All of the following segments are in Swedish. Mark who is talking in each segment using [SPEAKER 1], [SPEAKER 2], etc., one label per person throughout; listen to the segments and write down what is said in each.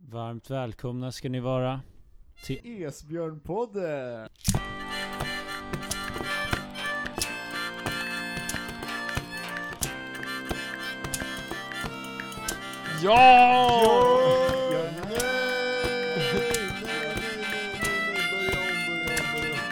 [SPEAKER 1] Varmt välkomna ska ni vara till
[SPEAKER 2] Esbjörnpodden!
[SPEAKER 3] Ja!
[SPEAKER 2] Ja!
[SPEAKER 3] Nej! Nej, nej, nej, nej, nej, börja om, börja om, börja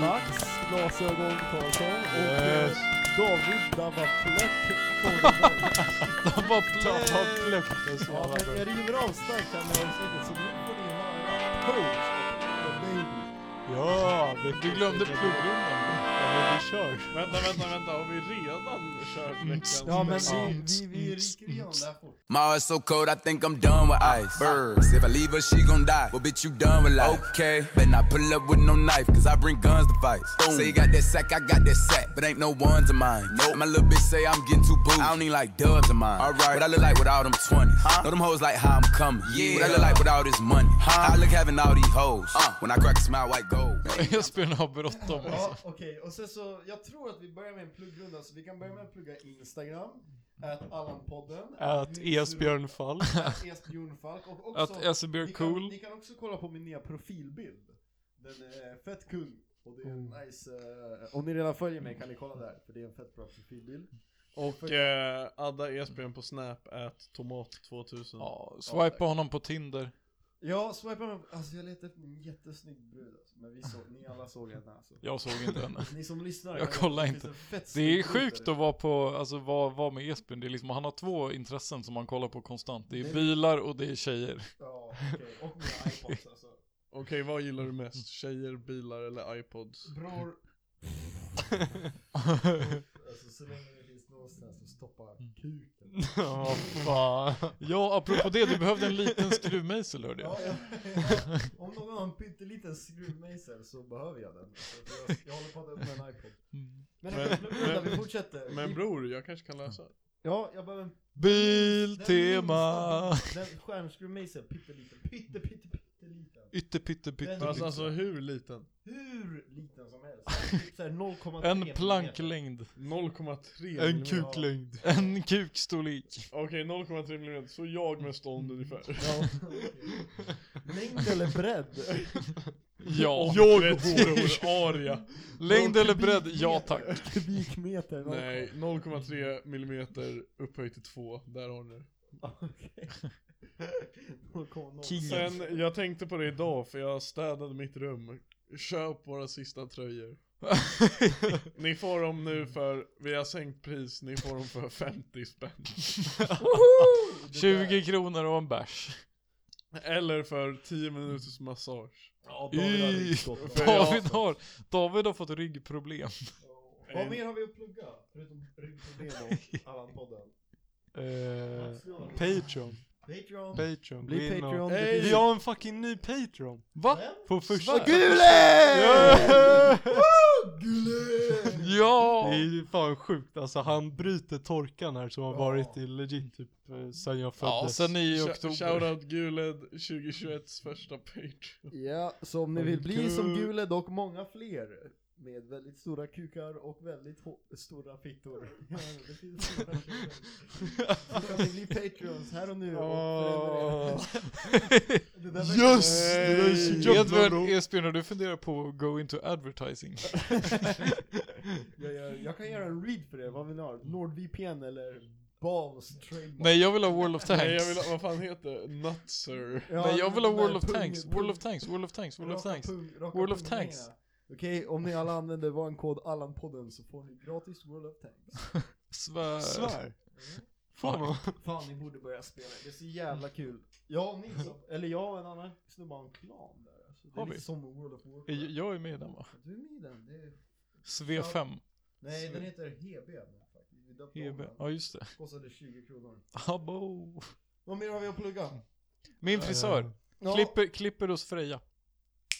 [SPEAKER 2] Max Glasögon Karlsson och eh,
[SPEAKER 3] Yes.
[SPEAKER 2] David Dabaplätt Korven.
[SPEAKER 3] om. Vad plöjt!
[SPEAKER 2] Vad
[SPEAKER 3] Vad
[SPEAKER 2] Ja, men Jag river av starkt här med avsnittet så nu får ni höra Coach och Baby.
[SPEAKER 3] Ja, du glömde pluggrundan. Ja, men vi kör. Mm.
[SPEAKER 4] Vänta, vänta, vänta. Har vi redan kört veckans
[SPEAKER 2] Ja men
[SPEAKER 4] bästa?
[SPEAKER 2] vi, vi, vi rycker igenom det här fort.
[SPEAKER 5] My heart's so cold, I think I'm done with ice. Birds, if I leave her, she gon' die. Well, bitch, you done with life. Okay, better not pull up with no knife, cause I bring guns to fight. Say you got that sack, I got that sack, but ain't no ones of mine. Nope. My little bitch say I'm getting too booed. I don't need like dubs of mine. Alright, what I look like with all them 20s. Huh? Know them hoes like how I'm coming. Yeah, what I look like with all this money. Huh? I look having all these hoes. Uh, when I crack a smile, white gold.
[SPEAKER 4] Esbjörn har bråttom
[SPEAKER 2] Ja
[SPEAKER 4] alltså.
[SPEAKER 2] okej och sen så, jag tror att vi börjar med en pluggrunda så vi kan börja med att plugga Instagram. Att Allan-podden.
[SPEAKER 3] Att Esbjörn Fall.
[SPEAKER 2] Esbjörn Falk och också
[SPEAKER 4] Att Esbjörn
[SPEAKER 2] ni kan,
[SPEAKER 4] cool.
[SPEAKER 2] ni kan också kolla på min nya profilbild. Den är fett kul. Och det är en nice... eh, om ni redan följer mig kan ni kolla där, för det är en fett bra profilbild.
[SPEAKER 4] Och eh, adda Esbjörn på snap at tomat2000.
[SPEAKER 3] Ja, swipa honom på Tinder.
[SPEAKER 2] Ja, swipa mig. Alltså jag letar efter en jättesnygg brud alltså. Men vi såg, ni alla såg henne alltså.
[SPEAKER 3] Jag såg inte henne.
[SPEAKER 2] Ni som lyssnar. eh,
[SPEAKER 3] Jag kollar
[SPEAKER 2] det finns
[SPEAKER 3] inte.
[SPEAKER 2] en fett
[SPEAKER 3] Det
[SPEAKER 2] snygg
[SPEAKER 3] är
[SPEAKER 2] brud
[SPEAKER 3] sjukt
[SPEAKER 2] där
[SPEAKER 3] att vara på, alltså vara, vara med Esbjörn. Det är liksom, han har två intressen som han kollar på konstant. Det
[SPEAKER 2] Det-
[SPEAKER 3] är bilar och det är tjejer.
[SPEAKER 2] ute. Ja, okej. Och mina iPods alltså.
[SPEAKER 4] Okej, vad gillar du mest? Tjejer, bilar eller iPods?
[SPEAKER 2] Bror. Alltså så länge det finns någonstans att stoppa kuken.
[SPEAKER 3] Ja, fan. Ja, apropå det, du behövde en liten skruvmejsel hörde jag.
[SPEAKER 2] Ja, ja, ja. Om någon har en pytteliten skruvmejsel så behöver jag den. För Jag, jag håller på att öppna en iPod. Men,
[SPEAKER 4] Men-
[SPEAKER 2] men, men vi
[SPEAKER 4] men-
[SPEAKER 2] fortsätter.
[SPEAKER 4] Men
[SPEAKER 2] Vi-
[SPEAKER 4] bror, jag kanske kan läsa.
[SPEAKER 2] Ja, jag behöver en... den
[SPEAKER 3] Biltema!
[SPEAKER 2] minsta- Den stjärnskruvmejsel, pytteliten. Pytte, pytte, pytteliten.
[SPEAKER 3] Ytte, pytte,
[SPEAKER 2] Den-
[SPEAKER 3] pytte.
[SPEAKER 4] Alltså, alltså hur liten?
[SPEAKER 2] Hur liten som helst. Typ såhär 0,3
[SPEAKER 3] En
[SPEAKER 2] millimeter.
[SPEAKER 3] planklängd.
[SPEAKER 4] 0,3
[SPEAKER 3] En
[SPEAKER 4] millimeter.
[SPEAKER 3] kuk.
[SPEAKER 2] kuklängd.
[SPEAKER 3] En kukstorlek.
[SPEAKER 4] Okej, 0,3 millimeter. Så jag med stånd ungefär.
[SPEAKER 2] Ja, okej. Längd eller bredd?
[SPEAKER 3] Ja.
[SPEAKER 4] Jag går aria.
[SPEAKER 3] Längd eller bredd? Ja tack.
[SPEAKER 2] Kubikmeter? noll-
[SPEAKER 4] Nej, 0,3 millimeter upphöjt till 2. Där har ni det.
[SPEAKER 2] Ja, okej. 0,0.
[SPEAKER 3] Kingen.
[SPEAKER 4] Sen, jag tänkte på det idag för jag städade mitt rum. Köp våra sista tröjor. Ni får dem nu för, vi har sänkt pris, ni får dem för 50 spänn.
[SPEAKER 3] 20 kronor och en bärs.
[SPEAKER 4] Eller för 10 minuters massage.
[SPEAKER 2] Ja, David har ryggskott.
[SPEAKER 4] För jag-
[SPEAKER 3] David har, David har fått ryggproblem.
[SPEAKER 2] Vad mer har vi att plugga? Förutom ryggproblem och Allan-podden.
[SPEAKER 6] Eh,
[SPEAKER 2] Slå.
[SPEAKER 6] Patreon.
[SPEAKER 2] Patreon.
[SPEAKER 6] Patreon.
[SPEAKER 2] Bli
[SPEAKER 6] Gå in och-
[SPEAKER 2] Patreon. det
[SPEAKER 4] Hej!
[SPEAKER 2] finns-
[SPEAKER 6] Vi har en fucking ny Patreon.
[SPEAKER 3] Va?
[SPEAKER 6] På första...
[SPEAKER 3] Vad
[SPEAKER 6] kul!
[SPEAKER 3] Yeah!
[SPEAKER 6] Det
[SPEAKER 3] Ja!
[SPEAKER 6] är ju fan sjukt alltså. Han bryter torkan här som har
[SPEAKER 2] Ja.
[SPEAKER 6] varit i legit typ eh, sen jag föddes.
[SPEAKER 3] Ja, sen i
[SPEAKER 4] Sh-
[SPEAKER 3] oktober.
[SPEAKER 4] Shoutout Guled 2021s första Patreon.
[SPEAKER 2] Ja, så om ni vill bli som Guled och många fler med väldigt stora kukar och väldigt hå- stora fittor. Ja, det finns stora kukar. Så kan ni bli Patreons här och nu och förändra er. Det där verkar-
[SPEAKER 6] Yes! Det där är så jävla
[SPEAKER 3] Edvard
[SPEAKER 6] bra.
[SPEAKER 3] Esbjörn, har du funderat på att go into advertising?
[SPEAKER 2] Jag, jag, jag kan göra en read för er, vad vill ni ha? NordVPN eller Balls Trademark?
[SPEAKER 3] Nej, jag vill ha World of Tanks.
[SPEAKER 4] Nej jag vill ha, vad fan heter det? Nutser.
[SPEAKER 2] Ja,
[SPEAKER 3] Nej, jag vill ha
[SPEAKER 2] den där
[SPEAKER 3] World of
[SPEAKER 2] pung-
[SPEAKER 3] Tanks,
[SPEAKER 2] pung-
[SPEAKER 3] World of Tanks, World of Tanks, World of
[SPEAKER 2] Raka
[SPEAKER 3] Tanks.
[SPEAKER 2] pung- raka
[SPEAKER 3] World of
[SPEAKER 2] pungvingarna.
[SPEAKER 3] Tanks.
[SPEAKER 2] Okej, om ni alla använder vår kod Allanpodden så får ni gratis World of Tanks.
[SPEAKER 3] Svär.
[SPEAKER 6] Svär. Fan vad...
[SPEAKER 2] Fan, ni borde börja spela. Det är så jävla kul. Jag och Nils, eller jag och en annan snubbe har en klan där. Alltså, det är
[SPEAKER 3] Har
[SPEAKER 2] lite
[SPEAKER 3] vi?
[SPEAKER 2] som World of Warcraft.
[SPEAKER 3] Jag- Jag är med i den va?
[SPEAKER 2] Du är med i den. Det är...
[SPEAKER 3] SV5,
[SPEAKER 2] Nej, den heter HB. nu faktiskt. Vi döpte om
[SPEAKER 3] EB.
[SPEAKER 2] den.
[SPEAKER 3] E Ja just det.
[SPEAKER 2] Kostade 20 kronor.
[SPEAKER 3] Abo.
[SPEAKER 2] Vad mer har vi att plugga?
[SPEAKER 3] Mm. Min frisör.
[SPEAKER 2] Ja,
[SPEAKER 3] Klipper, klipper hos Freja.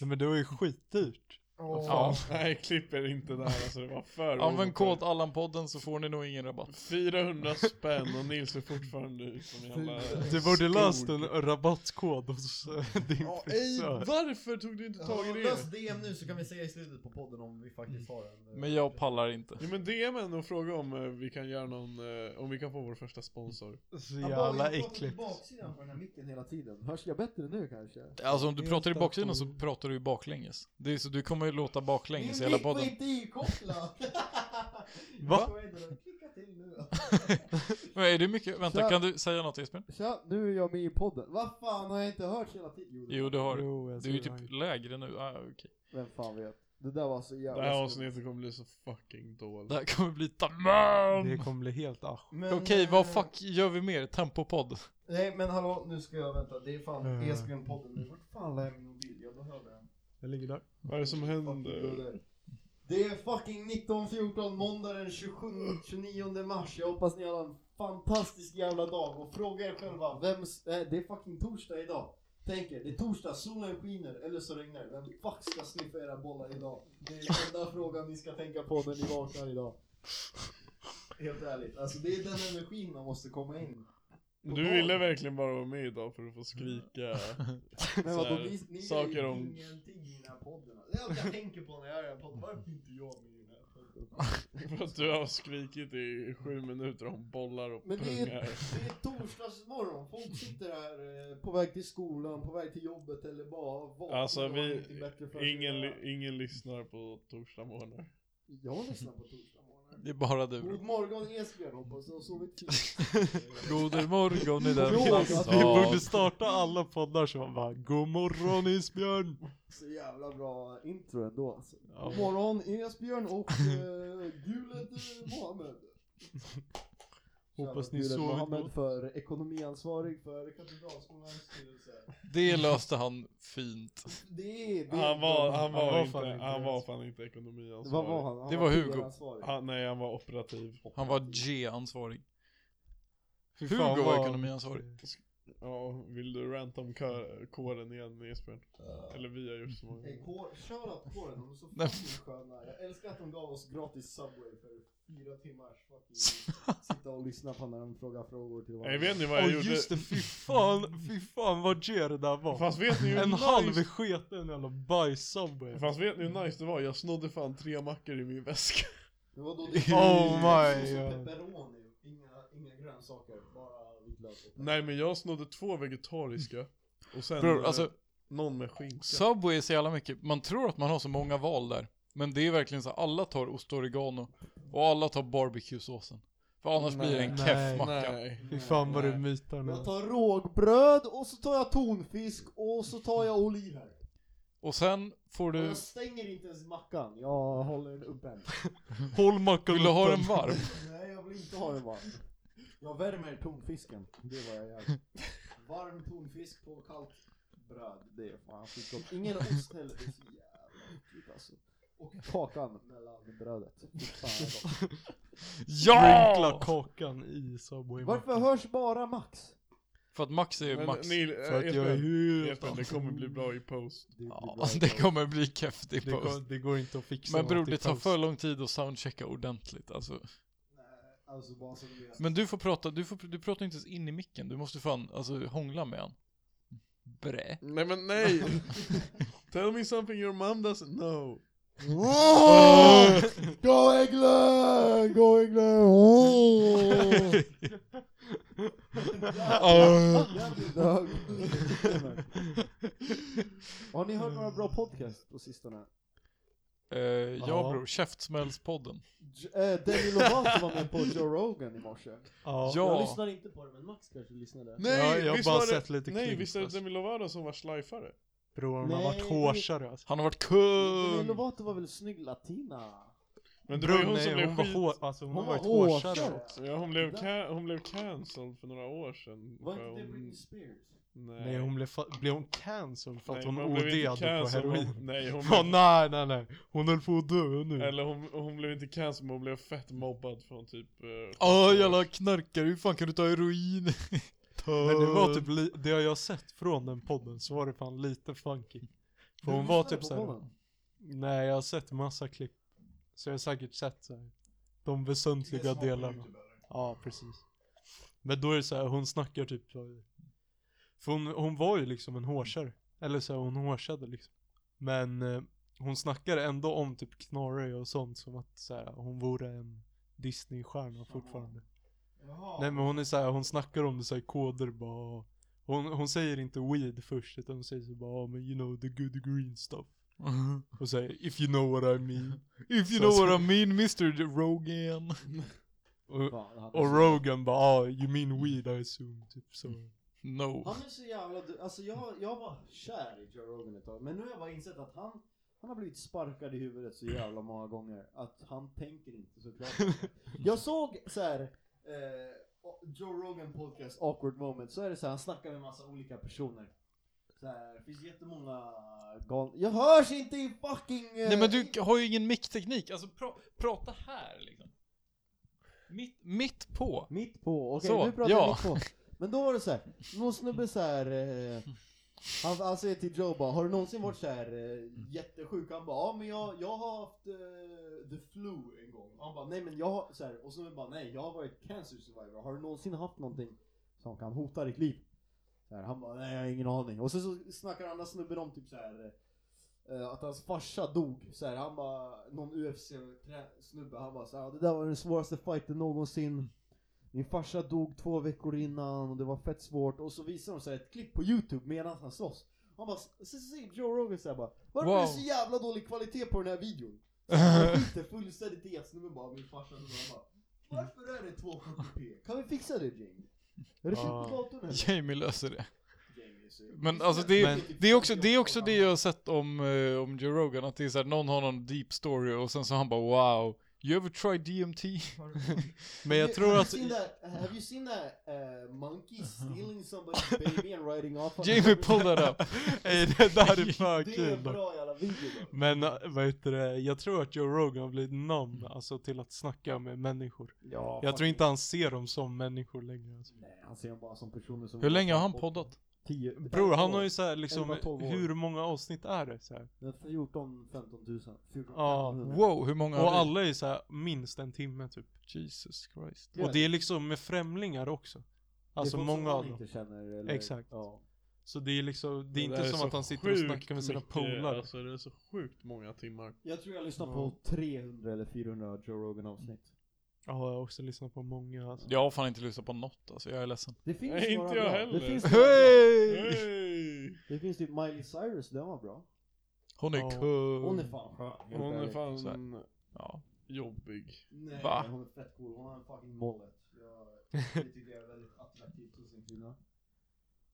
[SPEAKER 6] Nej men det var ju skitdyrt.
[SPEAKER 2] Åh.
[SPEAKER 3] Ja.
[SPEAKER 4] Nej, klipper inte där alltså, det var för
[SPEAKER 3] Använd
[SPEAKER 4] overkligt.
[SPEAKER 3] kod Allan-podden så får ni nog ingen rabatt.
[SPEAKER 4] 400 spänn och Nils är fortfarande ut som en jävla...
[SPEAKER 6] Du borde läst
[SPEAKER 4] skog.
[SPEAKER 6] en rabattkod hos eh, din
[SPEAKER 4] Ja, ej,
[SPEAKER 6] frisör.
[SPEAKER 4] varför tog du inte tag i
[SPEAKER 2] Ja,
[SPEAKER 4] det?
[SPEAKER 2] Lös DM nu så kan vi säga i slutet på podden om vi faktiskt har en. eh,
[SPEAKER 3] Men jag pallar inte.
[SPEAKER 4] Ja, men DM en och fråga om eh, vi kan göra någon, eh, om vi kan få vår första sponsor.
[SPEAKER 6] Så
[SPEAKER 2] Ja,
[SPEAKER 6] jävla
[SPEAKER 2] bara- jag pratar
[SPEAKER 6] äckligt.
[SPEAKER 2] till baksidan på den här micken hela tiden. Hörs jag bättre nu kanske?
[SPEAKER 3] Alltså om du
[SPEAKER 6] Helt
[SPEAKER 3] pratar i baksidan
[SPEAKER 6] att
[SPEAKER 3] så pratar du ju baklänges. Det är så du kommer ju låta baklänges
[SPEAKER 2] Min
[SPEAKER 3] i hela
[SPEAKER 2] mick var
[SPEAKER 3] podden.
[SPEAKER 2] inte ikopplad!
[SPEAKER 6] Va?
[SPEAKER 2] Jag vet inte, Klicka till nu då.
[SPEAKER 3] Men är det mycket? Vänta,
[SPEAKER 2] Kör.
[SPEAKER 3] kan du säga något Jesper?
[SPEAKER 2] Tja, nu är jag med i podden. Vad fan har jag inte hört hela tiden? det
[SPEAKER 3] Jo,
[SPEAKER 2] var-
[SPEAKER 3] det har du.
[SPEAKER 6] Jo, jag
[SPEAKER 3] Du är ju
[SPEAKER 6] ser det
[SPEAKER 3] typ lägre nu. Ah, okej.
[SPEAKER 2] Vem fan vet? Det där var så
[SPEAKER 4] Det
[SPEAKER 2] jävla
[SPEAKER 4] här
[SPEAKER 2] skumt.
[SPEAKER 4] avsnittet kommer bli så fucking
[SPEAKER 3] Det
[SPEAKER 4] dåligt.
[SPEAKER 3] här kommer bli
[SPEAKER 6] här. Det
[SPEAKER 3] tamam!
[SPEAKER 6] kommer bli helt asch.
[SPEAKER 2] Men,
[SPEAKER 3] Okej, vad
[SPEAKER 2] eh,
[SPEAKER 3] fuck gör vi mer? Tempopodd?
[SPEAKER 2] Nej men hallå, nu ska jag vänta. Det är fan
[SPEAKER 6] Eh.
[SPEAKER 2] Esbjörn-podden nu. Vart fan la jag min mobil? Jag behöver den.
[SPEAKER 6] Jag ligger där.
[SPEAKER 4] Vad är det som händer?
[SPEAKER 2] Det är fucking 19.14 måndag den 27, 29 mars. Jag hoppas ni har en fantastisk jävla dag. Och fråga er själva, vems... Äh, det är fucking torsdag idag. Tänk er, det är torsdag, solen skiner eller så regnar det. Vem fuck ska sniffa era bollar idag? Det är den enda frågan ni ska tänka på när ni vaknar idag. Helt ärligt, alltså det är den energin man måste komma in. på
[SPEAKER 4] Du
[SPEAKER 2] dagen.
[SPEAKER 4] ville verkligen bara vara med idag för att få skrika.
[SPEAKER 2] Men
[SPEAKER 4] så
[SPEAKER 2] vadå,
[SPEAKER 4] här,
[SPEAKER 2] ni, ni
[SPEAKER 4] saker
[SPEAKER 2] gör ju
[SPEAKER 4] om-
[SPEAKER 2] ingenting i den här podden. Det är allt jag tänker på när jag gör en podd. Varför är inte jag med i den här podden?
[SPEAKER 4] För att du har skrikit i sju minuter om bollar och
[SPEAKER 2] Men det är-
[SPEAKER 4] pungar.
[SPEAKER 2] Det är torsdagsmorgon, folk sitter här eh, på väg till skolan, på väg till jobbet eller bara vakna
[SPEAKER 4] Alltså
[SPEAKER 2] och har
[SPEAKER 4] vi,
[SPEAKER 2] ingenting bättre för sig att
[SPEAKER 4] ingen,
[SPEAKER 2] göra.
[SPEAKER 4] li- ingen lyssnar på torsdag morgnar.
[SPEAKER 2] Jag lyssnar på torsdagsmorgon.
[SPEAKER 3] Det är bara du.
[SPEAKER 2] God morgon Esbjörn, hoppas du har sovit fint.
[SPEAKER 3] God morgon i den
[SPEAKER 2] Jo, alltså,
[SPEAKER 6] Vi borde
[SPEAKER 3] Ja.
[SPEAKER 6] starta alla poddar som bara God morgon Isbjörn!
[SPEAKER 2] Så jävla bra intro ändå alltså.
[SPEAKER 6] Ja.
[SPEAKER 2] God morgon Esbjörn och eh, Gulet eh, Mohammed.
[SPEAKER 6] Hoppas
[SPEAKER 2] Shoutout
[SPEAKER 6] ni
[SPEAKER 2] Gulet
[SPEAKER 6] sovit
[SPEAKER 2] Mohammed
[SPEAKER 6] gott.
[SPEAKER 2] för ekonomiansvarig för Katedralskolans styrelse.
[SPEAKER 3] Det löste han fint.
[SPEAKER 2] Det är det.
[SPEAKER 4] Han var, han var,
[SPEAKER 6] var
[SPEAKER 4] inte,
[SPEAKER 6] fan inte
[SPEAKER 4] han var
[SPEAKER 6] ens.
[SPEAKER 4] fan inte ekonomiansvarig.
[SPEAKER 2] Vad var han? han
[SPEAKER 3] Det var Hugo.
[SPEAKER 2] PR-ansvarig.
[SPEAKER 4] Han, nej, han var operativ.
[SPEAKER 3] Han var G-ansvarig.
[SPEAKER 6] Fy fan,
[SPEAKER 3] Hugo var
[SPEAKER 6] vad-
[SPEAKER 3] ekonomiansvarig.
[SPEAKER 4] Ja, vill du ranta om kö- kåren igen Esbjörn? Eller vi har gjort så många
[SPEAKER 2] Hey,
[SPEAKER 4] gånger.
[SPEAKER 2] kår, shoutout kåren, de är så
[SPEAKER 3] Nej.
[SPEAKER 2] fucking sköna. Jag älskar att de gav oss gratis Subway för fyra timmars fucking sitta och lyssna på när de frågar frågor till
[SPEAKER 4] Nej,
[SPEAKER 2] varandra.
[SPEAKER 4] vet ni vad
[SPEAKER 6] Åh
[SPEAKER 4] jag
[SPEAKER 6] just
[SPEAKER 4] gjorde?
[SPEAKER 6] det, fy fan, fy fan vad ger det där var.
[SPEAKER 4] Fast vet ni hur
[SPEAKER 6] en
[SPEAKER 4] nice...
[SPEAKER 6] halv sketen jävla bajs-subway.
[SPEAKER 4] Fast vet ni hur nice det var? Jag snodde fan tre mackor i min väska.
[SPEAKER 2] Det var då det
[SPEAKER 6] Oh my
[SPEAKER 2] sås och
[SPEAKER 6] god.
[SPEAKER 2] pepperoni, inga, inga grönsaker, bara vitlök och
[SPEAKER 4] Nej men jag snodde två vegetariska. Och sen
[SPEAKER 3] Bror,
[SPEAKER 4] eh,
[SPEAKER 3] alltså
[SPEAKER 4] någon med skinka.
[SPEAKER 3] Subway är så jävla mycket, man tror att man har så många val där. Men det är verkligen så, alla tar ost oregano och alla tar barbecuesåsen. För annars blir det en
[SPEAKER 6] Nej,
[SPEAKER 3] keff macka.
[SPEAKER 4] Nej.
[SPEAKER 6] Fy fan vad du
[SPEAKER 4] Nej.
[SPEAKER 6] mytar nu.
[SPEAKER 2] Jag tar rågbröd och så tar jag tonfisk och så tar jag oliver.
[SPEAKER 3] Och sen får
[SPEAKER 2] Och
[SPEAKER 3] du,
[SPEAKER 2] jag stänger inte ens mackan, jag håller den öppen.
[SPEAKER 6] Håll mackan
[SPEAKER 3] vill du ha
[SPEAKER 6] uppe.
[SPEAKER 3] den varm?
[SPEAKER 2] Nej jag vill inte ha den varm. Jag värmer tonfisken, det är vad jag gör. Varm tonfisk på kallt bröd, det är fan skitgott. Ingen ost heller, det är så jävla äckligt alltså. Och kakan mellan brödet. Fy fan, vad gott.
[SPEAKER 6] Sprinkla
[SPEAKER 3] Ja!
[SPEAKER 6] kakan i Subway.
[SPEAKER 2] Varför hörs bara Max?
[SPEAKER 3] För att Max är ju
[SPEAKER 4] Men
[SPEAKER 3] Max.
[SPEAKER 4] Nil,
[SPEAKER 6] För att jag är
[SPEAKER 4] Esbjörn,
[SPEAKER 6] helt...
[SPEAKER 4] Esbjörn, det kommer bli bra i post.
[SPEAKER 2] Det blir bra.
[SPEAKER 3] Ja, alltså, det kommer bli keff i
[SPEAKER 6] Det, går,
[SPEAKER 3] post.
[SPEAKER 6] det går inte att fixa
[SPEAKER 3] Men bror,
[SPEAKER 6] något i
[SPEAKER 3] det tar
[SPEAKER 6] paus.
[SPEAKER 3] för lång tid att soundchecka ordentligt alltså.
[SPEAKER 2] Nej, Alltså bara så det är.
[SPEAKER 3] Men du får prata, du, får, du pratar inte ens in i micken, du måste fan, alltså hångla med han. Brä.
[SPEAKER 4] Nej men nej! Tell me something your mom doesn't know.
[SPEAKER 2] Go England! Go England! Oh! Har ni hört några bra podcast på sistone?
[SPEAKER 3] Eh, ja,
[SPEAKER 6] Ja.
[SPEAKER 3] bror, käftsmällspodden.
[SPEAKER 2] J- eh, Demi Lovato var med på Joe Rogan i morse.
[SPEAKER 6] Ja.
[SPEAKER 3] Ja.
[SPEAKER 2] Jag lyssnade inte på det, men Max kanske lyssnade.
[SPEAKER 4] Nej,
[SPEAKER 6] Ja, jag har
[SPEAKER 4] visst
[SPEAKER 6] bara
[SPEAKER 4] var det,
[SPEAKER 6] sett lite
[SPEAKER 4] Nej,
[SPEAKER 6] klipp,
[SPEAKER 4] visst är det
[SPEAKER 6] alltså.
[SPEAKER 4] Demi Lovato som var slajfare?
[SPEAKER 6] Bror, de har
[SPEAKER 2] Nej,
[SPEAKER 6] varit
[SPEAKER 2] det-
[SPEAKER 6] hårsare alltså.
[SPEAKER 3] Han har varit
[SPEAKER 2] Demi
[SPEAKER 3] kung!
[SPEAKER 2] Lovato var väl snygg latina?
[SPEAKER 4] Men det var ju
[SPEAKER 6] Bror,
[SPEAKER 4] hon som
[SPEAKER 6] nej,
[SPEAKER 4] blev
[SPEAKER 6] hon var
[SPEAKER 4] skit-
[SPEAKER 6] hår... Alltså hon,
[SPEAKER 2] Hon
[SPEAKER 6] har varit
[SPEAKER 2] var
[SPEAKER 6] hårsare.
[SPEAKER 2] hårsare.
[SPEAKER 6] också.
[SPEAKER 4] Ja, hon blev,
[SPEAKER 2] Det-
[SPEAKER 4] ca- hon blev cancelled för några år sedan.
[SPEAKER 2] Var
[SPEAKER 4] för
[SPEAKER 2] inte det
[SPEAKER 4] hon-
[SPEAKER 2] Britney Spears?
[SPEAKER 4] Nej,
[SPEAKER 6] Nej, hon blev, fa- blev hon cancelled för att
[SPEAKER 4] Nej,
[SPEAKER 6] hon
[SPEAKER 4] men blev inte
[SPEAKER 6] OD'ade på
[SPEAKER 4] cancelled, hon-
[SPEAKER 6] heroin.
[SPEAKER 4] Nej, hon
[SPEAKER 6] Ja,
[SPEAKER 4] blev...
[SPEAKER 6] nej, nej, nej. Hon höll på att dö nu.
[SPEAKER 4] Eller hon, hon blev inte cancelled, men hon blev fett mobbad från typ... eh,
[SPEAKER 3] Åh Ah, jävla knarkare, hur fan kan du ta heroin?
[SPEAKER 6] Men det var typ, li- det har jag sett från den podden så var det fan lite funky. För
[SPEAKER 2] Du
[SPEAKER 6] hon var
[SPEAKER 2] lyssnade
[SPEAKER 6] typ
[SPEAKER 2] på
[SPEAKER 6] såhär,
[SPEAKER 2] podden?
[SPEAKER 6] Nej, jag har sett massa klipp. Så jag har säkert sett så här, de väsentliga delarna. Ja, precis. Men då är det så här, hon snackar typ så- För hon, hon var ju liksom en hårsare. Eller så här, hon hårsade liksom. Men eh, hon snackar ändå om typ knorre och sånt som att så här, hon vore en Disney-stjärna fortfarande. Nej men hon är så här, hon snackar om det så här i koder bara. och Hon, hon säger inte weed först utan hon säger så bara "Ja, men you know the good green stuff. Och säger if you know what I mean.
[SPEAKER 3] If you
[SPEAKER 6] Så-
[SPEAKER 3] know what I mean, Mr. Rogan.
[SPEAKER 6] Och,
[SPEAKER 2] Fan, han är
[SPEAKER 6] och
[SPEAKER 2] så-
[SPEAKER 6] Rogan bara ah, you mean weed I assume. Typ så.
[SPEAKER 3] No.
[SPEAKER 2] Han är så jävla du- Alltså jag, jag var kär i Joe Rogan ett tag, men nu har jag bara insett att han, han har blivit sparkad i huvudet så jävla många gånger att han tänker inte så klart. Jag såg så här. Eh, Joe Rogan podcast awkward moment, så är det så här, han snackar med massa olika personer. Så här, det finns jättemånga gal... Jag hörs inte i fucking... eh,
[SPEAKER 3] Nej men du har ju ingen mickteknik, alltså pra- prata här liksom. Mitt, mitt på.
[SPEAKER 2] Mitt på, okej
[SPEAKER 3] Så,
[SPEAKER 2] nu pratar
[SPEAKER 3] ja.
[SPEAKER 2] jag mitt på. Men då var det så här, någon snubbe så här, eh, han, han säger till Joe bara, har du någonsin varit så här eh, jättesjuk? Han bara, ja men jag, jag har haft eh, the flu en gång. Han bara, nej men jag har, så här, och så bara, nej jag har varit cancer survivor. Har du någonsin haft någonting som kan hota ditt liv? Så här, han bara, nej jag har ingen aning. Och så, så snackar andra snubben om typ så här eh, att hans farsa dog, så här, han bara, någon UFC-snubbe, han bara så här, det där var den svåraste fighten någonsin min farsa dog två veckor innan och det var fett svårt och så visar de så här ett klipp på youtube medan han slåss Han bara, så så säger Joe Rogan såhär bara Varför är det
[SPEAKER 3] Wow.
[SPEAKER 2] så jävla dålig kvalitet på den här videon? Så Han skiter fullständigt i att snubben bara, min farsa dog han bara Varför är det 270p? Kan vi fixa det Jamie? Är det fel på datorn eller?
[SPEAKER 3] Jamie löser det.
[SPEAKER 2] Jamie, så-
[SPEAKER 3] Men alltså det,
[SPEAKER 6] Men-
[SPEAKER 3] det, är också, det är också det jag har sett om, eh, om Joe Rogan, att det är såhär, någon har någon deep story och sen så han bara wow, you ever tried DMT?
[SPEAKER 6] Men jag
[SPEAKER 2] Have
[SPEAKER 6] tror
[SPEAKER 2] you
[SPEAKER 6] att...
[SPEAKER 2] seen that- have you seen that uh, monkey stealing somebody's baby and riding off? on
[SPEAKER 3] Jamie
[SPEAKER 2] it?
[SPEAKER 3] pull that up.
[SPEAKER 6] Ey det där är för
[SPEAKER 2] Det är en
[SPEAKER 6] kul dock.
[SPEAKER 2] bra jävla video då.
[SPEAKER 6] Men äh, vad heter det, jag tror att Joe Rogan har blivit namn alltså till att snacka med människor.
[SPEAKER 2] Mm. Ja,
[SPEAKER 6] Jag tror inte han ser dem som människor längre alltså.
[SPEAKER 2] Nej, han ser bara som personer som...
[SPEAKER 3] Hur länge har han poddat?
[SPEAKER 2] Tio,
[SPEAKER 6] Bror han har ju såhär liksom,
[SPEAKER 2] 11-12 år.
[SPEAKER 6] hur många avsnitt är det? Så här?
[SPEAKER 2] 14, 15 000. 14,
[SPEAKER 6] Ja,
[SPEAKER 2] 1500.
[SPEAKER 3] Wow, hur många
[SPEAKER 6] Och
[SPEAKER 3] har vi?
[SPEAKER 6] alla är så här minst en timme typ.
[SPEAKER 3] Jesus Christ.
[SPEAKER 2] Ja,
[SPEAKER 6] Och det är liksom med främlingar också.
[SPEAKER 2] det är
[SPEAKER 6] Alltså
[SPEAKER 2] folk som
[SPEAKER 6] många
[SPEAKER 2] han
[SPEAKER 6] av dem.
[SPEAKER 2] inte känner eller...
[SPEAKER 6] Exakt.
[SPEAKER 2] Ja.
[SPEAKER 6] Så det är liksom, det är
[SPEAKER 4] där
[SPEAKER 6] inte
[SPEAKER 4] är
[SPEAKER 6] som
[SPEAKER 4] så
[SPEAKER 6] att han sitter och
[SPEAKER 4] sjukt
[SPEAKER 6] snackar med sina
[SPEAKER 4] mycket,
[SPEAKER 6] polare.
[SPEAKER 4] Alltså det är så sjukt många timmar.
[SPEAKER 2] Jag tror jag lyssnar på 300 eller 400 Joe Rogan avsnitt.
[SPEAKER 6] Ja, jag har också lyssnat på många alltså.
[SPEAKER 3] Jag har fan inte lyssnat på något alltså, jag är ledsen.
[SPEAKER 2] Det finns
[SPEAKER 4] Nej,
[SPEAKER 2] några
[SPEAKER 4] inte jag
[SPEAKER 2] bra.
[SPEAKER 4] heller.
[SPEAKER 2] Det finns, några bra.
[SPEAKER 3] Hej!
[SPEAKER 4] Hej!
[SPEAKER 2] det finns typ Miley Cyrus, den var bra.
[SPEAKER 3] Hon är
[SPEAKER 6] Ja.
[SPEAKER 3] cool.
[SPEAKER 2] Hon är fan skön. helt
[SPEAKER 4] Hon är
[SPEAKER 2] ärligt.
[SPEAKER 3] Så
[SPEAKER 4] fan
[SPEAKER 3] Ja.
[SPEAKER 4] jobbig.
[SPEAKER 2] Nej,
[SPEAKER 3] Va?
[SPEAKER 2] hon är fett cool. Hon har en fucking mullet. Jag tycker det är väldigt attraktivt hos en kvinna.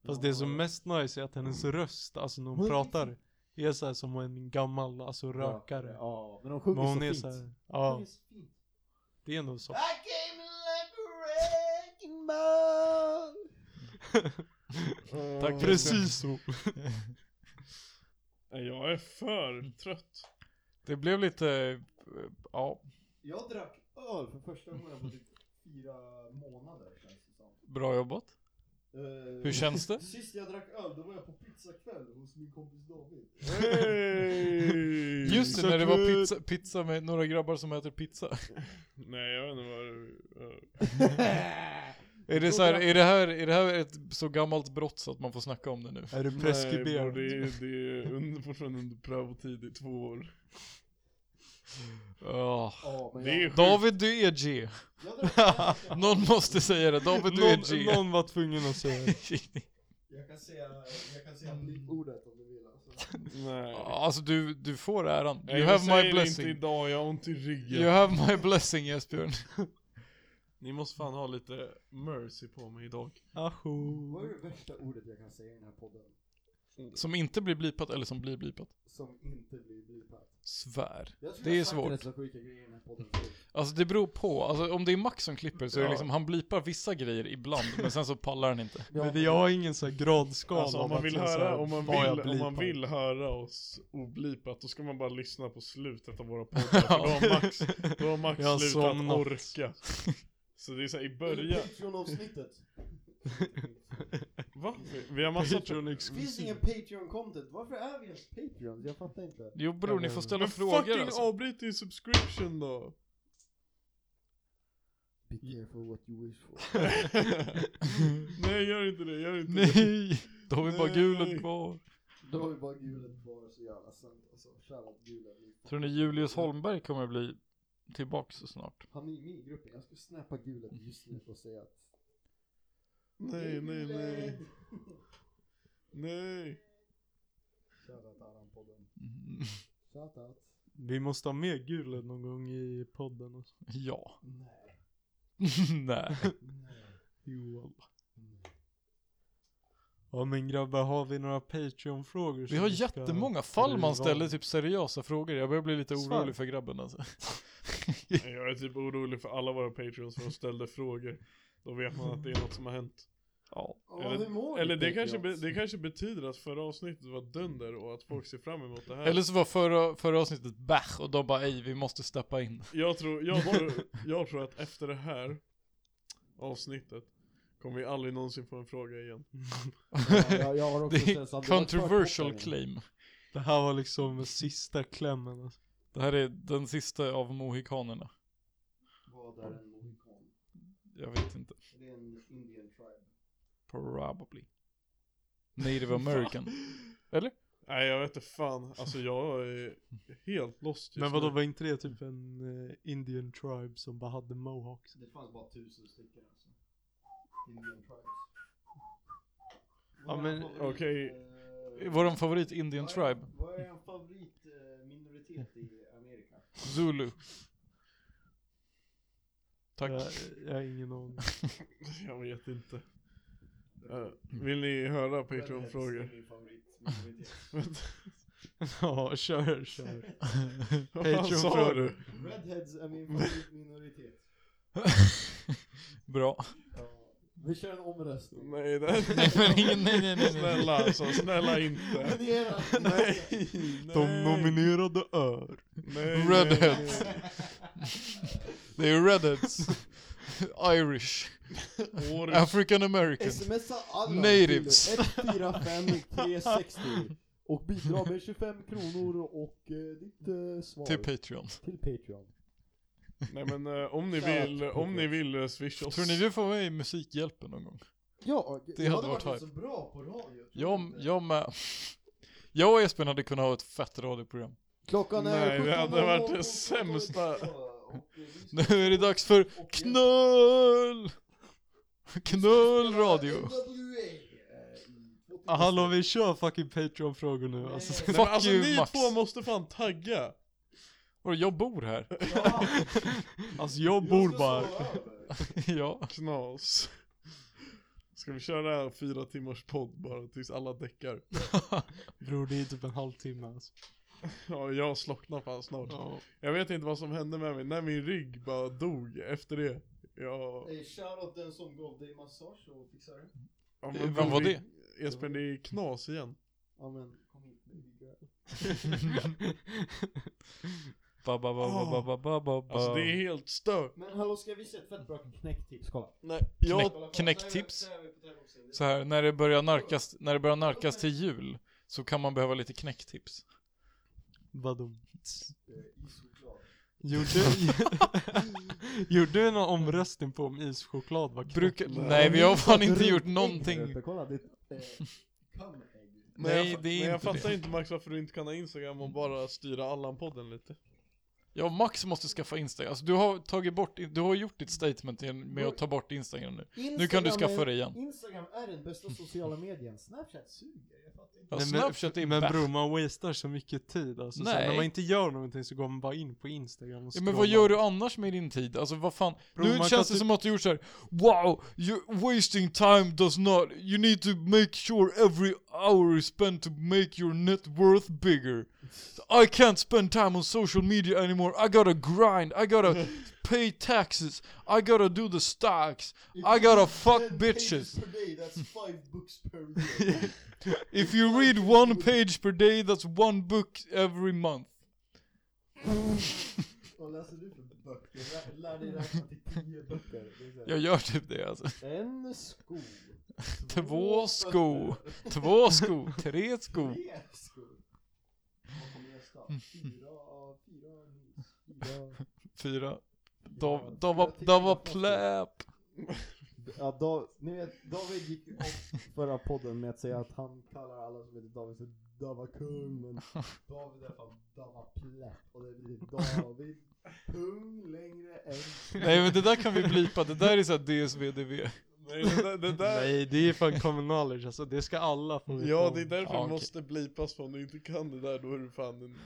[SPEAKER 6] Fast det som mest nice är att hennes röst, alltså när hon
[SPEAKER 2] Hon är
[SPEAKER 6] pratar, är såhär som en gammal, alltså
[SPEAKER 2] Ja,
[SPEAKER 6] rökare.
[SPEAKER 2] Ja, men hon
[SPEAKER 6] Men
[SPEAKER 2] sjunger
[SPEAKER 6] hon
[SPEAKER 2] så
[SPEAKER 6] är
[SPEAKER 2] fint.
[SPEAKER 6] såhär, ja,
[SPEAKER 2] Sjunger så Ah! fint.
[SPEAKER 6] det är nog så.
[SPEAKER 2] I came like a wrecking ball Eh,
[SPEAKER 3] Tack för
[SPEAKER 6] Precis så.
[SPEAKER 4] Nej, Jag är för trött.
[SPEAKER 3] Det blev lite, eh, ja,
[SPEAKER 2] Jag drack öl för första gången på typ fyra månader känns det som.
[SPEAKER 3] bra jobbat.
[SPEAKER 2] Eh,
[SPEAKER 3] Hur känns det?
[SPEAKER 2] Sist jag drack öl då var jag på pizzakväll hos min kompis David.
[SPEAKER 4] Hej!
[SPEAKER 3] Just det, när det var pizza, pizza med några grabbar som äter pizza.
[SPEAKER 4] Nej jag vet inte vad det...
[SPEAKER 3] Är det, så här, är det, här, är det här ett så gammalt brott så att man får snacka om det nu?
[SPEAKER 6] Är
[SPEAKER 4] Nej,
[SPEAKER 6] du
[SPEAKER 4] bror,
[SPEAKER 6] preskriberad?
[SPEAKER 4] det är, det är under, fortfarande under prövotid i två år.
[SPEAKER 3] Ja.
[SPEAKER 2] Ja, men
[SPEAKER 4] Det är
[SPEAKER 2] jag,
[SPEAKER 4] sjukt.
[SPEAKER 3] David, du är G.
[SPEAKER 2] jag drack öl.
[SPEAKER 3] Någon måste säga det. David, du är G.
[SPEAKER 6] någon, någon var tvungen att säga det.
[SPEAKER 2] Jag kan säga, jag kan säga ordet om du vill alltså.
[SPEAKER 4] Nej.
[SPEAKER 3] Alltså du, du får äran.
[SPEAKER 4] Nej,
[SPEAKER 3] You
[SPEAKER 4] jag
[SPEAKER 3] have my
[SPEAKER 4] säger Det
[SPEAKER 3] blessing.
[SPEAKER 4] inte idag, jag har ont i ryggen.
[SPEAKER 3] You have my blessing Esbjörn.
[SPEAKER 4] Ni måste fan ha lite mercy på mig idag.
[SPEAKER 2] Vad är
[SPEAKER 6] Ajo.
[SPEAKER 2] det värsta ordet jag kan säga i den här podden?
[SPEAKER 3] Som inte blir blipat eller som blir blipat.
[SPEAKER 2] Som inte blir blipat.
[SPEAKER 3] Svär.
[SPEAKER 2] Jag tror
[SPEAKER 3] Det
[SPEAKER 2] jag
[SPEAKER 3] är
[SPEAKER 2] har sagt
[SPEAKER 3] svårt.
[SPEAKER 2] rätt så sjuka grejer i den här podden förut.
[SPEAKER 3] Alltså det beror på. Alltså om det är Max som klipper så är det
[SPEAKER 4] Ja.
[SPEAKER 3] liksom, han blipar vissa grejer ibland men sen så pallar han inte.
[SPEAKER 6] Men det- jag har ingen sån här gradskala
[SPEAKER 4] Alltså, om
[SPEAKER 6] av
[SPEAKER 4] man
[SPEAKER 6] att
[SPEAKER 4] vill
[SPEAKER 6] jag så
[SPEAKER 4] höra,
[SPEAKER 6] här,
[SPEAKER 4] om man
[SPEAKER 6] vad jag
[SPEAKER 4] vill, om man
[SPEAKER 6] blipar.
[SPEAKER 4] vill höra oss oblipat, då ska man bara lyssna på slutet av våra poddar. För då har Max, då har Max
[SPEAKER 6] Jag har
[SPEAKER 4] slutat
[SPEAKER 6] somnat.
[SPEAKER 4] orka. Så det är såhär i början,
[SPEAKER 2] Patreon-avsnittet.
[SPEAKER 4] Va? Vi, vi har massa...
[SPEAKER 2] Finns
[SPEAKER 6] Patreon
[SPEAKER 2] det
[SPEAKER 6] exclusive.
[SPEAKER 2] ingen Patreon-content? Varför är vi ens Patreons? Jag fattar inte.
[SPEAKER 3] Jo bror, ni får ställa
[SPEAKER 4] Men
[SPEAKER 3] frågor
[SPEAKER 4] fucking
[SPEAKER 3] alltså.
[SPEAKER 4] avbryt din subscription då!
[SPEAKER 2] Be careful what you wish for.
[SPEAKER 4] Nej gör inte det, gör inte det.
[SPEAKER 3] Nej! Då har vi bara
[SPEAKER 4] Nej.
[SPEAKER 3] gulen kvar.
[SPEAKER 2] Då har vi bara gulen kvar, så jävla sant alltså. Shoutout gulen.
[SPEAKER 3] Tror ni Julius Holmberg kommer bli tillbaks så snart?
[SPEAKER 2] Han är ju med i gruppen, jag ska snappa gulen just nu och säga att...
[SPEAKER 4] Nej, nej, nej. Nej.
[SPEAKER 2] Shoutout Aran-podden.
[SPEAKER 3] Mm,
[SPEAKER 2] Shoutout.
[SPEAKER 6] Vi måste ha med Gulen någon gång i podden. Alltså.
[SPEAKER 3] Ja.
[SPEAKER 2] Nej.
[SPEAKER 3] Nej.
[SPEAKER 6] Jo, alla. Ja men grabbar, har vi några Patreon-frågor?
[SPEAKER 3] Vi
[SPEAKER 6] som
[SPEAKER 3] har
[SPEAKER 6] ska-
[SPEAKER 3] jättemånga fall man
[SPEAKER 6] driva?
[SPEAKER 3] ställer typ seriösa frågor. Jag börjar bli lite
[SPEAKER 6] Svar.
[SPEAKER 3] orolig för grabben alltså.
[SPEAKER 4] Jag är typ orolig för alla våra patreons för de ställde frågor. Då vet man att det är något som har hänt.
[SPEAKER 3] Ja.
[SPEAKER 2] Ja, hur mår ni,
[SPEAKER 4] Eller det
[SPEAKER 2] Patreons?
[SPEAKER 4] kanske, be, det kanske betyder att förra avsnittet var dunder och att folk ser fram emot det här.
[SPEAKER 3] Eller så var förra, förra avsnittet bash och de bara ej, vi måste steppa in.
[SPEAKER 4] Jag tror, jag, tror, jag tror att efter det här avsnittet kommer vi aldrig någonsin få en fråga igen.
[SPEAKER 2] Ja, jag, jag har också
[SPEAKER 3] Det
[SPEAKER 2] känslan
[SPEAKER 3] är
[SPEAKER 2] att det var ett
[SPEAKER 3] controversial
[SPEAKER 2] förkortning.
[SPEAKER 3] claim.
[SPEAKER 6] Det här var liksom sista klämmen. Alltså.
[SPEAKER 3] Det här är den sista av mohikanerna.
[SPEAKER 2] Vad är en mohikan?
[SPEAKER 3] Jag vet inte.
[SPEAKER 2] Det är en indian tribe.
[SPEAKER 3] Probably. Native American. Eller?
[SPEAKER 4] Nej jag vet inte fan, alltså jag är helt lost just
[SPEAKER 6] Men vadå,
[SPEAKER 4] nu.
[SPEAKER 6] var inte det typ en eh, Indian tribe som bara hade mohawks?
[SPEAKER 2] Det fanns bara tusen stycken alltså. Indian tribes.
[SPEAKER 6] Ja,
[SPEAKER 2] Vad är
[SPEAKER 6] men,
[SPEAKER 2] favorit,
[SPEAKER 4] okej.
[SPEAKER 2] eh,
[SPEAKER 3] Våran favorit Indian
[SPEAKER 2] vad är-
[SPEAKER 3] Tribe.
[SPEAKER 2] Vad är en favoritminoritet i Amerika?
[SPEAKER 3] Zulu. Tack.
[SPEAKER 6] Jag, jag har ingen aning.
[SPEAKER 4] Jag vet inte. Eh, vill ni höra
[SPEAKER 2] Redheads
[SPEAKER 4] Patreon-frågor?
[SPEAKER 2] är min favoritminoritet.
[SPEAKER 6] ja, kör, kör.
[SPEAKER 4] Vad fan sa
[SPEAKER 6] Patreon-frågor.
[SPEAKER 4] du?
[SPEAKER 2] Redheads är min favoritminoritet.
[SPEAKER 3] Bra.
[SPEAKER 2] Ja. Vi kör en omröstning.
[SPEAKER 4] Nej, det
[SPEAKER 3] Nej men ingen, nej nej nej. nej.
[SPEAKER 4] Snälla alltså, snälla inte.
[SPEAKER 2] Nominera!
[SPEAKER 6] De nominerade är...
[SPEAKER 4] Nej,
[SPEAKER 3] Redheads. Det är redheads. Irish.
[SPEAKER 4] Årets
[SPEAKER 3] African American.
[SPEAKER 2] Smsa alla
[SPEAKER 3] Natives.
[SPEAKER 2] till 145360 och bidra med 25 kronor och eh, ditt eh, svar
[SPEAKER 3] Till Patreon.
[SPEAKER 2] till Patreon.
[SPEAKER 4] Nej men eh, om ni
[SPEAKER 2] Shout
[SPEAKER 4] vill,
[SPEAKER 2] out
[SPEAKER 4] om ni vill eh, swisha oss.
[SPEAKER 3] Tror ni vi får vara med i Musikhjälpen någon gång?
[SPEAKER 2] Ja, det
[SPEAKER 3] hade varit
[SPEAKER 2] så
[SPEAKER 3] hype.
[SPEAKER 2] bra på radio.
[SPEAKER 3] Jag, jag med. Jag och Espen hade kunnat ha ett fett radioprogram.
[SPEAKER 2] Klockan är
[SPEAKER 4] Nej, det hade
[SPEAKER 2] 17.00.
[SPEAKER 4] varit det sämsta.
[SPEAKER 2] Och, eh, vi
[SPEAKER 3] Nu är det dags för knull! Knullradio!
[SPEAKER 2] ska- NWA, eh, i-
[SPEAKER 6] Ah, hallå, vi kör fucking Patreon-frågor nu alltså.
[SPEAKER 4] Nej, men
[SPEAKER 3] Fuck
[SPEAKER 4] alltså
[SPEAKER 3] you,
[SPEAKER 4] ni
[SPEAKER 3] Max.
[SPEAKER 4] två måste fan tagga.
[SPEAKER 3] Och jag bor här.
[SPEAKER 2] Ja,
[SPEAKER 6] Alltså jag
[SPEAKER 2] jag
[SPEAKER 6] bor
[SPEAKER 2] ska
[SPEAKER 6] bara...
[SPEAKER 2] sova över.
[SPEAKER 3] Ja.
[SPEAKER 4] Knas. Ska vi köra fyra timmars podd bara tills alla däckar?
[SPEAKER 6] Bror, det är typ en halvtimme alltså.
[SPEAKER 4] Ja, jag slocknar fan snart.
[SPEAKER 6] Ja.
[SPEAKER 4] Jag vet inte vad som hände med mig, när min rygg bara dog efter det. Jag...
[SPEAKER 2] Eh, Shoutout den som gav dig massage och fixade det.
[SPEAKER 4] Ja,
[SPEAKER 3] Eh, vem var det?
[SPEAKER 4] Espen, det är knas igen.
[SPEAKER 2] Ja men, kom hit baby girl.
[SPEAKER 3] Ba, ba, ba, ba, ba, ba, ba, ba.
[SPEAKER 4] Alltså det är helt stört.
[SPEAKER 2] Men hallå, ska vi se ett fett bra knäcktips? Kolla.
[SPEAKER 4] Nej, jag...
[SPEAKER 2] Kolla, kolla.
[SPEAKER 3] Knäcktips?
[SPEAKER 2] Så här är vi på tävlingsserien. Det är
[SPEAKER 3] Så här, när det börjar narkas, när det börjar narkas till jul så kan man behöva lite knäcktips.
[SPEAKER 6] Vadå?
[SPEAKER 2] eh, ischoklad.
[SPEAKER 6] Gjorde... Gjorde du någon omröstning på om ischoklad var knäck?
[SPEAKER 3] Brukar, nej, vi har fan inte gjort någonting.
[SPEAKER 2] Uppe, Kolla, det är eh, kamägg.
[SPEAKER 3] Nej, det
[SPEAKER 4] Men
[SPEAKER 3] är
[SPEAKER 4] jag
[SPEAKER 3] inte
[SPEAKER 4] fattar
[SPEAKER 3] det.
[SPEAKER 4] inte Max varför du inte kan ha Instagram och bara styra Allan-podden lite.
[SPEAKER 3] Ja, Max måste skaffa Instagram. Alltså, du har tagit bort, du har gjort ditt statement igen med att ta bort Instagram nu. Nu kan du
[SPEAKER 2] Instagram
[SPEAKER 3] skaffa
[SPEAKER 2] är-
[SPEAKER 3] det igen.
[SPEAKER 2] Instagram är den bästa sociala medien. Snapchat suger, jag fattar inte.
[SPEAKER 3] Ja,
[SPEAKER 6] Nej, men-
[SPEAKER 3] Snapchat är
[SPEAKER 6] Men
[SPEAKER 3] bäst.
[SPEAKER 6] bror, man wastar så mycket tid alltså. Så här,
[SPEAKER 3] Nej.
[SPEAKER 6] när man inte gör någonting så går man bara in på Instagram och
[SPEAKER 3] Ja, men vad
[SPEAKER 6] scrollar.
[SPEAKER 3] gör du annars med din tid? Alltså vad fan?
[SPEAKER 6] Bro,
[SPEAKER 3] nu
[SPEAKER 6] man
[SPEAKER 3] känns
[SPEAKER 6] kan
[SPEAKER 3] det
[SPEAKER 6] typ-
[SPEAKER 3] som att du gjort såhär Wow, you're wasting time does not You need to make sure every hour is spent to make your net worth bigger I can't spend time on social media anymore I gotta grind, I gotta pay taxes I gotta do the stocks I gotta fuck
[SPEAKER 2] 10 pages
[SPEAKER 3] bitches
[SPEAKER 2] Per day, that's five books per year.
[SPEAKER 3] If you read one page per day that's one book every month
[SPEAKER 2] Vad läser du för böcker? Lär, lär dig räkna till tio böcker. Det är så här.
[SPEAKER 3] Jag gör typ det alltså
[SPEAKER 2] En sko.
[SPEAKER 3] Två sko. Två sko. Tre sko.
[SPEAKER 2] Tre skor. Vad kommer nästa? Fyra av fyra mus. Fyra...
[SPEAKER 3] Fyra. De, de var, de var pläp.
[SPEAKER 2] Ja, Dav, ni vet, David gick upp förra podden med att säga att han kallar alla som heter David för Dava Kung, men David är fan Dava Plätt och det blir David Kung längre än...
[SPEAKER 3] Nej men det där kan vi blipa, det där är såhär DSVDV.
[SPEAKER 4] Nej, det där, det där
[SPEAKER 6] Nej det är fan common knowledge alltså, det ska alla få veta
[SPEAKER 4] Ja
[SPEAKER 6] om.
[SPEAKER 4] det är därför
[SPEAKER 3] Ja,
[SPEAKER 4] det
[SPEAKER 3] okej.
[SPEAKER 4] måste blipas för om du inte kan det där då är du fan en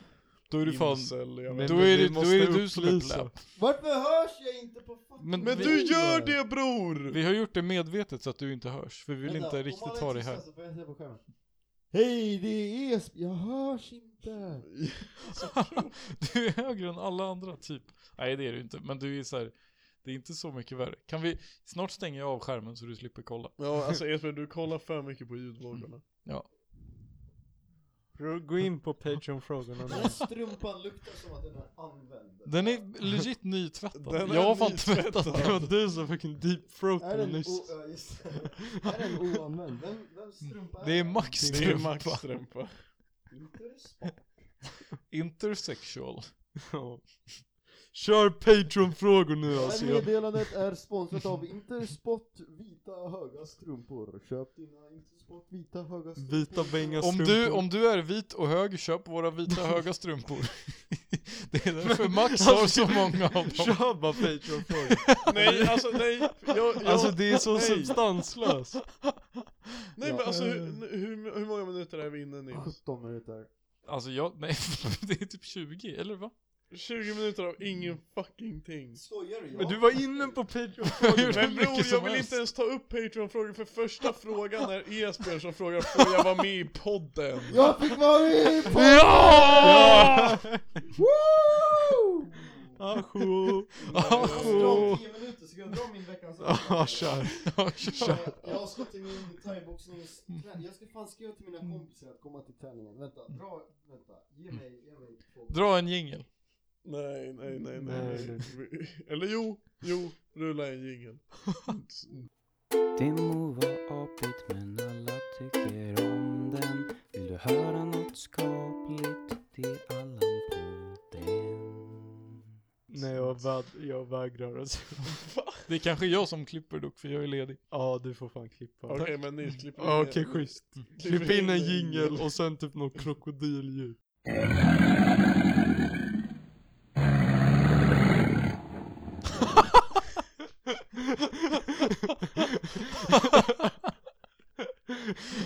[SPEAKER 3] Då är du fan,
[SPEAKER 4] incel, jag
[SPEAKER 6] Men-
[SPEAKER 4] vet.
[SPEAKER 3] då är
[SPEAKER 6] vi
[SPEAKER 3] det, då
[SPEAKER 6] måste
[SPEAKER 3] är det du som är
[SPEAKER 6] upplysa.
[SPEAKER 3] pläp.
[SPEAKER 2] Varför hörs jag inte på fucking...
[SPEAKER 3] Men-
[SPEAKER 4] Men
[SPEAKER 3] vi-
[SPEAKER 4] du gör det bror!
[SPEAKER 3] Vi har gjort det medvetet så att du inte hörs, för vi vill
[SPEAKER 2] Vänta,
[SPEAKER 3] inte
[SPEAKER 2] om
[SPEAKER 3] riktigt
[SPEAKER 2] alla
[SPEAKER 3] ha
[SPEAKER 2] är
[SPEAKER 3] dig
[SPEAKER 2] tysta
[SPEAKER 3] här.
[SPEAKER 2] så får jag säga på skärmen. Hej, det är Esb, jag hörs inte!
[SPEAKER 3] du är högre än alla andra typ. Nej det är du inte, men du är såhär, det är inte så mycket värre. Kan vi, snart stänger jag av skärmen så du slipper kolla.
[SPEAKER 4] Ja alltså Esbjörn du kollar för mycket på
[SPEAKER 3] Mm.
[SPEAKER 4] ljudvågorna
[SPEAKER 6] Bro, Gå in på Patreon-frågorna
[SPEAKER 2] Den
[SPEAKER 6] nu.
[SPEAKER 2] här strumpan luktar som att den är använd.
[SPEAKER 3] Den är legit nytvättad.
[SPEAKER 4] Den är
[SPEAKER 3] jag har fan
[SPEAKER 4] nytvättad.
[SPEAKER 3] tvättat
[SPEAKER 6] Det
[SPEAKER 3] den.
[SPEAKER 6] var du som fucking
[SPEAKER 2] Är
[SPEAKER 6] deepthroatade
[SPEAKER 2] den,
[SPEAKER 6] nyss.
[SPEAKER 2] o- ja, just det. är den oanvänd? Vem, vem strumpa
[SPEAKER 3] Det är Max
[SPEAKER 4] Det är
[SPEAKER 3] strumpa.
[SPEAKER 4] Max-strumpa
[SPEAKER 2] Inte är det spa.
[SPEAKER 3] Intersexual.
[SPEAKER 6] Ja. Kör Patreon-frågor nu
[SPEAKER 2] Det
[SPEAKER 6] alltså.
[SPEAKER 2] här
[SPEAKER 6] Jag...
[SPEAKER 2] meddelandet är sponsrat av Intersport vita höga strumpor. Köp dina Intersport vita höga strumpor.
[SPEAKER 6] Vita bänga
[SPEAKER 3] Om
[SPEAKER 6] strumpor.
[SPEAKER 3] du, om du är vit och hög, köp våra vita höga strumpor. det är därför Max
[SPEAKER 6] Alltså,
[SPEAKER 3] har så många av dem.
[SPEAKER 6] Kör bara Patreon-frågor.
[SPEAKER 4] Nej alltså nej, jag, jag,
[SPEAKER 6] Alltså det är så
[SPEAKER 4] nej.
[SPEAKER 6] substanslöst.
[SPEAKER 4] nej men alltså hur, hur, hur många minuter är vi inne Nils?
[SPEAKER 2] 17 minuter.
[SPEAKER 3] Alltså jag, nej, det är typ 20, eller va?
[SPEAKER 4] 20 minuter av ingen fucking ting
[SPEAKER 2] Skojar du?
[SPEAKER 6] Men du var inne på Patreon.
[SPEAKER 3] Jag gjorde
[SPEAKER 4] Men
[SPEAKER 3] hur mycket
[SPEAKER 4] bror jag
[SPEAKER 3] som
[SPEAKER 4] vill
[SPEAKER 3] helst.
[SPEAKER 4] inte ens ta upp Patreon-frågan för första frågan är Esbjörn som frågar får jag vara med i podden?
[SPEAKER 2] Jag fick vara med i podden!
[SPEAKER 3] Ja!
[SPEAKER 2] Woo!
[SPEAKER 6] Ajo.
[SPEAKER 2] Om
[SPEAKER 6] Ajo.
[SPEAKER 2] 10 minuter så kan jag dra min veckans
[SPEAKER 6] Ja, kör.
[SPEAKER 3] Ja, kör.
[SPEAKER 2] Jag- Jag har stått i min thaiboxningsträning. Jag ska fan skriva till mina kompisar att komma till träningen. Vänta, dra, vänta. Ge mig, ge mig två.
[SPEAKER 3] Dra en jingel.
[SPEAKER 4] Nej, nej, nej,
[SPEAKER 6] Nej,
[SPEAKER 4] nej, nej. Eller jo, jo, rulla en jingel.
[SPEAKER 7] Det må vara apigt men alla tycker om den Vill du höra något skapligt? Det är Allan på den
[SPEAKER 6] Nej jag, väg- jag vägrar alltså.
[SPEAKER 3] Det är kanske jag som klipper dock, för jag är ledig.
[SPEAKER 6] Ja du får fan klippa.
[SPEAKER 4] Okej, men ni klipper
[SPEAKER 6] Ja,
[SPEAKER 4] in
[SPEAKER 6] Okej
[SPEAKER 4] en-
[SPEAKER 6] schysst.
[SPEAKER 4] klipper
[SPEAKER 6] Klipp in en
[SPEAKER 4] en
[SPEAKER 6] jingel och sen typ något krokodilljud.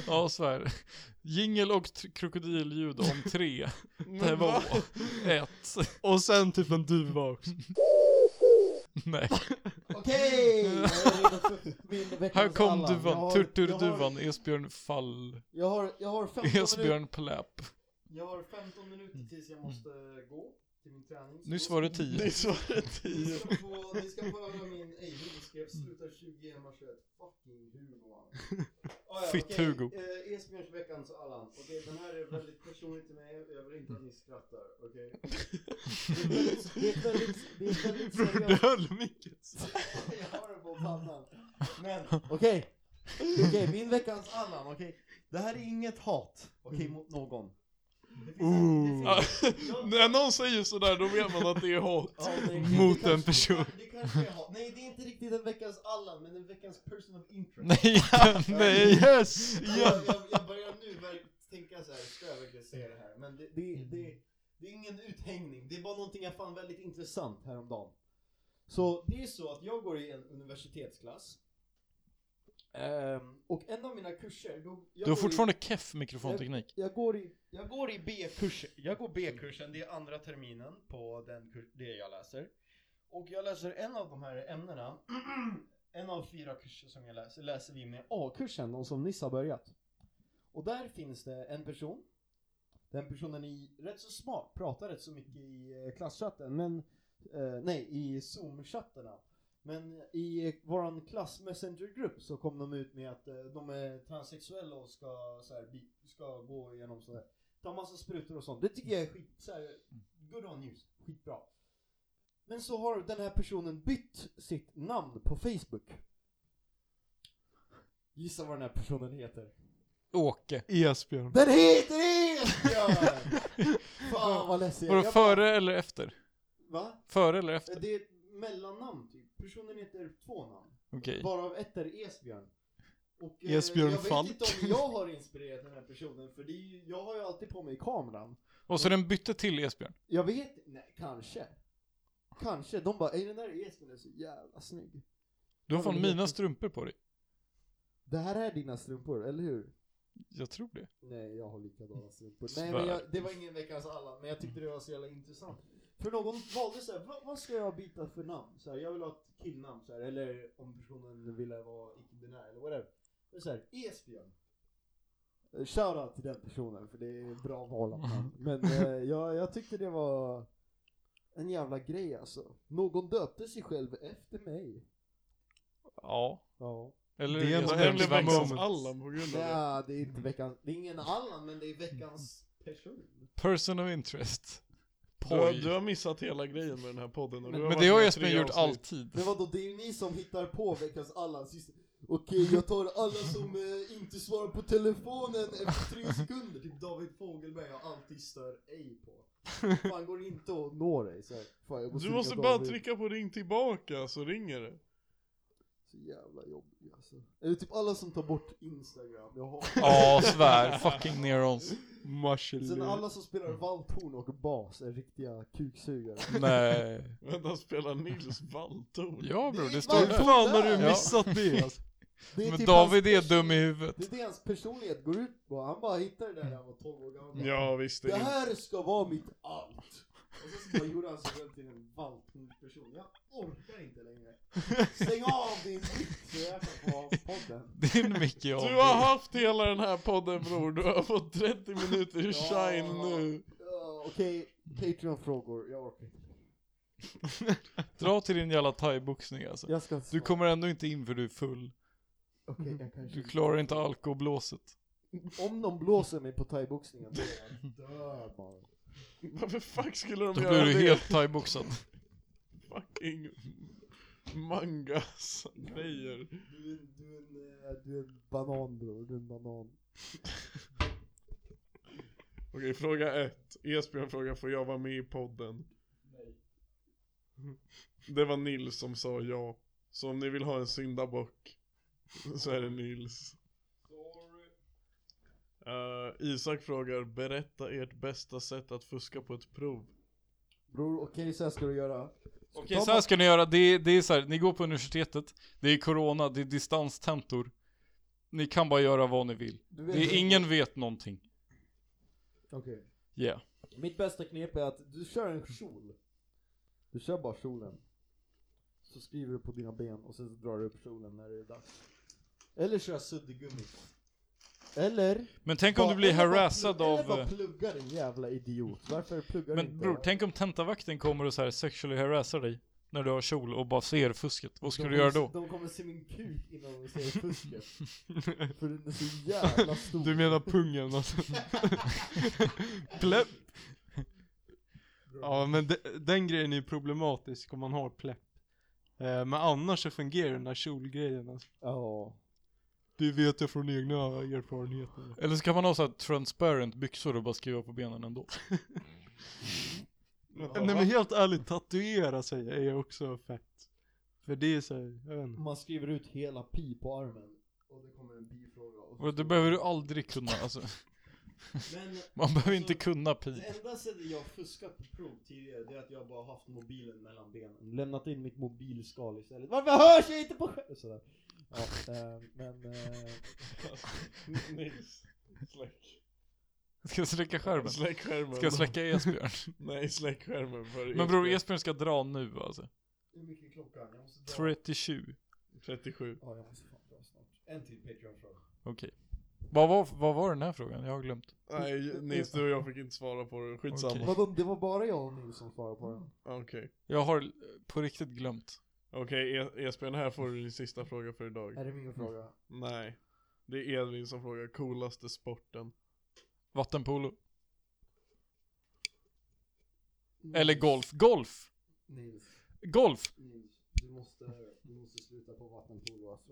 [SPEAKER 3] Ja, så här. Jingel och t- krokodilljud om tre.
[SPEAKER 4] Men
[SPEAKER 3] Två.
[SPEAKER 4] va?
[SPEAKER 3] Ett.
[SPEAKER 6] Och sen typ en duva också.
[SPEAKER 3] Nej.
[SPEAKER 2] Okej! Jag är redo för min veckans
[SPEAKER 3] Här kom
[SPEAKER 2] Allan. Jag
[SPEAKER 3] duvan.
[SPEAKER 2] har- jag har-
[SPEAKER 3] Turturduvan. Esbjörn Fall.
[SPEAKER 2] Jag har, jag har 15 minuter.
[SPEAKER 3] Esbjörn Pläp.
[SPEAKER 2] Jag har 15 minuter tills jag måste gå till min träning. Så
[SPEAKER 3] Nyss
[SPEAKER 2] då-
[SPEAKER 3] var det
[SPEAKER 4] Ni
[SPEAKER 3] tio.
[SPEAKER 4] svarade
[SPEAKER 2] Ni
[SPEAKER 4] 10.
[SPEAKER 2] ska få, ni ska få höra min ejling. Ni ska sluta 20 hemma 21. Fucking Hugo han. Ah, ja,
[SPEAKER 3] Fitt
[SPEAKER 2] okej.
[SPEAKER 3] Hugo.
[SPEAKER 2] Eh, Esbjörns veckans Allan. Okej, den här är väldigt personlig till mig. Jag vill inte att ni skrattar. Okej? Det är väldigt, det är ett väldigt, det är ett väldigt
[SPEAKER 6] Bror du
[SPEAKER 2] seriöst.
[SPEAKER 6] höll micken.
[SPEAKER 2] Jag har den på pannan. Men okej. Okej, min veckans Allan. Okej. Det här är inget hat. Okej, mot någon. Mm. Det finns- det finns- Jag-
[SPEAKER 4] När någon säger sådär då vet man att det är hat.
[SPEAKER 2] Ja, nej,
[SPEAKER 6] Mot
[SPEAKER 2] det
[SPEAKER 6] en
[SPEAKER 2] kanske-
[SPEAKER 6] person.
[SPEAKER 2] Det kanske jag har. Nej, det är inte riktigt en veckans Allan, men en veckans person of interest.
[SPEAKER 3] Nej,
[SPEAKER 6] Nej yes!
[SPEAKER 2] Jag, jag, jag börjar nu verk- tänka så här, ska jag verkligen säga det här? Men det, det, det, det är ingen uthängning, det är bara någonting jag fann väldigt intressant häromdagen. Så det är så att jag går i en universitetsklass. Ehm, och en av mina kurser, då, jag
[SPEAKER 3] Du har
[SPEAKER 2] går i-
[SPEAKER 3] fortfarande keff mikrofonteknik.
[SPEAKER 2] jag går i, jag går i B-kursen. Jag går B-kursen, det är andra terminen på den kur- det jag läser. Och jag läser en av de här ämnena, en av fyra kurser som jag läser, läser vi med A-kursen, de som nyss har börjat. Och där finns det en person. Den personen är rätt så smart, pratar rätt så mycket i eh, klasschatten, men eh, nej, i Zoom-chattarna. Men i våran klass messengergrupp så kom de ut med att eh, de är transsexuella och ska, så här, bi- ska gå igenom sådär. Ta massa sprutor och sånt. Det tycker jag är skit, så här, good on news, skitbra. Men så har den här personen bytt sitt namn på Facebook. Gissa vad den här personen heter.
[SPEAKER 3] Åke.
[SPEAKER 6] Esbjörn.
[SPEAKER 2] Den heter Esbjörn! Fan vad ledsen jag
[SPEAKER 3] Vadå,
[SPEAKER 2] jag
[SPEAKER 3] före eller efter?
[SPEAKER 2] Bara, va?
[SPEAKER 3] Före eller efter?
[SPEAKER 2] Det är ett mellannamn typ. Personen heter två namn.
[SPEAKER 3] Okej.
[SPEAKER 2] Varav ett är Esbjörn. Och, eh,
[SPEAKER 6] Esbjörn
[SPEAKER 2] jag
[SPEAKER 6] Falk.
[SPEAKER 2] vet inte om jag har inspirerat den här personen för det är ju, jag har ju alltid på mig kameran.
[SPEAKER 3] Och så den bytte till Esbjörn.
[SPEAKER 2] Jag vet nej, kanske. Kanske. De bara, är den där Esbjörn är så jävla snygg.
[SPEAKER 3] Du har
[SPEAKER 2] Ja,
[SPEAKER 3] fan
[SPEAKER 2] det vet
[SPEAKER 3] mina
[SPEAKER 2] jag.
[SPEAKER 3] strumpor på dig.
[SPEAKER 2] Det här är dina strumpor, eller hur?
[SPEAKER 3] Jag tror det.
[SPEAKER 2] Nej, jag har likadana strumpor.
[SPEAKER 3] Svär.
[SPEAKER 2] Nej, men jag, det var ingen veckans alla, men jag tyckte det var så jävla intressant. För någon valde så här, vad, vad ska jag byta för namn? Så här, jag vill ha ett killnamn så här, eller om personen ville vara icke-binär eller whatever. Men så här, Esbjörn. Eh, Shoutout till den personen, för det är ett bra val av namn. Men eh, jag, jag tyckte det var en jävla grej alltså. Någon döpte sig själv efter mig.
[SPEAKER 3] Ja.
[SPEAKER 2] Ja.
[SPEAKER 3] Eller
[SPEAKER 6] Det är ändå
[SPEAKER 3] Esbjörn
[SPEAKER 4] Den
[SPEAKER 6] en
[SPEAKER 4] blev
[SPEAKER 3] Svensson.
[SPEAKER 4] veckans
[SPEAKER 6] moment.
[SPEAKER 4] Allan på grund av det.
[SPEAKER 2] Ja, det är inte veckans, det är ingen Allan, men det är veckans person.
[SPEAKER 3] Person of interest.
[SPEAKER 4] Du har,
[SPEAKER 3] Poj.
[SPEAKER 4] du har missat hela grejen med den här podden och du
[SPEAKER 3] Men
[SPEAKER 4] varit
[SPEAKER 3] det har
[SPEAKER 4] med i
[SPEAKER 3] Esbjörn
[SPEAKER 4] tre
[SPEAKER 3] gjort
[SPEAKER 4] avsnitt.
[SPEAKER 3] alltid.
[SPEAKER 2] Men vadå, det är ju ni som hittar på veckans alla sist. Okej, jag tar alla som eh, inte svarar på telefonen efter tre sekunder. Typ David Fogelberg jag alltid stör ej på. Fan, går inte att nå dig. Så här, fan, jag måste
[SPEAKER 4] Du måste
[SPEAKER 2] ringa
[SPEAKER 4] bara
[SPEAKER 2] David.
[SPEAKER 4] trycka på ring tillbaka så ringer det.
[SPEAKER 2] Så jävla jobbig alltså. Eller typ alla som tar bort Instagram. Jag har...
[SPEAKER 3] Ja, svär. Fucking neurons.
[SPEAKER 2] Sen
[SPEAKER 6] Marshall.
[SPEAKER 2] alla som spelar valthorn och bas är riktiga kuksugare.
[SPEAKER 3] Nej.
[SPEAKER 4] Vänta, spelar Nils Walltorn?
[SPEAKER 3] Ja bror,
[SPEAKER 2] Det är
[SPEAKER 3] det
[SPEAKER 2] bara-
[SPEAKER 6] Hur
[SPEAKER 3] står ju.
[SPEAKER 6] fan har du
[SPEAKER 3] Ja.
[SPEAKER 6] missat det alltså?
[SPEAKER 2] Det
[SPEAKER 3] Men
[SPEAKER 2] typ
[SPEAKER 3] David
[SPEAKER 2] hans
[SPEAKER 3] är dum i huvudet.
[SPEAKER 2] Det är det hans personlighet går ut på. Han bara hittar det där när han var 12 år gammal.
[SPEAKER 4] Ja visst, det
[SPEAKER 2] Det
[SPEAKER 4] är
[SPEAKER 2] här ska vara mitt allt! Och så bara gjorde han sig själv till en valpperson. Jag orkar inte längre. Stäng av din mick så jag kan få av podden.
[SPEAKER 3] Din mick är
[SPEAKER 4] Du har
[SPEAKER 3] av.
[SPEAKER 4] haft hela den här podden bror, du har fått 30 minuter shine
[SPEAKER 2] Ja.
[SPEAKER 4] nu.
[SPEAKER 2] Ja, Okej, Patreon-frågor. Jag orkar inte.
[SPEAKER 3] Dra till din jävla thaiboxning alltså.
[SPEAKER 2] Jag ska inte
[SPEAKER 3] Du
[SPEAKER 2] svara.
[SPEAKER 3] kommer ändå inte in för du är full.
[SPEAKER 2] Okej, jag kanske...
[SPEAKER 3] Du klarar inte alkoblåset.
[SPEAKER 2] Om de blåser mig på thaiboxningen då är jag död bara.
[SPEAKER 4] Varför fuck skulle de
[SPEAKER 3] Då
[SPEAKER 4] göra
[SPEAKER 3] blir
[SPEAKER 4] det?
[SPEAKER 3] du helt thaiboxad.
[SPEAKER 4] Fucking mangas grejer.
[SPEAKER 2] Du, är- du, är en, eh, du är en banan bror, du är en banan.
[SPEAKER 4] Okej, fråga ett. Esbjörn frågar, får jag vara med i podden? Nej. Det var Nils som sa ja. Så om ni vill ha en syndabock så är det Nils. Sorry. Isak frågar, berätta ert bästa sätt att fuska på ett prov.
[SPEAKER 2] Bror okej så här ska du göra.
[SPEAKER 3] Okej så här ska ni göra, det är, det är så här, ni går på universitetet, det är corona, det är distanstentor. Ni kan bara göra vad ni vill.
[SPEAKER 2] Du vet-
[SPEAKER 3] Det är ingen vet någonting.
[SPEAKER 2] Okej.
[SPEAKER 3] Yeah.
[SPEAKER 2] Mitt bästa knep är att du kör en kjol. Du kör bara kjolen. Så skriver du på dina ben och sen så drar du upp kjolen när det är dags. Eller kör suddgummi. Eller...
[SPEAKER 3] Men tänk om du blir
[SPEAKER 2] eller bara
[SPEAKER 3] harassad
[SPEAKER 2] plugga- Eller
[SPEAKER 3] av...
[SPEAKER 2] bara
[SPEAKER 3] eh,
[SPEAKER 2] plugga din jävla idiot. Varför pluggar du
[SPEAKER 3] Men
[SPEAKER 2] inte?
[SPEAKER 3] bror, tänk om tentavakten kommer och så här sexually harassar dig. När du har kjol och bara ser fusket. Vad ska
[SPEAKER 2] De
[SPEAKER 3] du göra
[SPEAKER 2] kommer-
[SPEAKER 3] då?
[SPEAKER 2] De kommer se min kuk innan de ser fusket. För den är så jävla stor.
[SPEAKER 6] Du menar pungen alltså? Plepp? Ja men de, den grejen är ju problematisk om man har plepp. Eh, men annars så fungerar den där kjolgrejen alltså.
[SPEAKER 2] Ja.
[SPEAKER 6] Det vet jag från egna erfarenheter.
[SPEAKER 3] Eller så kan man ha så här transparent byxor och bara skriva på benen ändå.
[SPEAKER 6] Nej men helt ärligt, tatuera sig är ju också fett. För det är så här, jag vet inte.
[SPEAKER 2] Man skriver ut hela pi på armen. Och det kommer en bifråga. och så
[SPEAKER 3] Och det
[SPEAKER 2] står-
[SPEAKER 3] behöver du aldrig kunna alltså.
[SPEAKER 2] Men
[SPEAKER 3] Man behöver inte
[SPEAKER 2] Alltså,
[SPEAKER 3] kunna pi.
[SPEAKER 2] Det enda sättet jag fuskat på prov tidigare det är att jag bara haft mobilen mellan benen. Lämnat in mitt mobilskal istället. Varför hörs jag inte på själv? Sådär. Ja, eh, men... Eh,
[SPEAKER 4] Nils, släck.
[SPEAKER 3] Ska jag släcka skärmen?
[SPEAKER 4] Släck skärmen.
[SPEAKER 3] Ska jag släcka Esbjörn?
[SPEAKER 4] Nej, släck skärmen för
[SPEAKER 3] Men bror Esbjörn ska dra nu alltså.
[SPEAKER 2] hur mycket är klockan? Jag måste dra.
[SPEAKER 3] 37.
[SPEAKER 4] 37.
[SPEAKER 2] Ja, jag måste fan dra snart. En till Patreon-fråga.
[SPEAKER 3] Okej. Vad var, vad var den här frågan? Jag har glömt.
[SPEAKER 4] Nej, Nils, du och jag fick inte svara på det. Skitsamma.
[SPEAKER 3] Okej.
[SPEAKER 2] Vadå, det var bara jag och Nils som svarade på den?
[SPEAKER 4] Okej.
[SPEAKER 3] Jag har eh, på riktigt glömt.
[SPEAKER 4] Okej, E- Esbjörn, här får du din sista fråga för idag.
[SPEAKER 2] Är det min fråga?
[SPEAKER 4] Nej. Det är Edvin som frågar coolaste sporten.
[SPEAKER 3] Vattenpolo. Eller golf. Golf!
[SPEAKER 2] Mm. Nils,
[SPEAKER 3] Golf!
[SPEAKER 2] Nils. Du måste, du måste sluta på vattenpolo alltså.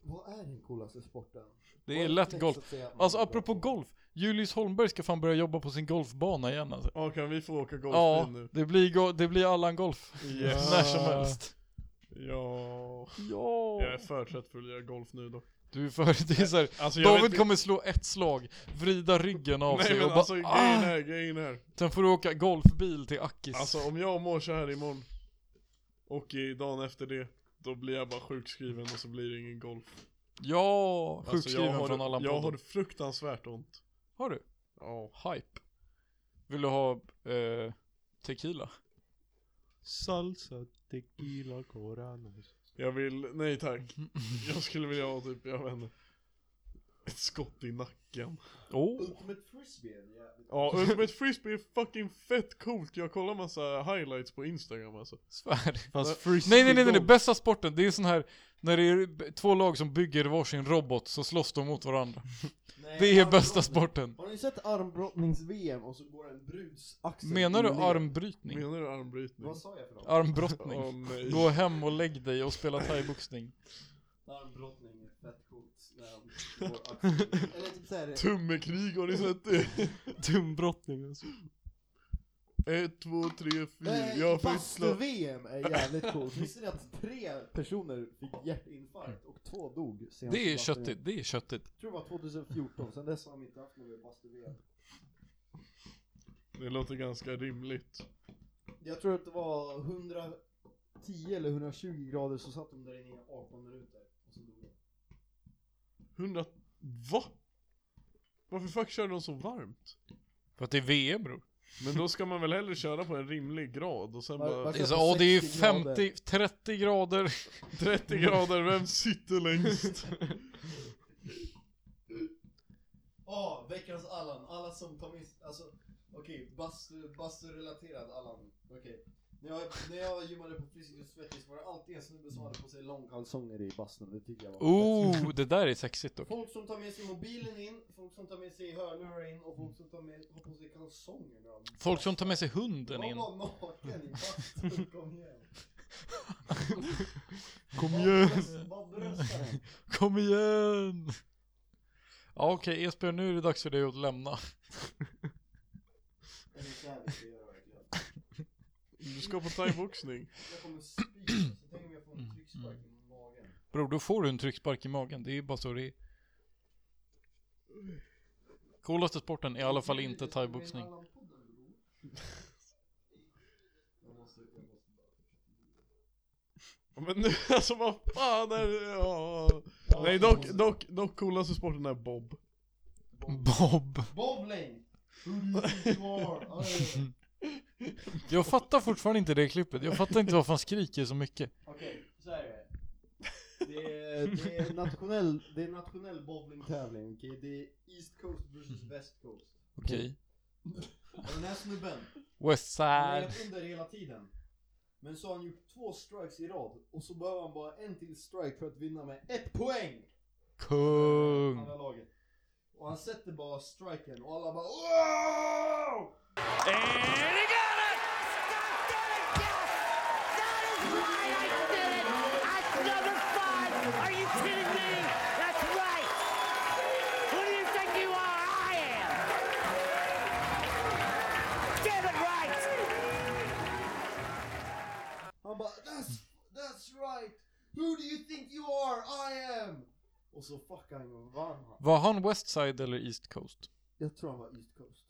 [SPEAKER 2] Vad är den coolaste sporten?
[SPEAKER 3] Det är lätt golf. Alltså apropå golf, Julius Holmberg ska fan börja jobba på sin golfbana igen alltså.
[SPEAKER 4] Ja, kan vi få åka golfbil
[SPEAKER 3] Ja,
[SPEAKER 4] nu?
[SPEAKER 3] det blir, go- det blir Allan Golf.
[SPEAKER 4] Yes.
[SPEAKER 3] När som helst.
[SPEAKER 4] Ja.
[SPEAKER 3] Ja.
[SPEAKER 4] Jag är för trött för att göra golf nu dock.
[SPEAKER 3] Du är för, det är så här,
[SPEAKER 4] Alltså, jag
[SPEAKER 3] David
[SPEAKER 4] vet inte-
[SPEAKER 3] kommer slå ett slag, vrida ryggen av
[SPEAKER 4] Nej
[SPEAKER 3] sig
[SPEAKER 4] men
[SPEAKER 3] och bara
[SPEAKER 4] alltså grejen
[SPEAKER 3] ah!
[SPEAKER 4] är, grejen är.
[SPEAKER 3] Sen får du åka golfbil till Akis.
[SPEAKER 4] Alltså om jag mår så här imorgon och i dagen efter det, då blir jag bara sjukskriven och så blir det ingen golf.
[SPEAKER 3] ja,
[SPEAKER 4] Alltså,
[SPEAKER 3] sjukskriven
[SPEAKER 4] jag har,
[SPEAKER 3] från Allan
[SPEAKER 4] Jag har
[SPEAKER 3] podden.
[SPEAKER 4] fruktansvärt ont.
[SPEAKER 3] har du?
[SPEAKER 4] Ja.
[SPEAKER 3] Hype. Vill du ha eh, tequila?
[SPEAKER 6] Salsa, tequila, coranos.
[SPEAKER 4] Jag vill, nej tack. Jag skulle vilja ha typ, jag vet inte. Ett skott i nacken.
[SPEAKER 3] Oh.
[SPEAKER 2] Ultimate frisbee är en jävligt...
[SPEAKER 4] Ja, Ultimate Frisbee är fucking fett coolt. Jag kollar massa highlights på Instagram alltså.
[SPEAKER 3] Svär.
[SPEAKER 6] Fast
[SPEAKER 3] Nej nej nej nej, nej. bästa sporten, det är sån här när det är b- två lag som bygger varsin robot så slåss de mot varandra.
[SPEAKER 2] Nej,
[SPEAKER 3] Det är
[SPEAKER 2] armbrottning.
[SPEAKER 3] bästa sporten.
[SPEAKER 2] Har ni sett armbrottnings-VM och så går en bruds axel
[SPEAKER 3] Menar du
[SPEAKER 2] in i-
[SPEAKER 3] armbrytning?
[SPEAKER 4] Menar du armbrytning?
[SPEAKER 2] Vad sa jag för något?
[SPEAKER 4] Åh
[SPEAKER 3] Armbrottning?
[SPEAKER 4] nej.
[SPEAKER 3] Gå hem och lägg dig och spela thaiboxning.
[SPEAKER 2] Armbrottning är fett coolt när de går axeln. Eller typ såhär...
[SPEAKER 4] Tummekrig har ni sett det?
[SPEAKER 6] Tumbrottning alltså.
[SPEAKER 4] Ett, två, tre, fyra.
[SPEAKER 2] Nej,
[SPEAKER 4] Jag har fått slå...
[SPEAKER 2] Bastu-VM är jävligt coolt. Visste ni att tre personer fick hjärtinfarkt och två dog senast
[SPEAKER 3] Det
[SPEAKER 2] i
[SPEAKER 3] är
[SPEAKER 2] bastu-VM?
[SPEAKER 3] köttigt, det är köttigt.
[SPEAKER 2] Jag tror det var 2014, sen dess har de inte haft något bastu-VM.
[SPEAKER 4] Det låter ganska rimligt.
[SPEAKER 2] Jag tror att det var 110 eller 120 grader så satt de där inne i 18 minuter. Och så dog de.
[SPEAKER 4] 100... Va? Varför fuck kör de så varmt?
[SPEAKER 3] För att det är VM bror.
[SPEAKER 4] Men då ska man väl hellre köra på en rimlig grad och sen
[SPEAKER 2] Var-
[SPEAKER 4] bara
[SPEAKER 2] varför-
[SPEAKER 3] Det är, så,
[SPEAKER 2] på
[SPEAKER 3] ja, det är
[SPEAKER 2] 60 grader.
[SPEAKER 3] 50, 30 grader.
[SPEAKER 4] 30 grader, vem sitter längst?
[SPEAKER 2] Åh, veckans Allan. Alla som tar miss... Alltså, okej, bastu basturelaterad Allan. Okej. När, jag, när jag gymmade på Friskis och Svettis var det alltid en snubbe som hade på sig långkalsonger i bastun. Det tycker jag var
[SPEAKER 3] Oh, det där är sexigt dock.
[SPEAKER 2] Folk som tar med sig mobilen in, folk som tar med sig hörlurar in och folk som tar med, har på sig kalsonger när de...
[SPEAKER 3] Folk som tar med sig hunden in.
[SPEAKER 2] Var var naken i bastun, kom igen.
[SPEAKER 3] Kom
[SPEAKER 2] Var bröst- var brösten?
[SPEAKER 3] Kom igen! Ja okej Esbjörn, nu är det dags för dig att lämna.
[SPEAKER 2] Det är så här vi ska göra verkligen.
[SPEAKER 4] Du ska på thaiboxning.
[SPEAKER 2] Jag kommer spy, så tänk om jag får en tryckspark i magen.
[SPEAKER 3] Bror, då får du en tryckspark i magen. Det är bara så det är. Coolaste sporten är i alla fall inte thaiboxning.
[SPEAKER 2] Jag måste- jag måste-
[SPEAKER 4] Men nu, alltså vad fan är det? Ja. Nej dock, dock, dock coolaste sporten är bob.
[SPEAKER 3] Bob!
[SPEAKER 2] Bowling! Who do you think you are? Ja, ja, ja.
[SPEAKER 3] Jag fattar fortfarande inte det klippet. Jag fattar inte varför han skriker så mycket.
[SPEAKER 2] Okej, så här är det. Det är, det är nationell, det är nationell bowlingtävling, okej? Det är East Coast vs West Coast.
[SPEAKER 3] Okej.
[SPEAKER 2] Och den här snubben,
[SPEAKER 3] West
[SPEAKER 2] han har
[SPEAKER 3] side.
[SPEAKER 2] legat under hela tiden. Men så har han gjort två strikes i rad och så behöver han bara en till strike för att vinna med ett poäng!
[SPEAKER 3] Kung!
[SPEAKER 2] Andra laget. Och han sätter bara striken och alla bara wow! Han bara that's, that's right! Who do you think you are? I am! Och så fuckade han och vann han.
[SPEAKER 3] Var han West side eller East coast?
[SPEAKER 2] Jag tror han var East Coast.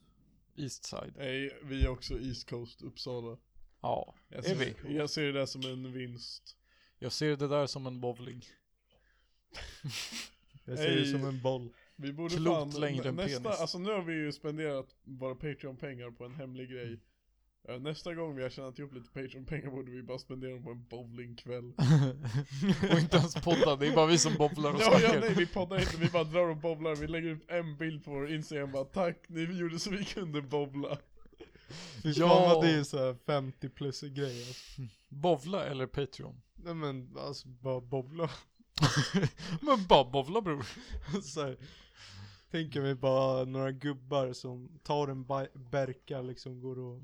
[SPEAKER 3] East side.
[SPEAKER 4] Nej, vi är också East Coast, Uppsala.
[SPEAKER 3] Ja,
[SPEAKER 4] Jag
[SPEAKER 3] är vi?
[SPEAKER 4] ser, jag ser det där som en vinst.
[SPEAKER 3] Jag ser det där som en bowling.
[SPEAKER 6] Jag ser det
[SPEAKER 4] Ej.
[SPEAKER 6] som en boll.
[SPEAKER 4] Vi borde
[SPEAKER 3] Klokt
[SPEAKER 4] fan,
[SPEAKER 3] längre än
[SPEAKER 4] nästa,
[SPEAKER 3] penis.
[SPEAKER 4] alltså nu har vi ju spenderat våra Patreon-pengar på en hemlig grej. Eh, Nästa gång vi har tjänat ihop lite Patreon-pengar borde vi bara spendera dem på en bowlingkväll.
[SPEAKER 3] och inte ens podda, det är bara vi som bobblar och
[SPEAKER 4] Ja, ja, nej
[SPEAKER 3] snackar.
[SPEAKER 4] vi poddar inte, vi bara drar och bobblar, vi lägger upp en bild på vår Instagram bara tack, ni gjorde så vi kunde bobbla.
[SPEAKER 6] Fy
[SPEAKER 3] Ja.
[SPEAKER 6] fan vad det är såhär 50 plus grej alltså.
[SPEAKER 3] Bovla eller Patreon?
[SPEAKER 6] Nej men alltså bara bowla.
[SPEAKER 3] Men bara bovla bror.
[SPEAKER 6] så här, tänker vi bara några gubbar som tar en ba- berka liksom går och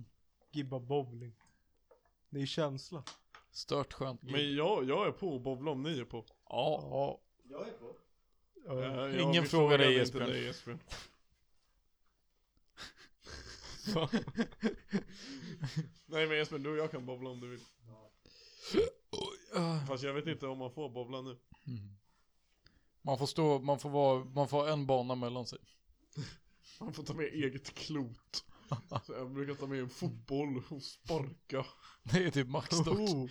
[SPEAKER 6] gibbar bowling. Det är känsla.
[SPEAKER 3] Stört skönt.
[SPEAKER 4] Men jag, jag är på att bobbla om ni är på.
[SPEAKER 3] Ja.
[SPEAKER 6] Ja.
[SPEAKER 4] Ja,
[SPEAKER 3] Ingen
[SPEAKER 4] vi
[SPEAKER 3] frågar dig,
[SPEAKER 4] inte
[SPEAKER 3] Jesper.
[SPEAKER 4] Jesper.
[SPEAKER 3] Va?
[SPEAKER 4] Nej men Jesper, du och jag kan bobbla om du vill.
[SPEAKER 3] Ah.
[SPEAKER 4] Fast jag vet inte om man får bobbla nu.
[SPEAKER 3] Man får stå, man får vara, man får ha en bana mellan sig.
[SPEAKER 4] Man får ta med eget klot. Så jag brukar ta med en fotboll och sparka.
[SPEAKER 3] Det är typ max dock.
[SPEAKER 6] Oh.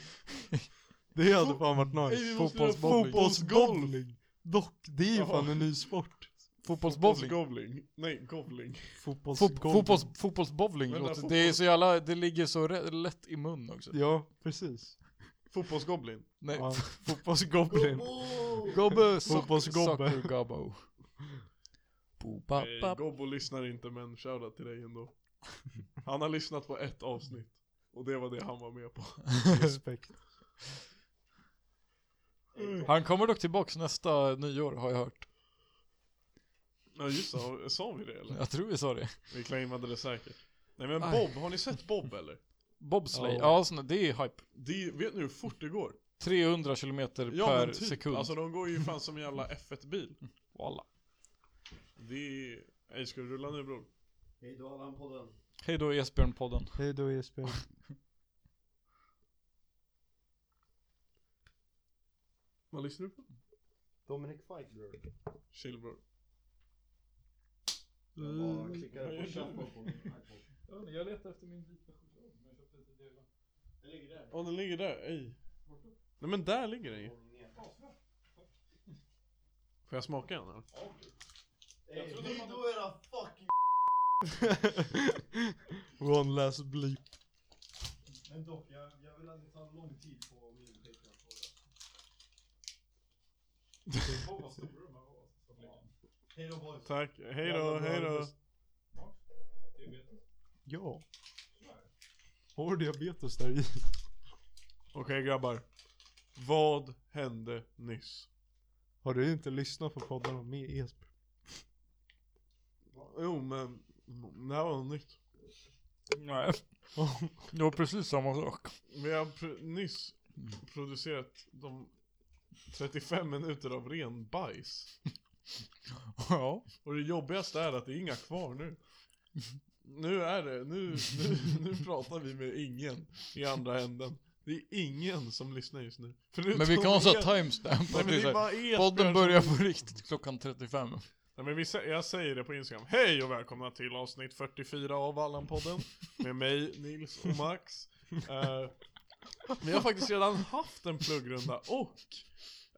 [SPEAKER 6] Det hade fan varit
[SPEAKER 4] Ey, vi
[SPEAKER 6] nice.
[SPEAKER 4] måste göra
[SPEAKER 6] Fotbollsbowling.
[SPEAKER 4] fotbollsgolf.
[SPEAKER 6] Fotbollsbowling. Dock, det är ju
[SPEAKER 4] Jaha.
[SPEAKER 6] fan en ny sport.
[SPEAKER 3] Fotbollsbowling.
[SPEAKER 4] Fotbollsgovling. Nej, govling.
[SPEAKER 6] Fotbollsgolf.
[SPEAKER 3] Fot- Fotbolls, fotbollsbowling
[SPEAKER 4] Vänta,
[SPEAKER 3] låter,
[SPEAKER 4] fotboll-
[SPEAKER 3] det är så jävla, det ligger så rä- lätt i mun också.
[SPEAKER 6] Ja, precis.
[SPEAKER 4] Fotbollsgoblin.
[SPEAKER 3] Nej,
[SPEAKER 6] Ja.
[SPEAKER 3] fotbollsgoblin. Gobbe, sock-
[SPEAKER 6] Fotbollsgobbe.
[SPEAKER 3] socker, gobbo. Bo, ba,
[SPEAKER 4] Eh,
[SPEAKER 3] ba.
[SPEAKER 4] Gobbo lyssnar inte men shoutout till dig ändå. Han har lyssnat på ett avsnitt. Och det var det han var med på.
[SPEAKER 6] Respekt.
[SPEAKER 3] Han kommer dock tillbaks nästa nyår har jag hört.
[SPEAKER 4] Ja just det, sa vi det eller?
[SPEAKER 3] Jag tror vi sa det.
[SPEAKER 4] Vi claimade det säkert. Nej men
[SPEAKER 3] Aj.
[SPEAKER 4] Bob, har ni sett Bob eller?
[SPEAKER 3] Bobsleigh,
[SPEAKER 6] Ja.
[SPEAKER 3] ja sån, det är hype.
[SPEAKER 4] Det, vet ni hur fort det går?
[SPEAKER 3] 300 km
[SPEAKER 4] Ja
[SPEAKER 3] per
[SPEAKER 4] men typ,
[SPEAKER 3] sekund.
[SPEAKER 4] alltså de går ju fan som en jävla F1-bil.
[SPEAKER 3] Walla.
[SPEAKER 4] Det är... Ey, ska du rulla nu bror?
[SPEAKER 2] Hejdå Allan-podden.
[SPEAKER 3] Hej då Esbjörn-podden.
[SPEAKER 6] Hej då Jesper.
[SPEAKER 4] Vad lyssnar du på?
[SPEAKER 2] Dominic Fighter.
[SPEAKER 4] Chill bror.
[SPEAKER 2] Jag bara klickade på
[SPEAKER 4] Mm.
[SPEAKER 2] shuffle på min iPod.
[SPEAKER 3] Jag letar efter min vita choklad som jag köpte tidigare.
[SPEAKER 4] Åh den ligger där, ej. Nej men där ligger den ju. Får jag smaka den eller?
[SPEAKER 2] Hejdå era fucking...
[SPEAKER 6] One last bleep.
[SPEAKER 2] Men dock, jag, jag vill att ni tar lång tid på min Patreon-fråga. Hejdå boys.
[SPEAKER 4] Tack, hejdå, hejdå.
[SPEAKER 6] Ja. Har du diabetes där i?
[SPEAKER 4] Okej grabbar. Vad hände nyss?
[SPEAKER 6] Har du inte lyssnat på poddarna med Jesper?
[SPEAKER 4] Jo men, det här var något nytt.
[SPEAKER 3] Nej. Det var precis samma sak.
[SPEAKER 4] Vi har pr- nyss
[SPEAKER 3] Mm.
[SPEAKER 4] producerat de 35 minuter av ren bajs.
[SPEAKER 3] Ja.
[SPEAKER 4] Och det jobbigaste är att det är inga kvar nu. Nu är det, nu, nu, nu pratar vi med ingen i andra änden. Det är ingen som lyssnar just nu. Förutom
[SPEAKER 3] Men vi kan också
[SPEAKER 4] er.
[SPEAKER 3] ha timestamp.
[SPEAKER 4] Nej
[SPEAKER 3] att
[SPEAKER 4] men
[SPEAKER 3] det är
[SPEAKER 4] det
[SPEAKER 3] så
[SPEAKER 4] är
[SPEAKER 3] här,
[SPEAKER 4] bara Esbjörn
[SPEAKER 3] Podden
[SPEAKER 4] som-
[SPEAKER 3] börjar på riktigt klockan 35.
[SPEAKER 4] Nej men vi, sä- jag säger det på Instagram. Hej och välkomna till avsnitt 44 av Allan-podden. Med mig, Nils och Max. Eh, vi har faktiskt redan haft en pluggrunda och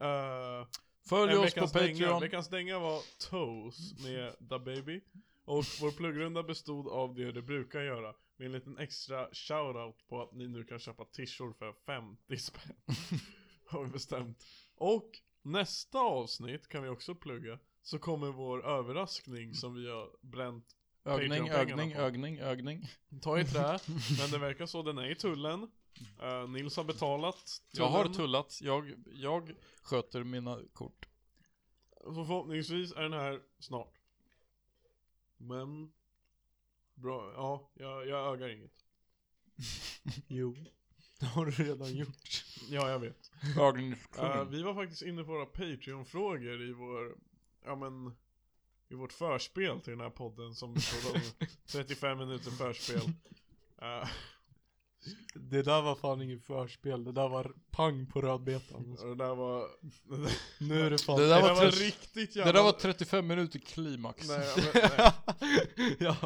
[SPEAKER 4] eh,
[SPEAKER 3] Följ
[SPEAKER 4] en
[SPEAKER 3] oss på
[SPEAKER 4] veckans dänga.
[SPEAKER 3] Patreon.
[SPEAKER 4] Veckans dänga var Toes med Da Baby. Och vår pluggrunda bestod av det det brukar göra. Med en liten extra shoutout på att ni nu kan köpa tishor för 50 spänn. Har vi bestämt. Och nästa avsnitt kan vi också plugga. Så kommer vår överraskning som vi har bränt.
[SPEAKER 3] Ögning,
[SPEAKER 4] Patreon-pengarna
[SPEAKER 3] ögning,
[SPEAKER 4] på.
[SPEAKER 3] ögning, ögning.
[SPEAKER 4] Ta i trä. men det verkar så, den är i tullen. Eh, Nils har betalat.
[SPEAKER 3] Jag har tullat. Jag, jag sköter mina kort.
[SPEAKER 4] Så Alltså, förhoppningsvis är den här snart. Men... Bra, ja, jag, jag ögar inget.
[SPEAKER 6] Jo. Det har du redan gjort.
[SPEAKER 4] Ja, jag vet. Eh,
[SPEAKER 3] Ögningskungen.
[SPEAKER 4] vi var faktiskt inne på våra Patreon-frågor i vår, ja men, i vårt förspel till den här podden som bestod av 35 minuter förspel. Eh,
[SPEAKER 6] Det där var fan inget förspel. Det där var pang på rödbetan.
[SPEAKER 4] och det där var... Det där,
[SPEAKER 6] Nu är det fan...
[SPEAKER 3] Det där var tre-
[SPEAKER 4] riktigt jävla...
[SPEAKER 3] Det där var 35 minuter klimax.
[SPEAKER 4] Nej, ja, men, nej.
[SPEAKER 6] ja.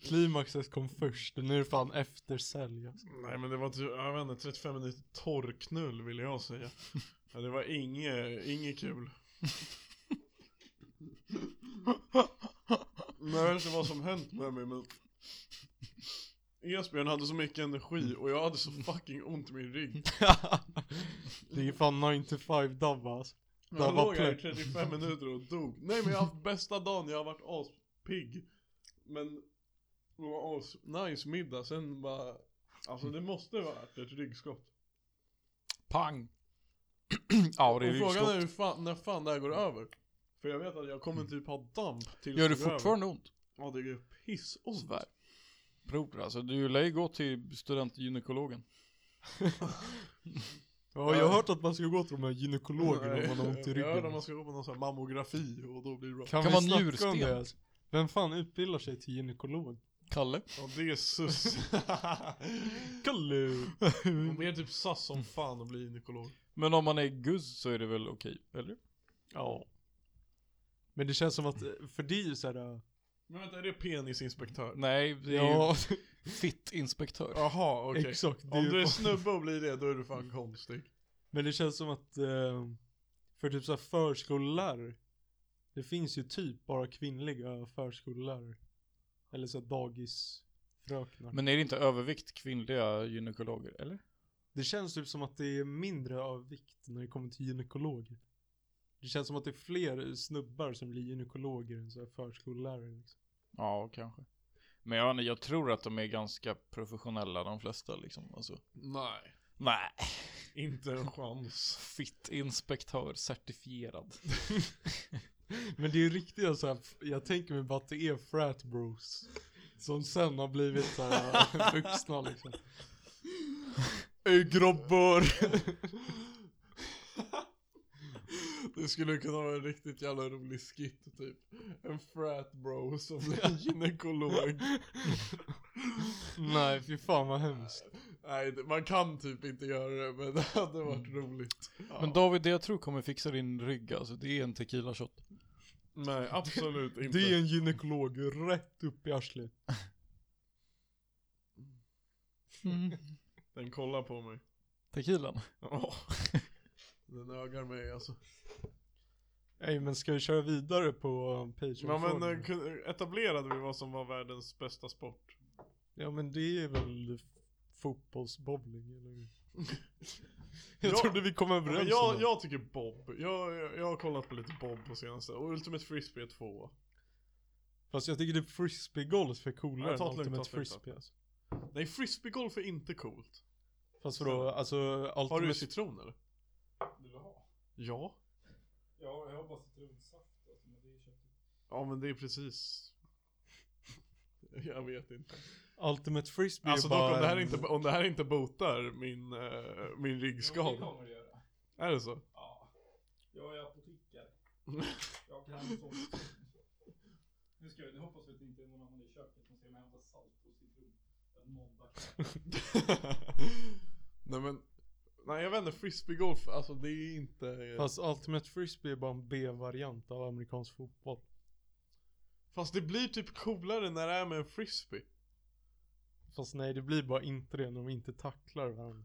[SPEAKER 6] Klimaxet kom först. Nu är det fan eftersälj. alltså.
[SPEAKER 4] Nej men det var typ, jag vet inte, 35 minuter torrknull ville jag säga. Ja, det var inget, inget kul. Men jag vet inte vad som hänt med mig men Esbjörn hade så mycket energi och jag hade så fucking ont i min rygg.
[SPEAKER 6] Det är fan 9 to 5 dub alltså.
[SPEAKER 4] Jag
[SPEAKER 6] var
[SPEAKER 4] låg här i
[SPEAKER 6] plöj.
[SPEAKER 4] 35 minuter och dog. Nej men jag har haft bästa dagen, jag har varit aspigg. Men det var as nice middag, sen bara Alltså det måste vara ett ryggskott.
[SPEAKER 3] Pang. ja, det är
[SPEAKER 4] Och frågan är
[SPEAKER 3] ryggskott.
[SPEAKER 4] hur fan, när fan det här går över. För jag vet att jag kommer typ ha damp tills
[SPEAKER 3] Gör det
[SPEAKER 4] går
[SPEAKER 3] fortfarande ont?
[SPEAKER 4] Över. Ja det gör pissont.
[SPEAKER 3] Svär. Bror alltså, du lär ju gå till studentgynekologen.
[SPEAKER 6] Ja, jag har hört att man ska gå till de här gynekologerna om man har ont i
[SPEAKER 4] Jag hörde att man
[SPEAKER 6] ryggen.
[SPEAKER 4] ska gå på någon sån här mammografi och då blir det bra.
[SPEAKER 8] Kan,
[SPEAKER 6] Kan
[SPEAKER 8] man
[SPEAKER 6] vi snacka om det,
[SPEAKER 8] njursten?
[SPEAKER 6] alltså? Vem fan utbildar sig till gynekolog?
[SPEAKER 8] Kalle?
[SPEAKER 4] Ja det är sus.
[SPEAKER 6] Kalle!
[SPEAKER 4] De är typ sass som fan att bli gynekolog.
[SPEAKER 8] Men om man är guzz så är det väl okej, eller?
[SPEAKER 6] Ja. Men det känns som att, eh, för det är ju såhär...
[SPEAKER 4] Men vänta, är det penisinspektör?
[SPEAKER 8] Nej, det är
[SPEAKER 6] Ja,
[SPEAKER 8] ju fittinspektör.
[SPEAKER 4] Jaha, okej.
[SPEAKER 6] exakt. Det är
[SPEAKER 4] Om
[SPEAKER 6] ju
[SPEAKER 4] du är
[SPEAKER 6] fan-
[SPEAKER 4] snubbe och blir det, då är du fan konstig.
[SPEAKER 6] Men det känns som att eh, för typ så här förskollärare. Det finns ju typ bara kvinnliga förskollärare. Eller så här dagisfröknar.
[SPEAKER 8] Men är det inte övervikt kvinnliga gynekologer, eller?
[SPEAKER 6] det känns typ som att det är mindre av vikt när det kommer till gynekologer. Det känns som att det är fler snubbar som blir gynekologer än så här förskollärare. Liksom.
[SPEAKER 8] Ja, kanske. Men jag, jag tror att de är ganska professionella de flesta liksom. Alltså.
[SPEAKER 4] Nej,
[SPEAKER 8] Nej.
[SPEAKER 4] inte en chans.
[SPEAKER 8] Fittinspektör certifierad.
[SPEAKER 6] Men det är ju riktiga så här, jag tänker mig bara att det är frat bros. Som sen har blivit så här vuxna liksom.
[SPEAKER 8] Ey grabbar!
[SPEAKER 4] Det skulle kunna vara en riktigt jävla rolig skit typ. En frat bro som blir en gynekolog.
[SPEAKER 6] Nej, fy fan vad hemskt.
[SPEAKER 4] Nej, det- man kan typ inte göra det men det hade varit roligt.
[SPEAKER 8] Men David, det jag tror kommer fixa din rygg alltså, det är en tequila shot.
[SPEAKER 4] Nej, absolut inte.
[SPEAKER 6] Det är en gynekolog rätt upp i arslet.
[SPEAKER 4] Den kollar på mig.
[SPEAKER 8] Tequilan?
[SPEAKER 4] Ja. Den ögar mig alltså.
[SPEAKER 6] Nej men ska vi köra vidare på
[SPEAKER 4] Ja men
[SPEAKER 6] eh,
[SPEAKER 4] eh,
[SPEAKER 6] Patreon-frågan?
[SPEAKER 4] kun- etablerade vi vad som var världens bästa sport?
[SPEAKER 6] Ja men det är väl fotbollsbowling eller?
[SPEAKER 4] Ja.
[SPEAKER 6] Jag trodde vi kom
[SPEAKER 4] Ja, men
[SPEAKER 6] överens om
[SPEAKER 4] jag,
[SPEAKER 6] det.
[SPEAKER 4] jag tycker bob. Jag, jag, jag har kollat på lite bob på senaste. Och Ultimate Frisbee är tvåa.
[SPEAKER 6] Fast jag tycker det är frisbeegolf är
[SPEAKER 4] Ja,
[SPEAKER 6] coolare
[SPEAKER 4] ta
[SPEAKER 6] än
[SPEAKER 4] ett lugnt, ta
[SPEAKER 6] Ultimate
[SPEAKER 4] ett lugnt, ta ett
[SPEAKER 6] Frisbee alltså.
[SPEAKER 4] Nej, frisbeegolf är inte coolt.
[SPEAKER 6] Fast vadå, alltså
[SPEAKER 4] Har du
[SPEAKER 6] Ultimate...
[SPEAKER 4] citron eller? Vill du ha? Ja.
[SPEAKER 9] Ja, jag har bara citronsaft alltså, men det är köpt.
[SPEAKER 4] Ja men det är precis. Jag vet inte.
[SPEAKER 6] Ultimate Frisbee
[SPEAKER 4] Alltså
[SPEAKER 6] är
[SPEAKER 4] dock
[SPEAKER 6] bara
[SPEAKER 4] om det här
[SPEAKER 6] en-
[SPEAKER 4] inte, om det här inte botar min, eh, min
[SPEAKER 9] Jo, det
[SPEAKER 4] ryggskada.
[SPEAKER 9] kommer det göra.
[SPEAKER 4] Är det så?
[SPEAKER 9] Ja. Jag är apotekare. Jag kan sånt. Nu ska vi, nu hoppas vi att det inte är någon annan i köket som ser mig hämta salt och citron. En måndag.
[SPEAKER 4] nej men. Nej jag vet inte, frisbeegolf, alltså det är inte. Fast,
[SPEAKER 6] Fast Ultimate Frisbee är bara en B-variant av amerikansk fotboll.
[SPEAKER 4] det blir typ coolare när det är med en frisbee.
[SPEAKER 6] Fast nej, det blir bara inte det när de inte tacklar varandra.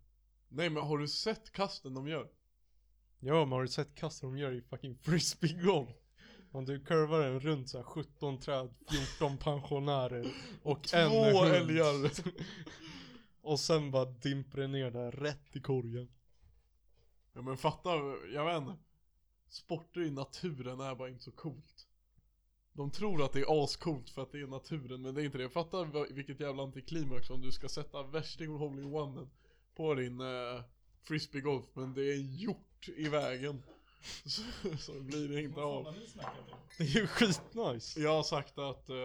[SPEAKER 4] Nej men har du sett kasten de gör?
[SPEAKER 6] Ja, men har du sett kast de gör i fucking frisbeegolf? Om du kurvar den runt så här 17 träd, 14 pensionärer och en
[SPEAKER 4] Två
[SPEAKER 6] hund.
[SPEAKER 4] älgar.
[SPEAKER 6] Och sen bara dimper den ner där rätt i korgen.
[SPEAKER 4] Ja men fatta, jag vet inte. Sporter i naturen är bara inte så coolt. De tror att det är ascoolt för att det är naturen, men det är inte det. Fatta vad- vilket jävla antiklimax om du ska sätta värsting och hole in one på din eh, frisbeegolf, men det är en hjort i vägen. Så, så blir det inte av.
[SPEAKER 6] Det är ju skitnice.
[SPEAKER 4] Jag har sagt att eh,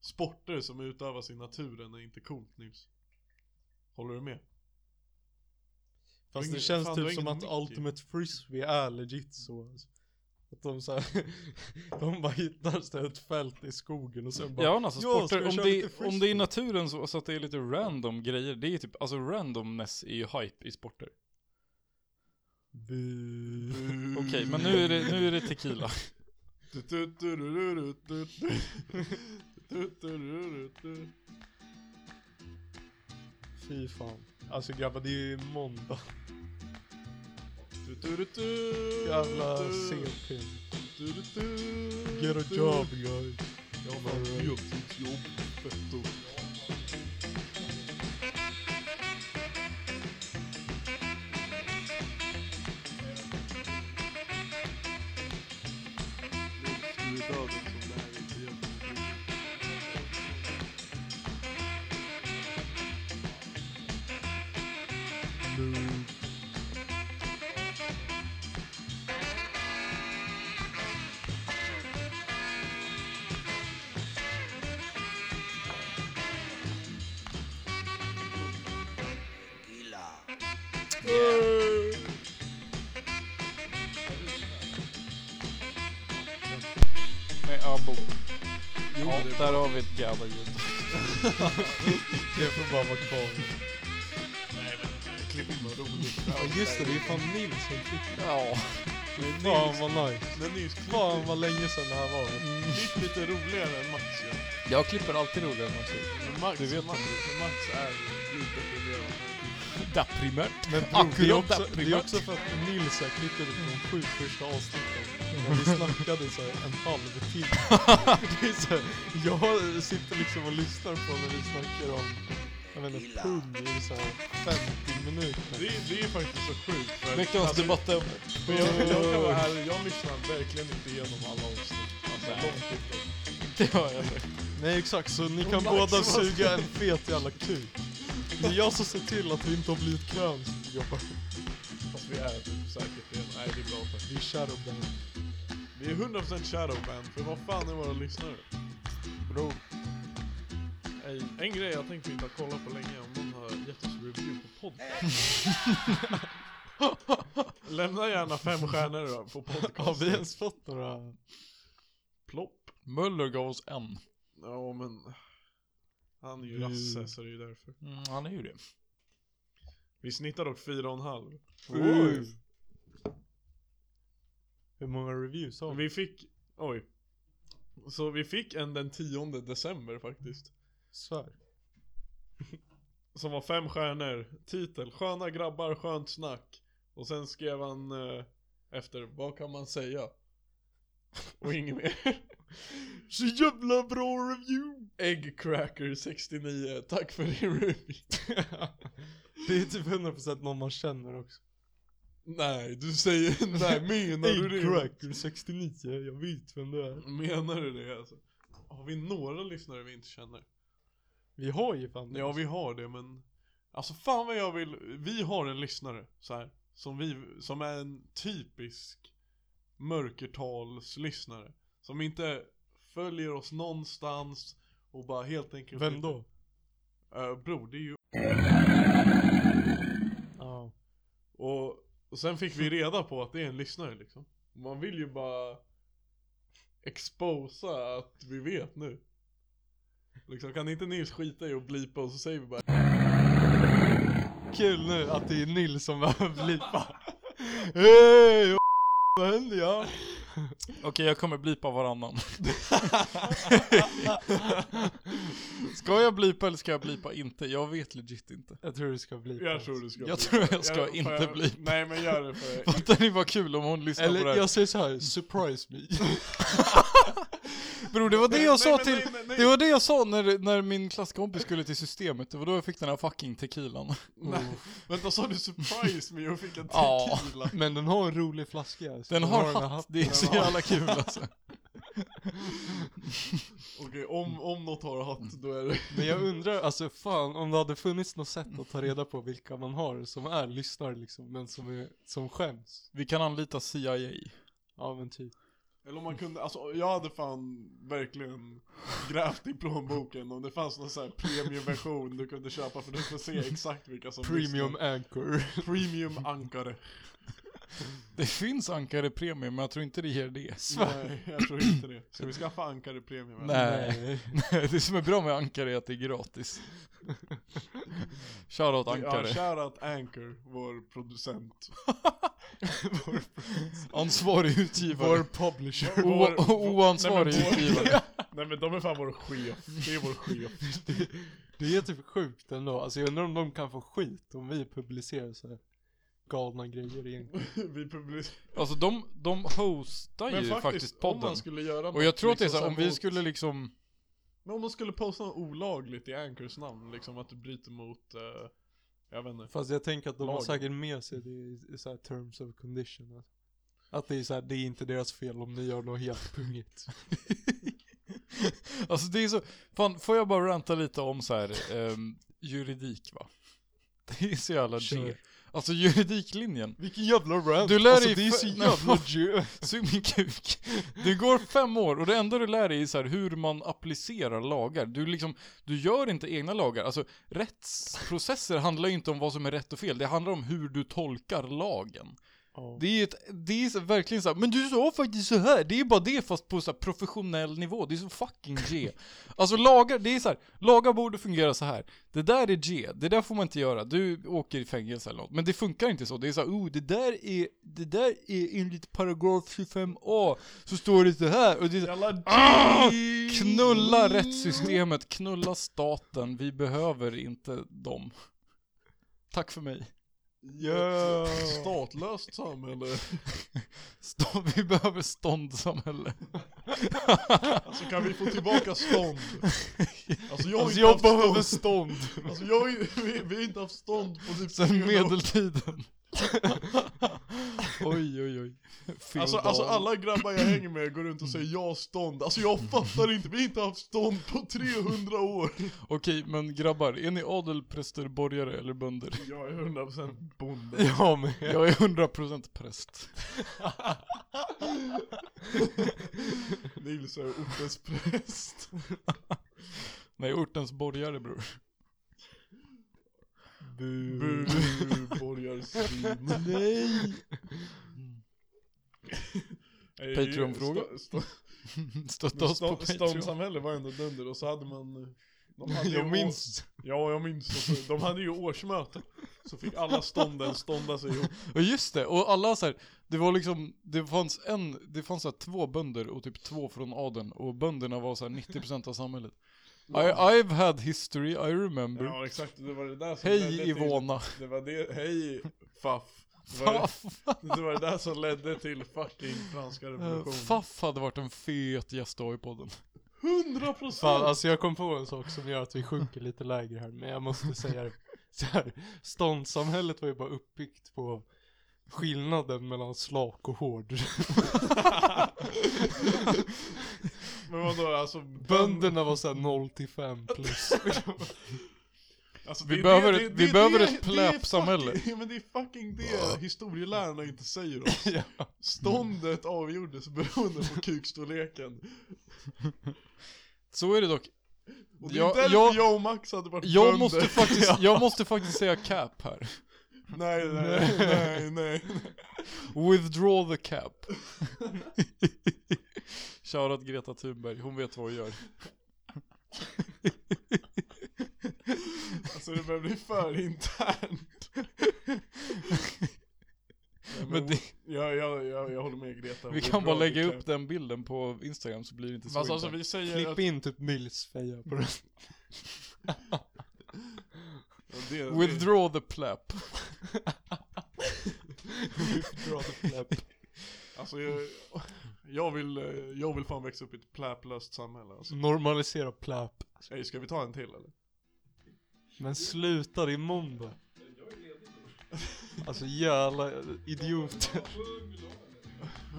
[SPEAKER 4] sporter som utövas i naturen är inte coolt Nils. Håller du med?
[SPEAKER 6] Fast
[SPEAKER 4] ingen-
[SPEAKER 6] det känns
[SPEAKER 4] fan, du har
[SPEAKER 6] typ som
[SPEAKER 4] ingen
[SPEAKER 6] att
[SPEAKER 4] mick i.
[SPEAKER 6] Ultimate Frisbee är legit så. Alltså. Att de så här, de bara hittar så här ett fält i skogen och sen bara
[SPEAKER 8] Ja, men alltså
[SPEAKER 6] "Ja,
[SPEAKER 8] sporter,
[SPEAKER 6] ska vi
[SPEAKER 8] om
[SPEAKER 6] köra
[SPEAKER 8] det,
[SPEAKER 6] lite
[SPEAKER 8] är- om
[SPEAKER 6] frisbee?"
[SPEAKER 8] det är i naturen så, så att det är lite random grejer, det är typ, alltså randomness är ju hype i sporter. Okej, men nu är det, nu är det tequila.
[SPEAKER 6] Fy fan. Alltså grabbar, det är ju måndag. Jävla CP. Get a job guys.
[SPEAKER 4] Jag har ett heltidsjobb, fetto.
[SPEAKER 6] Boo.
[SPEAKER 3] Abo. Ja, där har vi ett gadda-ljud. det får bara vara kvar.
[SPEAKER 4] Nej men, klipp in något roligt.
[SPEAKER 6] Ja just det, det är ju fan Nils som klipper.
[SPEAKER 3] Ja.
[SPEAKER 6] Fan vad nice.
[SPEAKER 4] Den är ju klipp,
[SPEAKER 6] Fan vad länge sedan det här var.
[SPEAKER 4] klipp lite roligare än Max gör.
[SPEAKER 3] Jag klipper alltid roligare än Max.
[SPEAKER 4] Men Max,
[SPEAKER 3] Du vet
[SPEAKER 4] Max, Max är lite roligare.
[SPEAKER 3] Deprimärt. Men
[SPEAKER 6] Men det, är också,
[SPEAKER 3] deprimärt.
[SPEAKER 6] det är också för att Nils så här klippte det på de sju första avsnitten. När vi snackade så här en halvtimme. Det är så här, jag sitter liksom och lyssnar på när vi snackar om, jag vet inte, pund i så här 50
[SPEAKER 4] Det,
[SPEAKER 6] minuter.
[SPEAKER 4] är- det är faktiskt så sjukt. för-
[SPEAKER 3] Veckans
[SPEAKER 4] alltså,
[SPEAKER 3] debattämne.
[SPEAKER 4] Men jag, jag kan vara ärlig, jag lyssnar verkligen inte igenom alla avsnitt. Alltså,
[SPEAKER 3] Nej.
[SPEAKER 4] långt inte.
[SPEAKER 3] Det har jag sagt.
[SPEAKER 6] Nej exakt, så ni kan
[SPEAKER 4] Max
[SPEAKER 6] båda
[SPEAKER 4] måste-
[SPEAKER 6] suga en fet jävla kuk. Det är jag som ser till att vi inte har blivit kröns grabbar.
[SPEAKER 4] Fast vi är typ säkert det. Nej, det är bra för
[SPEAKER 6] Vi är kära och bra.
[SPEAKER 4] Vi är 100% shadowband, för vad fan är våra lyssnare? Bro. Ey, en grej jag tänkt inte kolla på länge är om någon har gett oss review på podden. Lämna gärna fem stjärnor då på
[SPEAKER 6] Har vi
[SPEAKER 4] podcasten.
[SPEAKER 6] ens fått några?
[SPEAKER 4] Plopp.
[SPEAKER 3] Möller gav oss en.
[SPEAKER 4] Ja men... Han är ju rasse så det är ju därför.
[SPEAKER 3] Mm, han är ju det.
[SPEAKER 4] Vi snittar dock fyra och en halv.
[SPEAKER 6] Oj. Hur många reviews har vi?
[SPEAKER 4] Vi fick... Oj. Så vi fick en den 10 december faktiskt.
[SPEAKER 6] Svär.
[SPEAKER 4] Som var fem stjärnor, titel, sköna grabbar, skönt snack Och sen skrev han eh, efter, vad kan man säga? Och inget mer Så jävla bra review! Eggcracker69, tack för din review
[SPEAKER 6] Det är typ 100% någon man känner också.
[SPEAKER 4] Nej, du säger, nej menar du det?
[SPEAKER 6] Cracker 69, jag vet vem det är.
[SPEAKER 4] Menar du det alltså? Har vi några lyssnare vi inte känner?
[SPEAKER 6] Vi har ju fan
[SPEAKER 4] Ja vi har det men Alltså fan vad jag vill, vi har en lyssnare så här Som vi, som är en typisk mörkertalslyssnare Som inte följer oss någonstans och bara helt enkelt
[SPEAKER 6] Vem då?
[SPEAKER 4] Eh, bror det är ju
[SPEAKER 6] Ja.
[SPEAKER 4] och, och sen fick vi reda på att det är en lyssnare liksom Man vill ju bara Exposa att vi vet nu Liksom kan inte Nils skita i att blipa och så säger vi bara
[SPEAKER 6] Kul nu att det är Nils som behöver blipa. Hej! Vad händer ja?
[SPEAKER 3] Okej, jag kommer blipa varannan. ska jag blipa eller ska jag blipa inte? Jag vet legit inte.
[SPEAKER 6] Jag tror det ska bli.
[SPEAKER 4] Jag tror du ska
[SPEAKER 3] Jag
[SPEAKER 4] blipa."
[SPEAKER 3] tror jag ska
[SPEAKER 4] Jag-
[SPEAKER 3] inte
[SPEAKER 4] får jag-
[SPEAKER 3] blipa.
[SPEAKER 4] Nej men gör det för
[SPEAKER 3] Fattar ni vad kul om hon lyssnar på det
[SPEAKER 6] Eller
[SPEAKER 3] här?
[SPEAKER 6] jag säger så här, surprise me.
[SPEAKER 3] Bror det var det
[SPEAKER 4] Nej,
[SPEAKER 3] jag
[SPEAKER 4] nej,
[SPEAKER 3] sa
[SPEAKER 4] men
[SPEAKER 3] till,
[SPEAKER 4] nej, men nej.
[SPEAKER 3] det var det jag sa när, när min klasskompis skulle till systemet, det var då jag fick den här fucking tequilan.
[SPEAKER 4] Nej, vänta sa du surprise me och fick en
[SPEAKER 3] Ja.
[SPEAKER 4] tequila?
[SPEAKER 6] Men den har en rolig flaska. så
[SPEAKER 3] Den har
[SPEAKER 6] här
[SPEAKER 3] hatt, det är så
[SPEAKER 6] hatten.
[SPEAKER 3] jävla kul alltså.
[SPEAKER 4] Okej, om, om något har hatt
[SPEAKER 3] Mm.
[SPEAKER 4] då är det...
[SPEAKER 6] Men jag undrar, alltså fan om det hade funnits något sätt att ta reda på vilka man har som är lyssnare liksom, men som, är, som skäms.
[SPEAKER 3] Vi kan anlita CIA.
[SPEAKER 6] Ja men typ.
[SPEAKER 4] Eller om man kunde, alltså jag hade fan verkligen grävt i plånboken om det fanns någon sån här premiumversion du kunde köpa för du får se exakt vilka som
[SPEAKER 6] Premium anchor.
[SPEAKER 4] lyssnar. Premium ankare.
[SPEAKER 3] Det finns ankare premium men jag tror inte det ger det.
[SPEAKER 4] Nej, jag tror inte det. Ska vi skaffa ankare premium? eller?
[SPEAKER 3] Nej. Nej. Det som är bra med ankare är att det är gratis. Shoutout
[SPEAKER 4] Ja,
[SPEAKER 3] ankare.
[SPEAKER 4] shoutout Anchor, vår producent.
[SPEAKER 3] Ansvarig utgivare.
[SPEAKER 4] publisher.
[SPEAKER 3] O- oansvarig
[SPEAKER 4] Nej, men vår-
[SPEAKER 3] utgivare.
[SPEAKER 4] Nej men de är fan vår chef. Det är vår chef.
[SPEAKER 6] Det är typ sjukt ändå. Alltså jag undrar om de kan få skit om vi publicerar så här galna grejer egentligen.
[SPEAKER 4] Vi publicerar...
[SPEAKER 3] Alltså de, de hostar ju faktiskt,
[SPEAKER 4] om
[SPEAKER 3] podden.
[SPEAKER 4] man skulle göra
[SPEAKER 3] Och jag tror att det är så här, om
[SPEAKER 4] liksom
[SPEAKER 3] vi
[SPEAKER 4] mot-
[SPEAKER 3] skulle liksom
[SPEAKER 4] Men om man skulle posta något olagligt i Anchors namn, liksom att du bryter mot, eh, jag vet inte.
[SPEAKER 6] Fast jag tänker att de har
[SPEAKER 4] Lagen.
[SPEAKER 6] säkert med sig det i, i så här terms of condition. Alltså. Att det är så här, det är inte deras fel om ni gör något helt pungigt.
[SPEAKER 3] Alltså det är så, fan får jag bara ranta lite om så här ehm, juridik va? Det är så jävla G.
[SPEAKER 6] Kör.
[SPEAKER 3] Alltså juridiklinjen,
[SPEAKER 6] Vilken jävla rant!
[SPEAKER 3] Du lär
[SPEAKER 6] alltså,
[SPEAKER 3] dig
[SPEAKER 6] det är
[SPEAKER 3] för-
[SPEAKER 6] så
[SPEAKER 3] Nej,
[SPEAKER 6] jävla djö.
[SPEAKER 3] sug min kuk. Det går fem år och det enda du lär dig är så här hur man applicerar lagar. Du liksom, du gör inte egna lagar. Alltså rättsprocesser handlar ju inte om vad som är rätt och fel, det handlar om hur du tolkar lagen.
[SPEAKER 6] Ja.
[SPEAKER 3] Det är, ju ett, det är så- verkligen såhär, men du sa faktiskt så här. det är bara det fast på så här professionell nivå, det är så fucking G. alltså lagar, det är så här, lagar borde fungera så här. det där är G, det där får man inte göra, du åker i fängelse eller något. Men det funkar inte så, det är såhär, oh det där är, det där är enligt paragraf 25a, så står det så här. Och det är så här,
[SPEAKER 4] Jävla
[SPEAKER 3] ah! Knulla rättssystemet, knulla staten, vi behöver inte dem. Tack för mig.
[SPEAKER 4] yeah. statlöst samhälle.
[SPEAKER 3] Stå, vi behöver ståndsamhälle.
[SPEAKER 4] Alltså kan vi få tillbaka stånd? Alltså jag, har
[SPEAKER 3] Alltså
[SPEAKER 4] inte
[SPEAKER 3] jag
[SPEAKER 4] haft
[SPEAKER 3] behöver
[SPEAKER 4] stånd.
[SPEAKER 3] stånd.
[SPEAKER 4] Alltså jag, har ju- vi, vi har inte haft stånd på typ
[SPEAKER 3] Sen
[SPEAKER 4] tre år.
[SPEAKER 3] medeltiden. oj oj oj.
[SPEAKER 4] Alltså,
[SPEAKER 3] Feodal.
[SPEAKER 4] alltså alla grabbar jag hänger med går runt och säger jag har stånd. Alltså jag fattar inte, vi har inte haft stånd på 300 år.
[SPEAKER 3] Okej men grabbar, är ni adel, präster, borgare eller bönder?
[SPEAKER 4] Jag är 100% bonde.
[SPEAKER 3] Jag med. Jag är 100% präst.
[SPEAKER 4] Nils är ortens präst.
[SPEAKER 3] Nej, ortens borgare bror.
[SPEAKER 4] Bu, borgarsvin.
[SPEAKER 3] Nej!
[SPEAKER 4] Nej,
[SPEAKER 3] Patreon-fråga.
[SPEAKER 4] stå- stå-
[SPEAKER 3] Stötta
[SPEAKER 4] Men
[SPEAKER 3] oss på
[SPEAKER 4] stå-
[SPEAKER 3] Patreon.
[SPEAKER 4] Ståndssamhälle var ändå dunder och så hade man eh, de hade ju
[SPEAKER 3] Jag minns.
[SPEAKER 4] År, ja, jag minns. också. de hade ju årsmöte. Så fick alla stånden stånda sig ihop.
[SPEAKER 3] Ja just det, och alla så här, det var liksom, det fanns en, det fanns så här två bönder och typ två från adeln och bönderna var så här 90% av samhället. I, I've had history, I remember.
[SPEAKER 4] Ja, exakt. Det var det där som ledde
[SPEAKER 3] Mm. Hej
[SPEAKER 4] till-
[SPEAKER 3] Ivona.
[SPEAKER 4] Det var det, hej Faff. Det var
[SPEAKER 3] Faff.
[SPEAKER 4] det, det var det där som ledde till fucking franska
[SPEAKER 3] Eh,
[SPEAKER 4] revolutionen.
[SPEAKER 3] Faff hade varit en fet gäst att ha i podden.
[SPEAKER 4] 100
[SPEAKER 6] Fan,
[SPEAKER 4] procent!
[SPEAKER 6] alltså jag kom på en sak som gör att vi sjunker lite lägre här, men jag måste säga det. Så här, ståndssamhället var ju bara uppbyggt på skillnaden mellan slak och hård.
[SPEAKER 4] Men vadå alltså? Bönder.
[SPEAKER 6] Bönderna var såhär 0 till 5 plus.
[SPEAKER 4] Alltså,
[SPEAKER 3] Vi
[SPEAKER 4] det är
[SPEAKER 3] behöver
[SPEAKER 4] det-
[SPEAKER 3] ett-
[SPEAKER 4] det-
[SPEAKER 3] vi
[SPEAKER 4] det-
[SPEAKER 3] behöver
[SPEAKER 4] det-
[SPEAKER 3] ett
[SPEAKER 4] det är
[SPEAKER 3] plöpsamhälle.
[SPEAKER 6] Mm.
[SPEAKER 4] fucking- Men det är fucking det historielärarna inte säger oss. Ståndet avgjordes beroende på kukstorleken.
[SPEAKER 3] Så är det dock.
[SPEAKER 4] Och det är
[SPEAKER 3] Jag,
[SPEAKER 4] därför
[SPEAKER 3] jag,
[SPEAKER 4] jag, och Max hade varit
[SPEAKER 3] jag,
[SPEAKER 4] bönder.
[SPEAKER 3] måste faktiskt, jag måste faktiskt säga cap här.
[SPEAKER 4] Nej, nej, nej, nej.
[SPEAKER 3] Withdraw the cap. Shoutout Greta Thunberg, hon vet vad hon gör.
[SPEAKER 4] Alltså det börjar bli för internt. Nej,
[SPEAKER 3] Men det,
[SPEAKER 4] jag, jag, jag, jag håller med Greta.
[SPEAKER 3] vi kan bara lägga upp den bilden på Instagram så blir det inte så
[SPEAKER 4] Fast alltså
[SPEAKER 3] internt.
[SPEAKER 4] vi säger att...
[SPEAKER 6] Klipp in typ Nils feja på den.
[SPEAKER 4] Ja, det- det-
[SPEAKER 3] Withdraw the plap.
[SPEAKER 4] Alltså jag, jag vill, eh, jag vill fan växa upp i ett pläplöst samhälle alltså.
[SPEAKER 6] Normalisera pläp.
[SPEAKER 4] Ey, ska vi ta en till eller?
[SPEAKER 6] Men sluta, det är måndag. Alltså jävla idioter.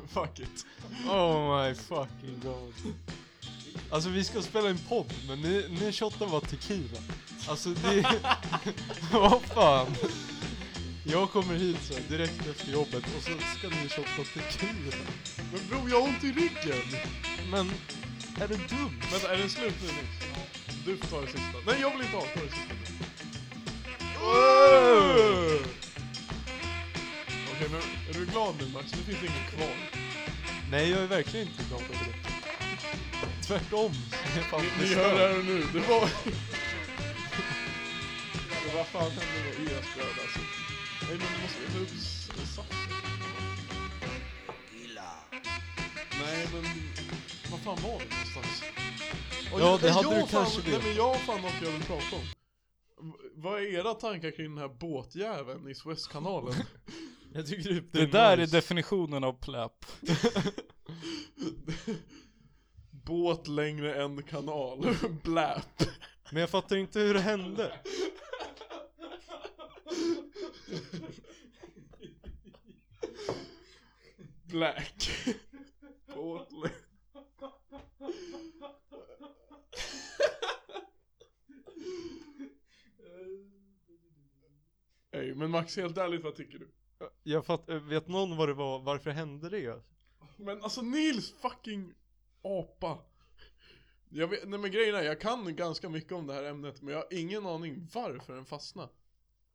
[SPEAKER 4] Fuck it.
[SPEAKER 6] Oh my fucking god. Alltså vi ska spela en podd, men ni, ni shottar bara tequila. Alltså det... Vad fan. Jag kommer hit så här, direkt efter jobbet och så ska ni shotta tequila.
[SPEAKER 4] Men bror jag har ont i ryggen!
[SPEAKER 6] Men, är du dum?
[SPEAKER 4] Men är den slut nu Nils? Du får ta det sista. Nej jag vill inte ha, ta det sista. Åh! Okej men är du glad nu Max? Nu finns det inget kvar.
[SPEAKER 6] Nej, jag är verkligen inte glad över det. Tvärtom. Jag är fan
[SPEAKER 4] Vi
[SPEAKER 6] förstörd.
[SPEAKER 4] hör det här och nu, det var... Men Vad fan hände då i deras bröd alltså? Nej men du måste ta upp s- saft. Nej men, vad fan var vi någonstans? Och
[SPEAKER 6] Ja,
[SPEAKER 4] jag-
[SPEAKER 6] det
[SPEAKER 4] nej,
[SPEAKER 6] hade
[SPEAKER 4] jag
[SPEAKER 6] du
[SPEAKER 4] fan,
[SPEAKER 6] kanske
[SPEAKER 4] Nej
[SPEAKER 6] det.
[SPEAKER 4] men jag har fan något jag vill prata om. V- Vad är era tankar kring den här båtjäveln i Suezkanalen?
[SPEAKER 6] Jag tycker typ
[SPEAKER 3] Det där är definitionen av plap.
[SPEAKER 4] Båt längre än kanal, bläp.
[SPEAKER 6] Men jag fattar inte hur det hände.
[SPEAKER 4] Black. Båt längre. Nej men Max, helt ärligt vad tycker du?
[SPEAKER 6] Jag fattar, vet någon vad det var, varför hände det?
[SPEAKER 4] Men alltså Nils fucking apa. Jag vet, nej men grejen är, jag kan ganska mycket om det här ämnet men jag har ingen aning varför den fastnade.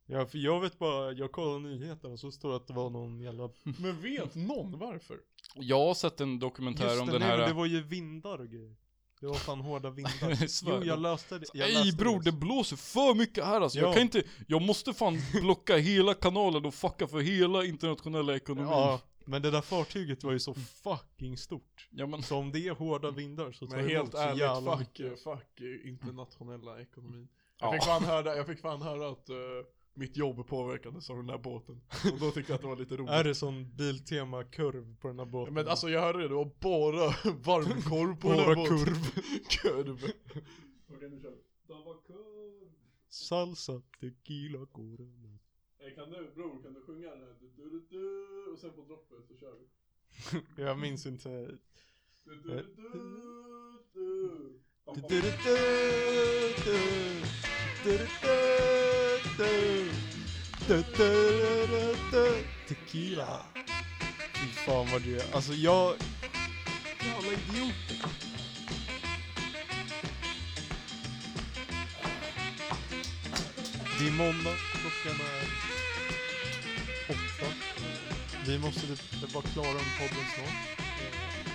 [SPEAKER 6] Ja, för jag vet bara, jag kollade nyheterna och så står det att det var någon jävla...
[SPEAKER 4] Men vet någon varför?
[SPEAKER 3] Jag har sett en dokumentär
[SPEAKER 6] Just
[SPEAKER 3] om
[SPEAKER 6] det,
[SPEAKER 3] den
[SPEAKER 6] nej,
[SPEAKER 3] här... äh,
[SPEAKER 6] men det var ju vindar och grejer. Det var fan hårda vindar.
[SPEAKER 3] Jag svär.
[SPEAKER 6] jo, jag löste det. Jag
[SPEAKER 3] Ej
[SPEAKER 6] löste
[SPEAKER 3] bror, det
[SPEAKER 6] det.
[SPEAKER 3] blåser för mycket här alltså. Jag
[SPEAKER 6] Ja.
[SPEAKER 3] kan inte, jag måste fan blocka hela kanalen och fucka för hela internationella ekonomin.
[SPEAKER 6] Ja, men det där fartyget var
[SPEAKER 3] Mm.
[SPEAKER 6] ju så fucking stort.
[SPEAKER 3] Ja, men,
[SPEAKER 6] Så om det är hårda
[SPEAKER 3] Mm.
[SPEAKER 6] vindar så tar
[SPEAKER 4] Men
[SPEAKER 6] det
[SPEAKER 4] helt
[SPEAKER 6] emot så
[SPEAKER 4] ärligt,
[SPEAKER 6] jävla
[SPEAKER 4] fuck,
[SPEAKER 6] mycket.
[SPEAKER 4] eh, fuck eh, internationella ekonomin. Jag fick fan höra, jag fick fan höra att eh, mitt jobb påverkades av den där båten. Och då tyckte jag att det var lite roligt.
[SPEAKER 6] Är det sån Biltema-kurv på den här båten?
[SPEAKER 4] Men alltså jag hörde det, det var bara varmkorv på den
[SPEAKER 6] Bara
[SPEAKER 4] där båten. Kurv.
[SPEAKER 9] Okej nu kör vi. Davakur.
[SPEAKER 6] Salsa, tequila, corona.
[SPEAKER 9] Eh, Kan du bror, kan du sjunga den här? Du, du, du, du, och sen på droppet så kör vi.
[SPEAKER 6] Jag minns inte.
[SPEAKER 9] Du, du, du, du, du. Ja,
[SPEAKER 6] Du, du, du, du, du, du, du, du, du. Tequila. Fy fan vad du är. Alltså jag... Jävla idiot. Det är måndag, klockan är åtta. Vi måste typ vara klara med podden snart.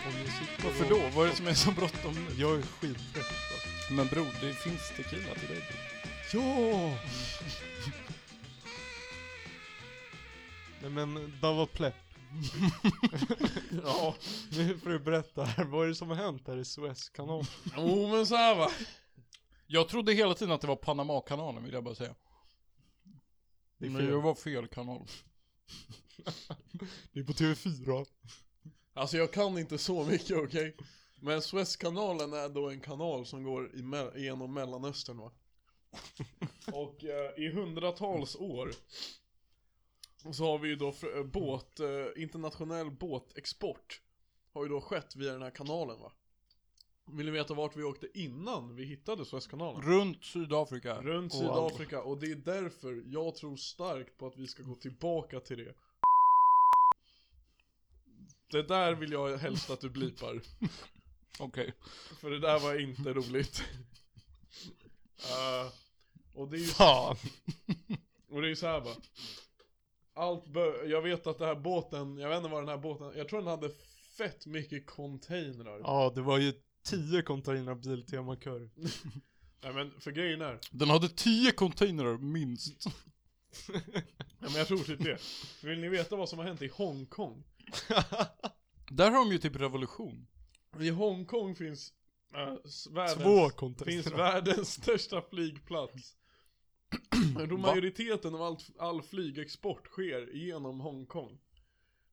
[SPEAKER 6] Om ni sitter
[SPEAKER 3] varför
[SPEAKER 6] och-
[SPEAKER 3] då? Vad är det som är så bråttom nu?
[SPEAKER 6] Jag är skittrött alltså.
[SPEAKER 3] Men bror, det finns tequila till dig. bror.
[SPEAKER 6] Ja! Nej men, Dava Plepp. ja, nu får du berätta här. Vad är det som har hänt här i Suezkanalen?
[SPEAKER 3] Jo men så här va. Jag trodde hela tiden att det var Panamakanalen vill jag bara säga.
[SPEAKER 6] Det är
[SPEAKER 3] men
[SPEAKER 6] fel.
[SPEAKER 3] det var fel kanal.
[SPEAKER 6] Det är på TV4.
[SPEAKER 4] Alltså jag kan inte så mycket okej. Men Suezkanalen är då en kanal som går i me- genom Mellanöstern va. Och eh, i hundratals år så har vi ju då fr- eh, båt, eh, internationell båtexport har ju då skett via den här kanalen va. Vill ni veta vart vi åkte innan vi hittade Suezkanalen?
[SPEAKER 3] Runt Sydafrika.
[SPEAKER 4] Runt
[SPEAKER 3] Och-
[SPEAKER 4] Sydafrika och det är därför jag tror starkt på att vi ska gå tillbaka till det. Det där vill jag helst att du blipar.
[SPEAKER 3] Okej.
[SPEAKER 4] För det där var inte roligt. Eh, och det är ju
[SPEAKER 6] Fan!
[SPEAKER 4] och det är ju så här va. Allt bör, jag vet att den här båten, jag vet inte vad den här båten, jag tror den hade fett mycket containrar.
[SPEAKER 6] Ja, det var ju 10 containrar Biltema-kör.
[SPEAKER 4] Nej men för grejen är,
[SPEAKER 3] Den hade 10 containrar minst.
[SPEAKER 4] nej, men jag tror typ det. Vill ni veta vad som har hänt i Hongkong?
[SPEAKER 3] Där har de ju typ revolution.
[SPEAKER 4] I Hongkong finns äh, s- världens,
[SPEAKER 6] Två containrar.
[SPEAKER 4] finns världens största flygplats. Då majoriteten av all, all flygexport sker genom Hongkong.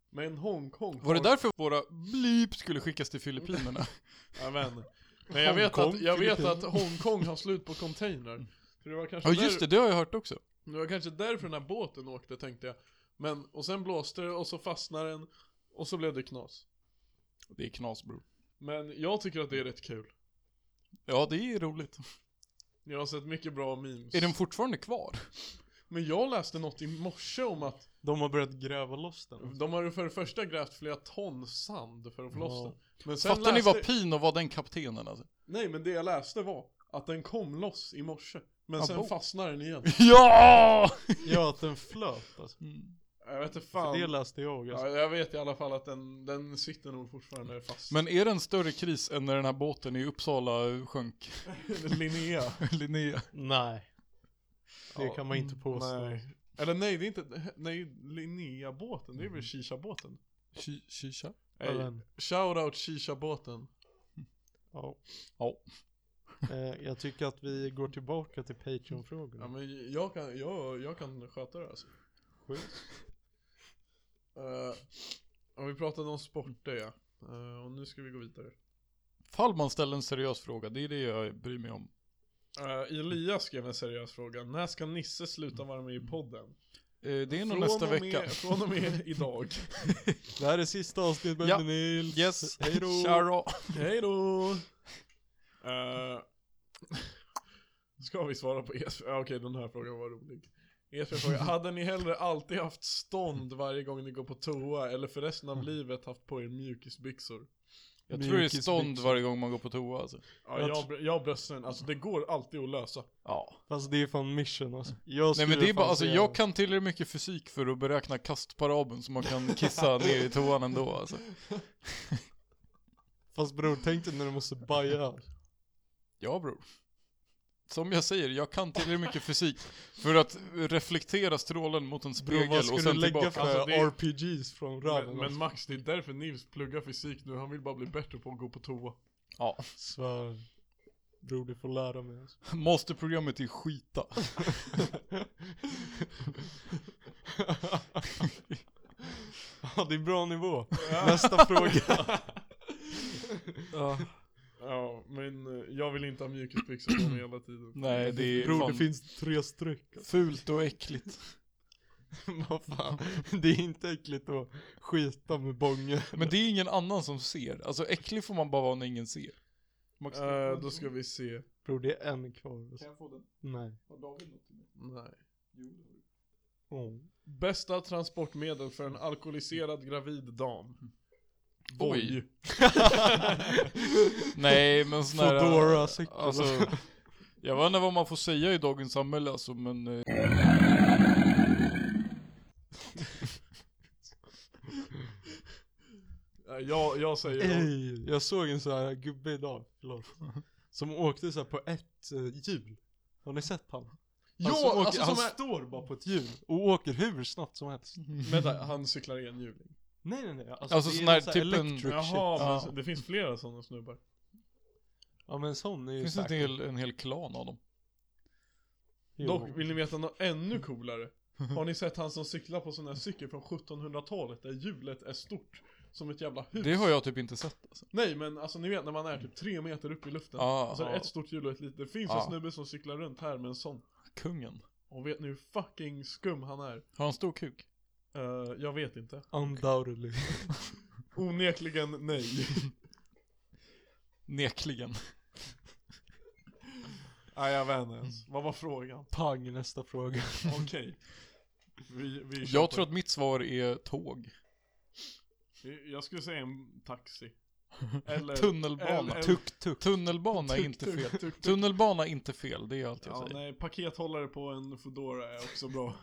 [SPEAKER 4] Men Hongkong
[SPEAKER 3] Var det
[SPEAKER 4] har-
[SPEAKER 3] därför våra blip skulle skickas till Filippinerna?
[SPEAKER 4] Ja, men. men jag vet,
[SPEAKER 6] Hongkong,
[SPEAKER 4] att, jag vet
[SPEAKER 6] Filippinerna.
[SPEAKER 4] att Hongkong har slut på containrar. För det var kanske
[SPEAKER 3] Ja just
[SPEAKER 4] där,
[SPEAKER 3] det, det har jag hört också.
[SPEAKER 4] det var kanske därför den här båten åkte tänkte jag. Men, och sen blåste det och så fastnade den. Och så blev det knas.
[SPEAKER 3] Det är knas bror.
[SPEAKER 4] Men jag tycker att det är rätt kul.
[SPEAKER 3] Ja det är roligt.
[SPEAKER 4] Jag har sett mycket bra memes.
[SPEAKER 3] Är den fortfarande kvar?
[SPEAKER 4] Men jag läste något i morse om att
[SPEAKER 6] De har börjat gräva loss den.
[SPEAKER 4] De har ju för det första grävt flera ton sand för att få loss
[SPEAKER 6] Ja.
[SPEAKER 4] den. Men sen
[SPEAKER 3] Fattar ni
[SPEAKER 4] läste...
[SPEAKER 3] vad Pino var den kaptenen alltså?
[SPEAKER 4] Nej men det jag läste var att den kom loss i morse. Men sen
[SPEAKER 3] Abo.
[SPEAKER 4] fastnade den igen.
[SPEAKER 3] Ja!
[SPEAKER 6] Ja, att den flöt alltså.
[SPEAKER 4] Mm. Jag vet inte
[SPEAKER 6] För
[SPEAKER 4] fan.
[SPEAKER 6] det läste jag alltså.
[SPEAKER 4] Ja, jag vet i alla fall att den, den sitter nog fortfarande fast.
[SPEAKER 3] Men är det en större kris än när den här båten i Uppsala sjönk?
[SPEAKER 4] Linnea.
[SPEAKER 3] Linnea.
[SPEAKER 6] Nej. Det
[SPEAKER 4] Ja,
[SPEAKER 6] kan man inte påstå.
[SPEAKER 4] Nej. Eller nej, det är inte, nej, Linnea-båten, det är
[SPEAKER 3] Mm.
[SPEAKER 4] väl Shisha-båten?
[SPEAKER 3] Ki- Kisha?
[SPEAKER 6] Ja,
[SPEAKER 4] Hey,
[SPEAKER 6] men,
[SPEAKER 4] shoutout Shisha-båten.
[SPEAKER 6] ja.
[SPEAKER 3] Ja.
[SPEAKER 6] Eh, jag tycker att vi går tillbaka till Patreon-frågorna.
[SPEAKER 4] Ja men jag kan, jag, jag kan sköta det alltså.
[SPEAKER 6] Sjukt.
[SPEAKER 4] Uh, och vi pratade om sporter ja. Eh, och nu ska vi gå vidare.
[SPEAKER 3] Fall man ställer en seriös fråga, det är det jag bryr mig om.
[SPEAKER 4] Uh, Elias skrev en seriös fråga. När ska Nisse sluta vara med i podden?
[SPEAKER 3] Eh, det är nog
[SPEAKER 4] Från
[SPEAKER 3] nästa
[SPEAKER 4] och med,
[SPEAKER 3] vecka.
[SPEAKER 4] Från och med idag.
[SPEAKER 6] Det här är sista avsnittet med
[SPEAKER 3] Ja.
[SPEAKER 6] Nils.
[SPEAKER 3] Yes,
[SPEAKER 6] Hej då.
[SPEAKER 3] Tja då.
[SPEAKER 4] Hej då! Eh, ska vi svara på Esbjörn? Ja, Okej, den här frågan var rolig. Esbjörn frågar, hade ni hellre alltid haft
[SPEAKER 3] Mm.
[SPEAKER 4] stånd varje gång ni går på toa eller för resten av livet haft på er mjukisbyxor?
[SPEAKER 3] Jag tror det är
[SPEAKER 6] Mjukisbyxor.
[SPEAKER 3] stånd varje gång man går på toa alltså.
[SPEAKER 4] Ja,
[SPEAKER 6] Jag
[SPEAKER 4] jag, br- jag har bröstsen, alltså det går alltid att lösa.
[SPEAKER 3] Ja.
[SPEAKER 6] Fast det är fan mission alltså. Jag
[SPEAKER 3] Nej men
[SPEAKER 6] skulle
[SPEAKER 3] det är bara,
[SPEAKER 6] fan
[SPEAKER 3] alltså
[SPEAKER 6] säga-
[SPEAKER 3] jag kan tillräckligt mycket fysik för att beräkna kastparabeln så man kan kissa ner i toan ändå alltså.
[SPEAKER 6] Fast bror, tänk dig när du måste baja.
[SPEAKER 3] Ja bror. Som jag säger, jag kan tillräckligt mycket fysik för att reflektera strålen mot en
[SPEAKER 6] Bror,
[SPEAKER 3] spegel
[SPEAKER 6] vad
[SPEAKER 3] och
[SPEAKER 6] ska du
[SPEAKER 3] sen
[SPEAKER 6] lägga
[SPEAKER 3] tillbaka.
[SPEAKER 6] för
[SPEAKER 4] Alltså, det är-
[SPEAKER 6] RPGs från röven? alltså?
[SPEAKER 4] Men, men Max, det är därför Nils pluggar fysik nu, han vill bara bli bättre på att gå på toa.
[SPEAKER 3] Ja.
[SPEAKER 6] Svär. Bror, du får lära mig alltså.
[SPEAKER 3] Masterprogrammet är skita.
[SPEAKER 6] Ja, det är bra nivå. Nästa fråga.
[SPEAKER 4] Ja, men eh, jag vill inte ha mjukisbyxor på mig hela tiden.
[SPEAKER 3] Nej det är
[SPEAKER 6] Bror,
[SPEAKER 3] fan
[SPEAKER 6] det finns tre streck. alltså.
[SPEAKER 3] fult och äckligt.
[SPEAKER 6] Vad fan. Det är inte äckligt att skita med bången.
[SPEAKER 3] Men det är ingen annan som ser. Alltså äcklig får man bara vara när ingen ser. Max,
[SPEAKER 4] Eh, då ska vi se.
[SPEAKER 6] Bror, det är en kvar.
[SPEAKER 9] Kan
[SPEAKER 6] Alltså.
[SPEAKER 9] jag få den?
[SPEAKER 6] Nej.
[SPEAKER 9] Har David något till mig?
[SPEAKER 4] Nej.
[SPEAKER 9] Jo, det har du.
[SPEAKER 6] Åh.
[SPEAKER 4] Bästa transportmedel för en alkoholiserad gravid dam.
[SPEAKER 3] Oj. Nej men sån här...
[SPEAKER 6] Foodora, cykel.
[SPEAKER 3] Alltså, jag vet inte vad man får säga i dagens samhälle alltså men... eh,
[SPEAKER 4] Eh, Jag, jag säger...
[SPEAKER 6] Ey, jag såg en sån här gubbe idag, förlåt. Som åkte så här på ett eh, hjul. Har ni sett han? Han,
[SPEAKER 3] alltså,
[SPEAKER 6] som
[SPEAKER 4] alltså,
[SPEAKER 6] åker, han står bara på ett hjul och åker hur snabbt som helst.
[SPEAKER 4] Vänta, han cyklar enhjuling.
[SPEAKER 6] Nej nej nej. Alltså,
[SPEAKER 3] Alltså
[SPEAKER 6] det är
[SPEAKER 3] sån här
[SPEAKER 6] så
[SPEAKER 3] typ en-
[SPEAKER 6] electric shit.
[SPEAKER 4] Jaha, men
[SPEAKER 3] Ja.
[SPEAKER 4] så- det finns flera sådana snubbar.
[SPEAKER 6] Ja men sån är
[SPEAKER 3] Det
[SPEAKER 6] ju
[SPEAKER 3] finns en
[SPEAKER 6] säker.
[SPEAKER 3] hel, en hel klan av dem.
[SPEAKER 6] Jo.
[SPEAKER 4] Dock, vill ni veta något ännu coolare? Har ni sett han som cyklar på sån här cykel från 1700-talet där hjulet är stort? Som ett jävla hus.
[SPEAKER 3] Det har jag typ inte sett alltså.
[SPEAKER 4] Nej men alltså ni vet när man är typ tre meter upp i luften.
[SPEAKER 3] Ja,
[SPEAKER 4] och så är det
[SPEAKER 3] ja.
[SPEAKER 4] ett stort hjul och ett litet. Det finns
[SPEAKER 3] Ja.
[SPEAKER 4] en snubbe som cyklar runt här med en sån.
[SPEAKER 3] Kungen.
[SPEAKER 4] Och vet ni hur fucking skum han är?
[SPEAKER 3] Har han stor kuk?
[SPEAKER 4] Eh, jag vet inte.
[SPEAKER 6] Undoubtedly.
[SPEAKER 4] Onekligen nej.
[SPEAKER 3] Nekligen.
[SPEAKER 4] Nej jag vet inte ens. Vad var frågan?
[SPEAKER 6] Pang nästa fråga.
[SPEAKER 4] Okej. Vi, vi kör
[SPEAKER 3] Jag
[SPEAKER 4] på
[SPEAKER 3] tror
[SPEAKER 4] det.
[SPEAKER 3] att mitt svar är tåg.
[SPEAKER 4] Jag skulle säga en taxi. Eller...
[SPEAKER 3] Tunnelbana.
[SPEAKER 4] eller-
[SPEAKER 3] Tuk-tuk. Tunnelbana är inte
[SPEAKER 4] tuk,
[SPEAKER 3] fel.
[SPEAKER 4] tuk, tuk.
[SPEAKER 3] Tunnelbana är inte fel, det är allt jag
[SPEAKER 4] Ja,
[SPEAKER 3] säger.
[SPEAKER 4] nej, pakethållare på en Foodora är också bra.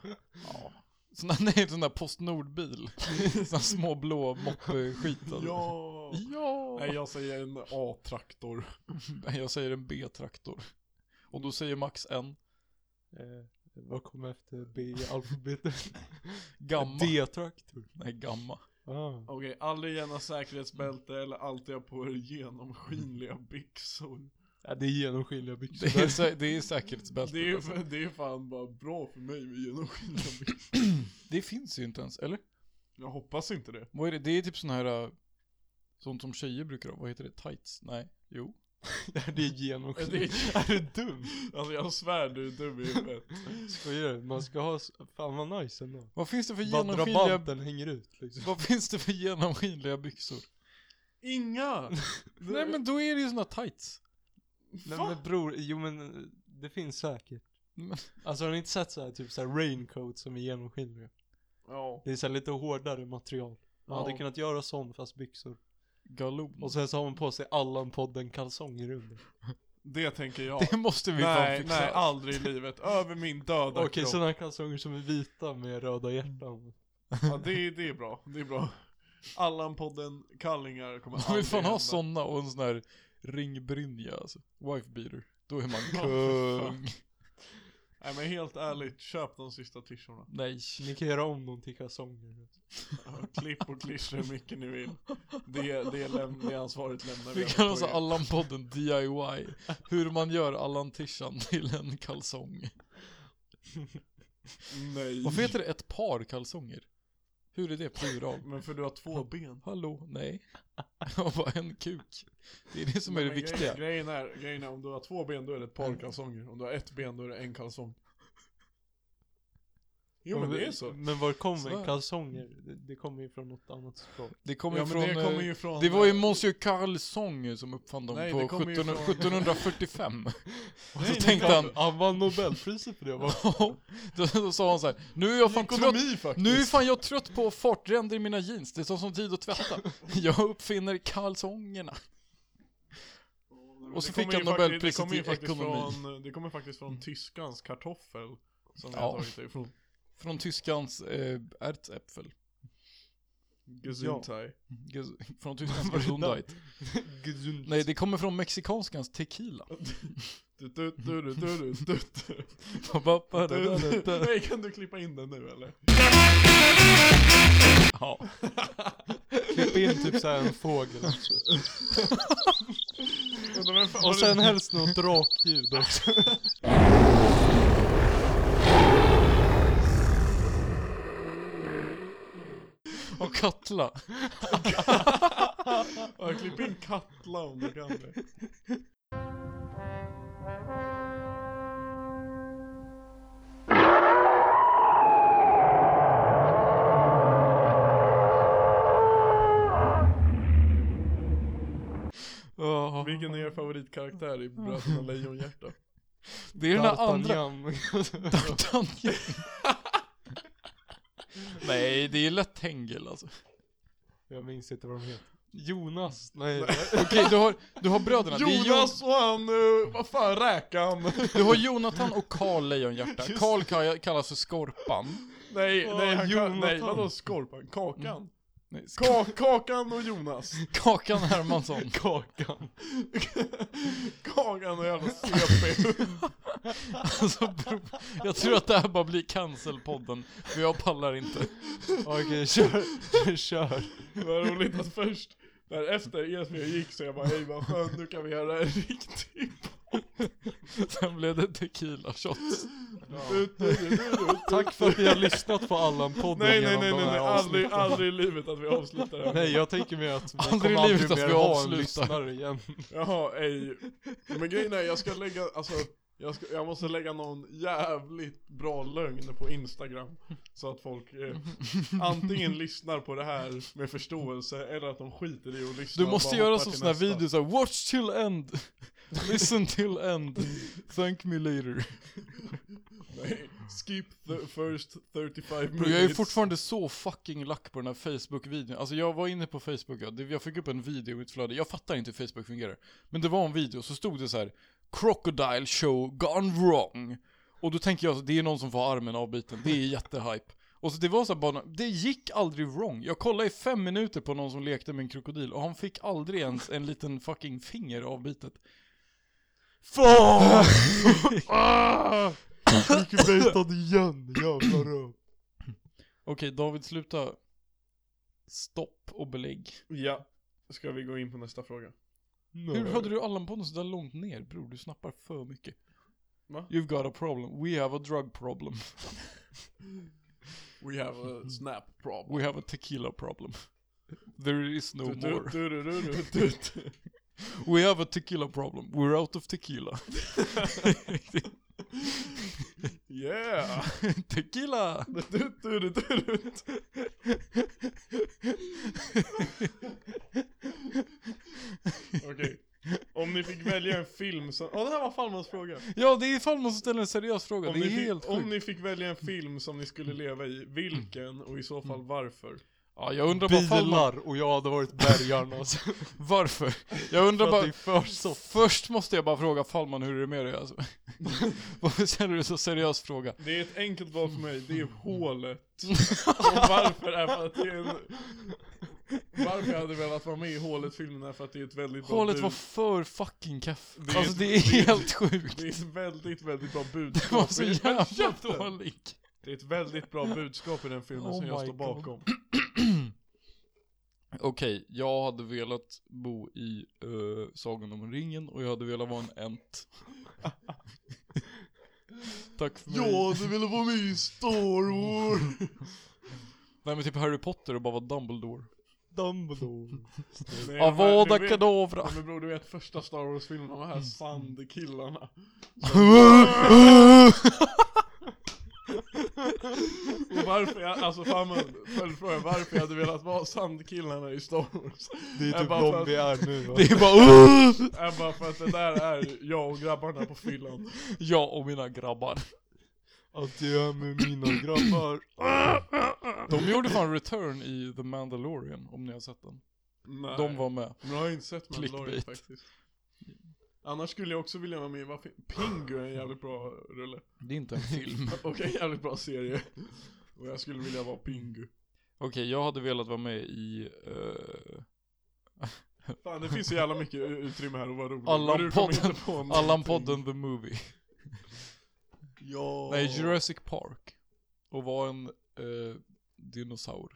[SPEAKER 3] Sån där, nej, sån där Postnordbil. Sån här små blå moppe-skit. alltså.
[SPEAKER 4] ja!
[SPEAKER 3] ja.
[SPEAKER 4] Nej, jag säger en A-traktor.
[SPEAKER 3] Nej, jag säger en B-traktor. Och då säger Max en
[SPEAKER 6] Eh, vad kommer efter B i alfabetet?
[SPEAKER 3] gamma.
[SPEAKER 6] D-traktor.
[SPEAKER 3] Nej, gamma.
[SPEAKER 6] Ah.
[SPEAKER 4] Okej, aldrig gärna säkerhetsbälte eller alltid ha på er genomskinliga byxor.
[SPEAKER 6] Ja, det är genomskinliga byxor.
[SPEAKER 3] Det är, sä- det är säkerhetsbältet.
[SPEAKER 4] Det är, ju
[SPEAKER 3] alltså.
[SPEAKER 4] för- det är fan bara bra för mig med genomskinliga byxor.
[SPEAKER 3] det finns ju inte ens, eller?
[SPEAKER 4] Jag hoppas inte det.
[SPEAKER 3] Vad är det? Det är typ sån här... äh, Sånt som tjejer brukar ha. Vad heter det? Tights? Nej. Jo.
[SPEAKER 6] där. det är genomskinliga.
[SPEAKER 4] är du dum? Alltså jag svär du är dum i huvudet.
[SPEAKER 6] Skojar du? Man ska ha, s- fan vad nice ändå.
[SPEAKER 3] Vad finns det för genomskinliga...
[SPEAKER 6] Badrabanten hänger ut liksom.
[SPEAKER 3] Vad finns det för genomskinliga byxor?
[SPEAKER 4] Inga!
[SPEAKER 3] Nej men då är det ju såna tights.
[SPEAKER 6] Nej men bror, jo men eh, det finns säkert.
[SPEAKER 3] Men-
[SPEAKER 6] Alltså har ni inte sett så här, typ så här raincoat som är genomskinliga?
[SPEAKER 4] Ja.
[SPEAKER 6] Det är så här lite hårdare material. Man hade kunnat göra sån fast byxor.
[SPEAKER 3] Galon.
[SPEAKER 6] Mm. Och sen så har man på sig Allan-podden kalsonger under.
[SPEAKER 4] Det tänker jag.
[SPEAKER 3] Det måste vi fan
[SPEAKER 4] Nej,
[SPEAKER 3] fixa.
[SPEAKER 4] nej, aldrig i livet. Över min döda
[SPEAKER 6] Okej,
[SPEAKER 4] kropp. Mm.
[SPEAKER 6] sådana kalsonger som är vita med röda hjärtan.
[SPEAKER 4] Ja, det, det är bra. Det är bra. Allan-podden Kallingar kommer
[SPEAKER 3] Man
[SPEAKER 4] aldrig
[SPEAKER 3] vill fan ha
[SPEAKER 4] hända.
[SPEAKER 3] såna och en sån här ringbrynja alltså. Wife beater. Då är man
[SPEAKER 4] för
[SPEAKER 3] kung.
[SPEAKER 4] Nej men helt ärligt, köp de sista t-shirtarna.
[SPEAKER 3] nej.
[SPEAKER 6] Ni kan göra om dem till kalsonger.
[SPEAKER 4] Ja, Klipp och klistra hur mycket ni vill. Det, det, läm- det ansvaret lämnar
[SPEAKER 3] Vi
[SPEAKER 4] över
[SPEAKER 3] kan
[SPEAKER 4] på
[SPEAKER 3] alltså
[SPEAKER 4] er.
[SPEAKER 3] Allan-podden DIY. Hur man gör Allan-tishan till en kalsong.
[SPEAKER 4] Nej.
[SPEAKER 3] Varför heter det ett par kalsonger? Hur är det plural?
[SPEAKER 4] Men för du har två ben.
[SPEAKER 3] Hallå? Nej. Och bara en kuk. Det är det som är det
[SPEAKER 4] Men grejen-
[SPEAKER 3] viktiga. Mm.
[SPEAKER 4] Grejen är, grejen är, om du har två ben då är det ett par kalsonger. Om du har ett ben då är det en kalsong. Jo men det är så.
[SPEAKER 6] Men var kommer
[SPEAKER 3] Så är det.
[SPEAKER 6] kalsonger? Det, det kommer ju från något annat språk.
[SPEAKER 3] Det kommer
[SPEAKER 4] ja,
[SPEAKER 3] ju
[SPEAKER 4] men
[SPEAKER 3] från...
[SPEAKER 4] det kommer
[SPEAKER 3] eh,
[SPEAKER 4] ju från...
[SPEAKER 3] Det var ju Monsieur Carlsånger som uppfann dem
[SPEAKER 4] Nej,
[SPEAKER 3] på
[SPEAKER 4] det kommer ju
[SPEAKER 3] 17,
[SPEAKER 4] från-
[SPEAKER 3] 1745.
[SPEAKER 4] Nej,
[SPEAKER 3] så
[SPEAKER 4] nej,
[SPEAKER 3] tänkte
[SPEAKER 4] nej.
[SPEAKER 3] han-
[SPEAKER 6] Han vann nobelpriset för det va?
[SPEAKER 3] då, då sa han så här, nu är jag fan trött,
[SPEAKER 4] Ekonomi faktiskt.
[SPEAKER 3] nu är fan jag trött på fartränder i mina jeans, det tar som tid att tvätta. Jag uppfinner kalsongerna. Och så
[SPEAKER 4] Det
[SPEAKER 3] fick
[SPEAKER 4] kommer
[SPEAKER 3] han
[SPEAKER 4] ju faktiskt- det
[SPEAKER 3] nobelpriset
[SPEAKER 4] kommer
[SPEAKER 3] i
[SPEAKER 4] ju faktiskt
[SPEAKER 3] ekonomi. Mm.
[SPEAKER 4] Från, det kommer faktiskt från tyskans kartoffel. Som vi
[SPEAKER 3] Ja.
[SPEAKER 4] har tagit det ifrån.
[SPEAKER 3] Från tyskans eh, Erzäpfel.
[SPEAKER 4] Gesundheit.
[SPEAKER 3] Ges- Från tyskans Gesundheit. Nej, det kommer från mexikanskans tequila.
[SPEAKER 4] Du, du, du, du, du, du, du. Du- Nej, kan du klippa in den nu eller?
[SPEAKER 3] Ja.
[SPEAKER 6] Klipp in typ såhär en fågel.
[SPEAKER 4] Undrar vem fan var
[SPEAKER 6] Och
[SPEAKER 4] det-
[SPEAKER 6] sen helst något drakljud också.
[SPEAKER 3] Och Katla.
[SPEAKER 4] Ja, klipp in Katla om du kan det.
[SPEAKER 3] Ja.
[SPEAKER 4] Vilken är er favoritkaraktär i Bröderna Lejonhjärta?
[SPEAKER 3] Det är den här andra.
[SPEAKER 6] D'Artagnan.
[SPEAKER 3] D'Artagnan. Nej, det är lätt hängel alltså.
[SPEAKER 6] Jag minns inte vad de heter. Jonas? Nej.
[SPEAKER 3] Okej, du har, du har bröderna. Det är
[SPEAKER 4] Jonas och han, eh, vad fan, Räkan!
[SPEAKER 3] Du har Jonathan och Karl Lejonhjärta. Karl ka- kallas för Skorpan.
[SPEAKER 4] Nej, nej, han kan, nej,
[SPEAKER 6] Jonathan.
[SPEAKER 4] vadå Skorpan? Kakan?
[SPEAKER 3] Nej, sk-
[SPEAKER 4] Ka kakan och Jonas.
[SPEAKER 3] Kakan Hermansson.
[SPEAKER 6] Kakan.
[SPEAKER 4] Kakan och jävla CP.
[SPEAKER 3] Alltså, bro, jag tror att det här bara blir cancelpodden, för jag pallar inte.
[SPEAKER 6] Okej, kör. kör.
[SPEAKER 4] Vad roligt att först, därefter Esbjörn gick så jag bara hej vad skönt, nu kan vi göra en riktig
[SPEAKER 3] Sen blev det tequila shots.
[SPEAKER 6] Tack för att ni har lyssnat på Allan-podden
[SPEAKER 4] Nej nej
[SPEAKER 6] genom
[SPEAKER 4] nej
[SPEAKER 6] de
[SPEAKER 4] nej,
[SPEAKER 6] här
[SPEAKER 4] nej. aldrig,
[SPEAKER 6] avsnitten.
[SPEAKER 4] aldrig i livet att vi avslutar det här.
[SPEAKER 6] Nej, jag tänker mig att vi
[SPEAKER 3] Aldrig i
[SPEAKER 6] kommer
[SPEAKER 3] livet
[SPEAKER 6] aldrig
[SPEAKER 3] att
[SPEAKER 6] mer
[SPEAKER 3] vi
[SPEAKER 6] ha en
[SPEAKER 3] avslutar.
[SPEAKER 6] lyssnare igen.
[SPEAKER 4] Jaha, ej. Men grejen är jag ska lägga, alltså jag, ska, jag måste lägga någon jävligt bra lögn på Instagram Så att folk eh, antingen lyssnar på det här med förståelse eller att de skiter i att lyssna
[SPEAKER 3] Du
[SPEAKER 4] och
[SPEAKER 3] måste
[SPEAKER 4] bara
[SPEAKER 3] göra
[SPEAKER 4] hoppar
[SPEAKER 3] som
[SPEAKER 4] till
[SPEAKER 3] såna här
[SPEAKER 4] nästa.
[SPEAKER 3] videos såhär, watch till end. Listen till end. Thank me later.
[SPEAKER 4] Nej, skip the first 35 minutes
[SPEAKER 3] Bro, jag är fortfarande så fucking lack på den här Facebook-videon. Alltså jag var inne på Facebook, ja. Det- jag fick upp en video i mitt flöde. Jag fattar inte hur Facebook fungerar. Men det var en video, så stod det så här: Crocodile show gone wrong. Och då tänker jag, det är någon som får armen avbiten. Det är jättehype. Och så det var så här bara, det gick aldrig wrong. Jag kollade i fem minuter på någon som lekte med en krokodil och han fick aldrig ens en liten fucking finger avbitet. Fan!
[SPEAKER 6] Fick bejtad igen, jävla röv.
[SPEAKER 3] Okej David, sluta. Stopp och belägg.
[SPEAKER 4] Ja, ska vi gå in på nästa fråga?
[SPEAKER 3] Hur hade du Allan-podden sådär långt ner bror? Du snappar för mycket.
[SPEAKER 4] Va?
[SPEAKER 3] You've got a problem. We have a drug problem.
[SPEAKER 4] We have a snap problem
[SPEAKER 3] We have a tequila problem. There is no
[SPEAKER 4] Du- du-
[SPEAKER 3] more.
[SPEAKER 4] du- du- du- du- du- du.
[SPEAKER 3] We have a tequila problem. We're out of tequila.
[SPEAKER 4] Yeah!
[SPEAKER 3] tequila!
[SPEAKER 4] Du- du- du- du- du- du. Okej, om ni fick välja en film som... Åh det här var Falmans fråga!
[SPEAKER 3] Ja, det är ifall man ställer en seriös fråga.
[SPEAKER 4] Om,
[SPEAKER 3] det
[SPEAKER 4] ni
[SPEAKER 3] är
[SPEAKER 4] fick,
[SPEAKER 3] helt
[SPEAKER 4] om
[SPEAKER 3] sjukt.
[SPEAKER 4] ni fick välja en film som ni skulle leva i, vilken och i så fall varför?
[SPEAKER 3] Ja, jag undrar bara Fallman,
[SPEAKER 6] Bilar och jag hade varit bergarna alltså.
[SPEAKER 3] varför? Jag undrar
[SPEAKER 6] För att
[SPEAKER 3] bara...
[SPEAKER 6] det är för soft.
[SPEAKER 3] Först måste jag bara fråga Fallman hur det är med dig alltså. Varför ställer du en så seriös fråga?
[SPEAKER 4] Det är ett enkelt val för mig, det är hålet. Och varför är för att det är en... Varför jag hade velat vara med i hålet-filmen är för att det är ett väldigt bra
[SPEAKER 3] Hålet
[SPEAKER 4] bud.
[SPEAKER 3] var för fucking kaff.
[SPEAKER 4] Det är-
[SPEAKER 3] Alltså det är helt sjukt.
[SPEAKER 4] Det är ett väldigt, väldigt bra
[SPEAKER 3] Det var
[SPEAKER 4] budskap.
[SPEAKER 3] så
[SPEAKER 4] i-
[SPEAKER 3] jävla
[SPEAKER 4] Köp den!
[SPEAKER 3] dålig.
[SPEAKER 4] Det är ett väldigt bra budskap i den filmen
[SPEAKER 3] Oh
[SPEAKER 4] som jag står
[SPEAKER 3] my God.
[SPEAKER 4] bakom.
[SPEAKER 3] Okej, jag hade velat bo i uh, Sagan om ringen och jag hade velat vara en ent. Tack för mig.
[SPEAKER 4] du ville vara med i Star Wars!
[SPEAKER 3] Nej men typ Harry Potter och bara vara Dumbledore.
[SPEAKER 6] Dumbledore.
[SPEAKER 3] Avada
[SPEAKER 4] du vet,
[SPEAKER 3] Kedavra.
[SPEAKER 4] Ja, men bror, du vet första Star Wars-filmen, de
[SPEAKER 3] Mm.
[SPEAKER 4] här sandkillarna. Och varför jag, alltså fan man, följdfråga, varför jag hade velat vara sandkillarna i Star Wars
[SPEAKER 6] Det är
[SPEAKER 4] Jag
[SPEAKER 6] typ
[SPEAKER 4] bara för
[SPEAKER 6] de vi är nu va?
[SPEAKER 3] Det är bara "Åh!"
[SPEAKER 4] är bara för att det där är ju jag och grabbarna på fyllan
[SPEAKER 3] Jag och mina grabbar.
[SPEAKER 6] Att jag är med mina grabbar.
[SPEAKER 3] De gjorde fan return i The Mandalorian, om ni har sett den.
[SPEAKER 4] Nej,
[SPEAKER 3] De var med.
[SPEAKER 4] men jag har inte sett Mandalorian
[SPEAKER 3] Clickbait.
[SPEAKER 4] faktiskt Annars skulle jag också vilja vara med i, vad fin- Pingu är en jävligt bra rulle
[SPEAKER 3] Det är inte en film.
[SPEAKER 4] Och en jävligt bra serie Och jag skulle vilja vara Pingu
[SPEAKER 3] Okej, jag hade velat vara med i... eh,
[SPEAKER 4] Fan det finns så jävla mycket u- utrymme här att vara rolig
[SPEAKER 3] Allan
[SPEAKER 4] Men du kommer
[SPEAKER 3] podden.
[SPEAKER 4] inte på någonting.
[SPEAKER 3] Allan-podden The Movie.
[SPEAKER 4] Ja
[SPEAKER 3] Nej, Jurassic Park. Och vara en eh, dinosaur.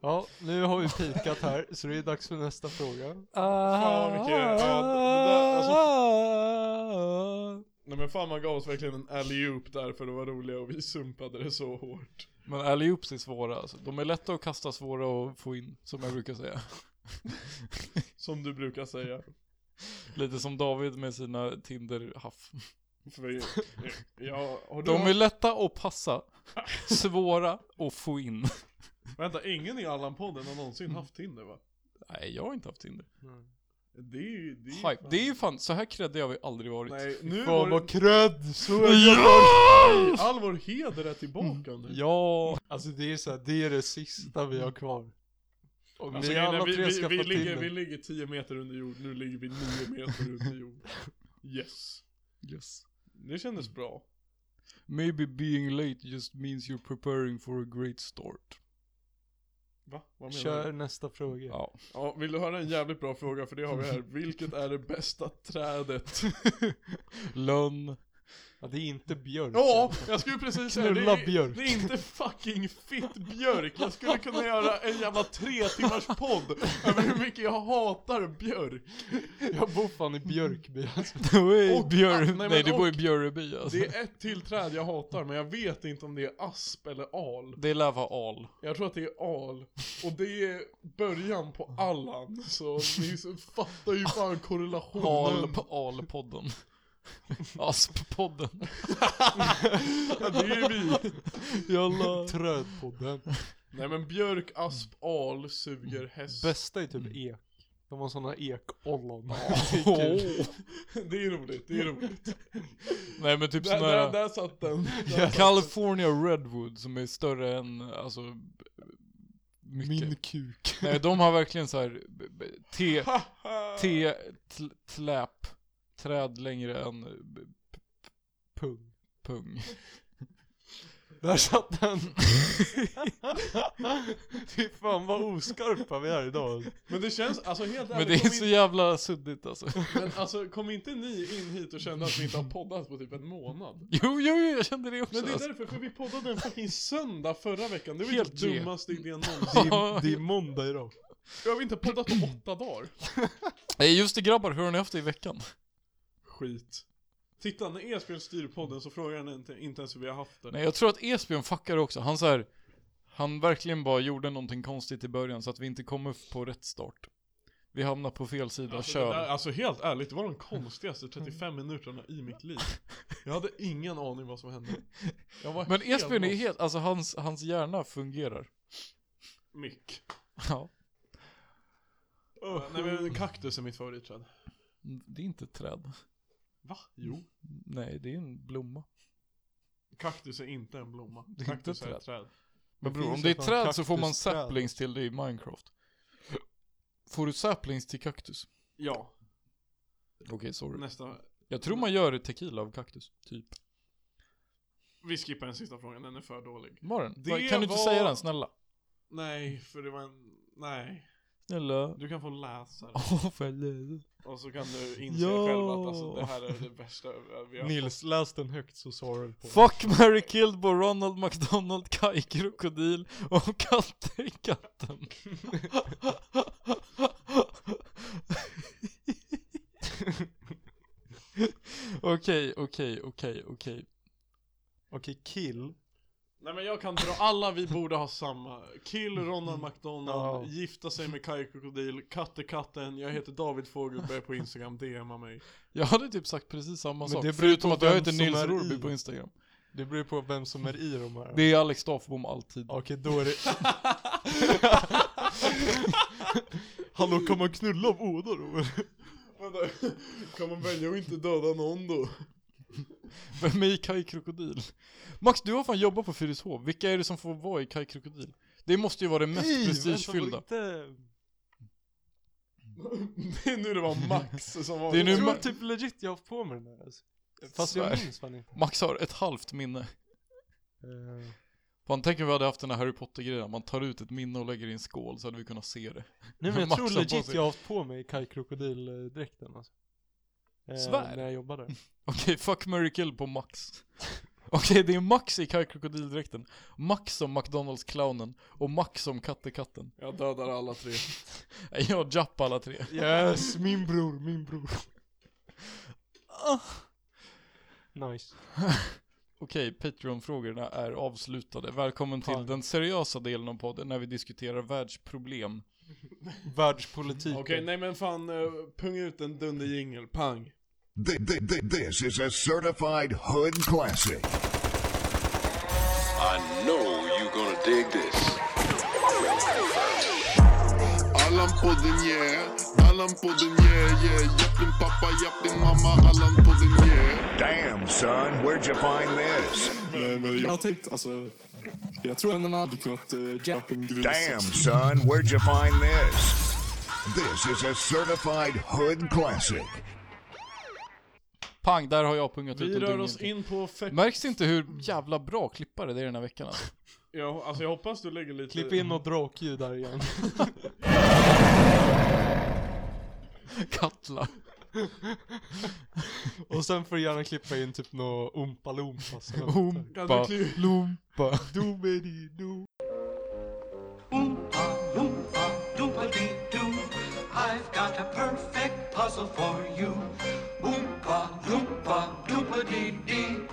[SPEAKER 6] Ja, nu har vi pikat här, så det är dags för nästa fråga.
[SPEAKER 4] Fan vilken, ja, det där, alltså, Nej men fan man gav oss verkligen en alley-oop där för att vara roliga och vi sumpade det så hårt
[SPEAKER 3] Men alley-oops är svåra alltså. De är lätta att kasta, svåra att få in, som jag brukar säga.
[SPEAKER 4] Som du brukar säga
[SPEAKER 3] Lite som David med sina Tinder-haff.
[SPEAKER 4] för vi, ja, har du
[SPEAKER 3] De är lätta att passa, svåra att få in.
[SPEAKER 4] Vänta, ingen i Allan-podden har någonsin haft Tinder va?
[SPEAKER 3] Nej, jag har inte haft Tinder.
[SPEAKER 4] Det är ju... Det är ju
[SPEAKER 3] Hype. Det är ju fan, så här kreddig har vi aldrig varit.
[SPEAKER 4] Nej, nu
[SPEAKER 6] Fan
[SPEAKER 4] var
[SPEAKER 6] vad
[SPEAKER 4] det...
[SPEAKER 6] cred! Så är jag.
[SPEAKER 3] Ja!
[SPEAKER 4] All vår heder är tillbaka nu
[SPEAKER 3] Ja!
[SPEAKER 6] Alltså det är så här, det är det sista vi har kvar. Om
[SPEAKER 4] Alltså,
[SPEAKER 6] ni
[SPEAKER 4] grejen är,
[SPEAKER 6] alla
[SPEAKER 4] vi,
[SPEAKER 6] tre
[SPEAKER 4] vi,
[SPEAKER 6] skaffar
[SPEAKER 4] vi, ligger,
[SPEAKER 6] Tinder.
[SPEAKER 4] vi ligger 10 meter under jord, nu ligger vi 9 meter under jord Yes
[SPEAKER 3] Yes.
[SPEAKER 4] Det kändes bra
[SPEAKER 3] Maybe being late just means you're preparing for a great start.
[SPEAKER 4] Va? Vad menar
[SPEAKER 6] Kör
[SPEAKER 4] du?
[SPEAKER 6] nästa fråga.
[SPEAKER 3] Ja.
[SPEAKER 4] Ja, vill du höra en jävligt bra fråga för det har vi här Vilket är det bästa trädet?
[SPEAKER 3] Lönn.
[SPEAKER 6] Ja, det är inte björk.
[SPEAKER 4] Ja, jag skulle precis säga det.
[SPEAKER 6] Knulla
[SPEAKER 4] är-
[SPEAKER 6] björk.
[SPEAKER 4] Det är inte fucking fitt björk. Jag skulle kunna göra en jävla tre timmars podd över hur mycket jag hatar björk.
[SPEAKER 6] Jag bor fan i Björkby alltså.
[SPEAKER 3] Nej,
[SPEAKER 4] Och-
[SPEAKER 3] Björ...
[SPEAKER 4] nej,
[SPEAKER 3] nej,
[SPEAKER 4] men
[SPEAKER 3] du
[SPEAKER 4] och-
[SPEAKER 3] bor i Björöby alltså.
[SPEAKER 4] Det
[SPEAKER 3] Det,
[SPEAKER 4] är ett till träd jag hatar, men jag vet inte om det är asp eller al.
[SPEAKER 3] lär vara al.
[SPEAKER 4] Jag tror att det är al. Och det är början på allan, så ni så fattar ju fan korrelationen.
[SPEAKER 3] Al, Al-podden. Asp-podden.
[SPEAKER 4] Ja, det är vi.
[SPEAKER 3] Jalla.
[SPEAKER 6] Trödpodden.
[SPEAKER 4] Nej men björk, asp, al suger häst.
[SPEAKER 6] Bästa är typ ek. De har såna ekollon. Oh,
[SPEAKER 4] Det är roligt, det är roligt.
[SPEAKER 3] Nej men typ
[SPEAKER 4] Där,
[SPEAKER 3] såna
[SPEAKER 4] där,
[SPEAKER 3] här
[SPEAKER 4] där satt den.
[SPEAKER 3] California Redwood som är större än, alltså, b- mycket.
[SPEAKER 6] Min kuk.
[SPEAKER 3] Nej de har verkligen så här b- b- te, te, tl, tläp, träd längre än b-
[SPEAKER 6] Pung.
[SPEAKER 3] pung.
[SPEAKER 6] Där satt den. Fy fan vad oskarpa vi är idag.
[SPEAKER 4] Men det känns, alltså helt
[SPEAKER 3] Men
[SPEAKER 4] ärligt,
[SPEAKER 3] det är
[SPEAKER 4] kom,
[SPEAKER 3] så
[SPEAKER 4] in,
[SPEAKER 3] jävla suddigt alltså.
[SPEAKER 4] men, alltså, kom inte ni in hit och kände att vi inte har poddat på typ en månad?
[SPEAKER 3] Jo, jo, jo, jag kände det också.
[SPEAKER 4] Men det är
[SPEAKER 3] alltså.
[SPEAKER 4] därför, för vi poddade en fucking söndag förra veckan, det var ju typ
[SPEAKER 3] Helt G.
[SPEAKER 4] dummaste idén
[SPEAKER 6] Det
[SPEAKER 4] någonsin.
[SPEAKER 6] är, det är måndag idag.
[SPEAKER 4] Jag har inte poddat på åtta dagar.
[SPEAKER 3] Nej just det grabbar, hur har ni haft det i veckan?
[SPEAKER 4] Skit. Titta, när Esbjörn styr podden E så frågar han inte, inte ens hur vi har haft det.
[SPEAKER 3] Nej jag tror att Esbjörn fuckade också, han så här, han verkligen bara gjorde någonting konstigt i början så att vi inte kommer på rätt start. Vi hamnar på fel sida,
[SPEAKER 4] Alltså, det
[SPEAKER 3] kör.
[SPEAKER 4] där, alltså helt ärligt, det var de konstigaste 35 minuterna i mitt liv. Jag hade ingen aning vad som hände. Jag var
[SPEAKER 3] Men
[SPEAKER 4] helt
[SPEAKER 3] Esbjörn är
[SPEAKER 4] lost.
[SPEAKER 3] helt, alltså hans, hans hjärna fungerar.
[SPEAKER 4] Mick.
[SPEAKER 3] Ja.
[SPEAKER 4] Nej men kaktus är mitt favoritträd.
[SPEAKER 3] Det är inte ett träd.
[SPEAKER 4] Va? Jo.
[SPEAKER 3] Nej, det är en blomma.
[SPEAKER 4] Kaktus är inte en blomma.
[SPEAKER 3] Det är
[SPEAKER 4] Kaktus
[SPEAKER 3] inte
[SPEAKER 4] är
[SPEAKER 3] ett
[SPEAKER 4] ett träd.
[SPEAKER 3] Men
[SPEAKER 6] Det
[SPEAKER 3] bror,
[SPEAKER 6] finns
[SPEAKER 3] om
[SPEAKER 6] ju
[SPEAKER 3] det är
[SPEAKER 6] fan
[SPEAKER 3] träd så får man
[SPEAKER 6] kaktusträd.
[SPEAKER 3] saplings till det i Minecraft. Får du saplings till kaktus?
[SPEAKER 4] Ja,
[SPEAKER 3] Okej, sorry.
[SPEAKER 4] nästa.
[SPEAKER 3] Jag tror man gör tequila av kaktus, typ.
[SPEAKER 4] Vi skippar den sista frågan, den är för dålig.
[SPEAKER 3] Var den?
[SPEAKER 4] Det
[SPEAKER 3] Var- kan du inte
[SPEAKER 4] var-
[SPEAKER 3] säga den, snälla?
[SPEAKER 4] Nej, för det var en... Nej.
[SPEAKER 3] Snälla.
[SPEAKER 4] Du kan få läsa den.
[SPEAKER 3] Åh, får jag läsa?
[SPEAKER 4] Och så kan du inse
[SPEAKER 3] Ja.
[SPEAKER 4] själv att alltså, det här är det värsta vi har
[SPEAKER 6] Nils, läs den högt så svarar du på den.
[SPEAKER 3] Fuck, Mary Killbo, Ronald McDonald, Kaj Krokodil och Katte Katten. Okej, okej, okej, okej.
[SPEAKER 6] Okej, kill.
[SPEAKER 4] Nej men jag kan dra alla, vi borde ha samma. Kill Ronald McDonald,
[SPEAKER 6] Ja.
[SPEAKER 4] gifta sig med Kaj Krokodil, Katte Katten, jag heter David Fogelberg på Instagram, DMa mig.
[SPEAKER 3] Jag hade typ sagt precis samma
[SPEAKER 6] Men
[SPEAKER 3] sak,
[SPEAKER 6] det beror
[SPEAKER 3] förutom
[SPEAKER 6] på
[SPEAKER 3] att jag
[SPEAKER 6] vem
[SPEAKER 3] heter
[SPEAKER 6] som
[SPEAKER 3] Nils
[SPEAKER 6] är i.
[SPEAKER 3] Rorby på Instagram.
[SPEAKER 6] Det beror på vem som är i de här.
[SPEAKER 3] Det är Alex Stafbom alltid.
[SPEAKER 6] Okej, då är det... Hallå, kan man knulla båda då?
[SPEAKER 4] Vänta, kan man välja att inte döda någon då?
[SPEAKER 3] Vem är i Kaj Krokodil? Max, du har fan jobbat på Fyrishov. Vilka är det som får vara i Kaj Krokodil? Det måste ju vara det mest prestigefyllda.
[SPEAKER 6] Inte...
[SPEAKER 4] Det är nu det var Max som var...
[SPEAKER 3] Det är nu
[SPEAKER 6] Jag tror
[SPEAKER 3] Ma-
[SPEAKER 6] typ legit jag har haft på mig den här alltså. Fast
[SPEAKER 3] Svär.
[SPEAKER 6] jag minns fan inte.
[SPEAKER 3] Max har ett halvt minne.
[SPEAKER 6] Eh,
[SPEAKER 3] Fan, tänk om vi hade haft den här Harry Potter-grejen. Man tar ut ett minne och lägger i en skål så hade vi kunnat se det.
[SPEAKER 6] Nej men jag
[SPEAKER 3] Max
[SPEAKER 6] tror
[SPEAKER 3] har på
[SPEAKER 6] legit
[SPEAKER 3] sig-
[SPEAKER 6] jag har haft på mig Kaj Krokodil-dräkten alltså. Eh,
[SPEAKER 3] Svär.
[SPEAKER 6] När jag jobbade.
[SPEAKER 3] Okej, fuck, marry, kill på Max. Okej, det är Max i Kaj Krokodildräkten. Max som McDonalds-clownen. Och Max som Kattekatten.
[SPEAKER 4] Jag dödar alla tre.
[SPEAKER 3] Nej, Jag jappar alla tre.
[SPEAKER 6] Yes, min bror, min bror. Nice.
[SPEAKER 3] Okej, Patreon-frågorna är avslutade. Välkommen till
[SPEAKER 6] Fan.
[SPEAKER 3] den seriösa delen av podden när vi diskuterar världsproblem.
[SPEAKER 6] Världspolitik.
[SPEAKER 4] Okej, nej men fan, eh, punga ut en dunderjingel, pang.
[SPEAKER 10] Th- th- th- This is a certified hood classic.
[SPEAKER 5] I know you're gonna dig this.
[SPEAKER 10] Allan podden yeah, Allan podden yeah, yeah. Japp din pappa, japp din mamma, Allan podden yeah. Damn son, where'd you find this?
[SPEAKER 9] Jag har tänkt, alltså. Jag tror ändå man hade kunnat eh, köpa en grund.
[SPEAKER 10] Damn son, where'd you find this? This is a certified hood classic.
[SPEAKER 3] Pang, där har jag pungat ut
[SPEAKER 4] Vi
[SPEAKER 3] en
[SPEAKER 4] rör
[SPEAKER 3] dungel.
[SPEAKER 4] oss in på fett...
[SPEAKER 3] Märks inte hur jävla bra klippare det är den här veckan alltså.
[SPEAKER 4] Ja, alltså jag hoppas du lägger lite...
[SPEAKER 6] Klipp in något drakljud där igen.
[SPEAKER 3] Katla.
[SPEAKER 6] Och sen får du gärna klippa in typ något Oompa Loompa.
[SPEAKER 4] Ja,
[SPEAKER 3] Humpa,
[SPEAKER 4] du klipp-
[SPEAKER 3] lumpa.
[SPEAKER 11] Oompa, loompa, doompa-dee-doo. I've got a perfect puzzle for you. Oompa, loompa, doompa-dee-dee.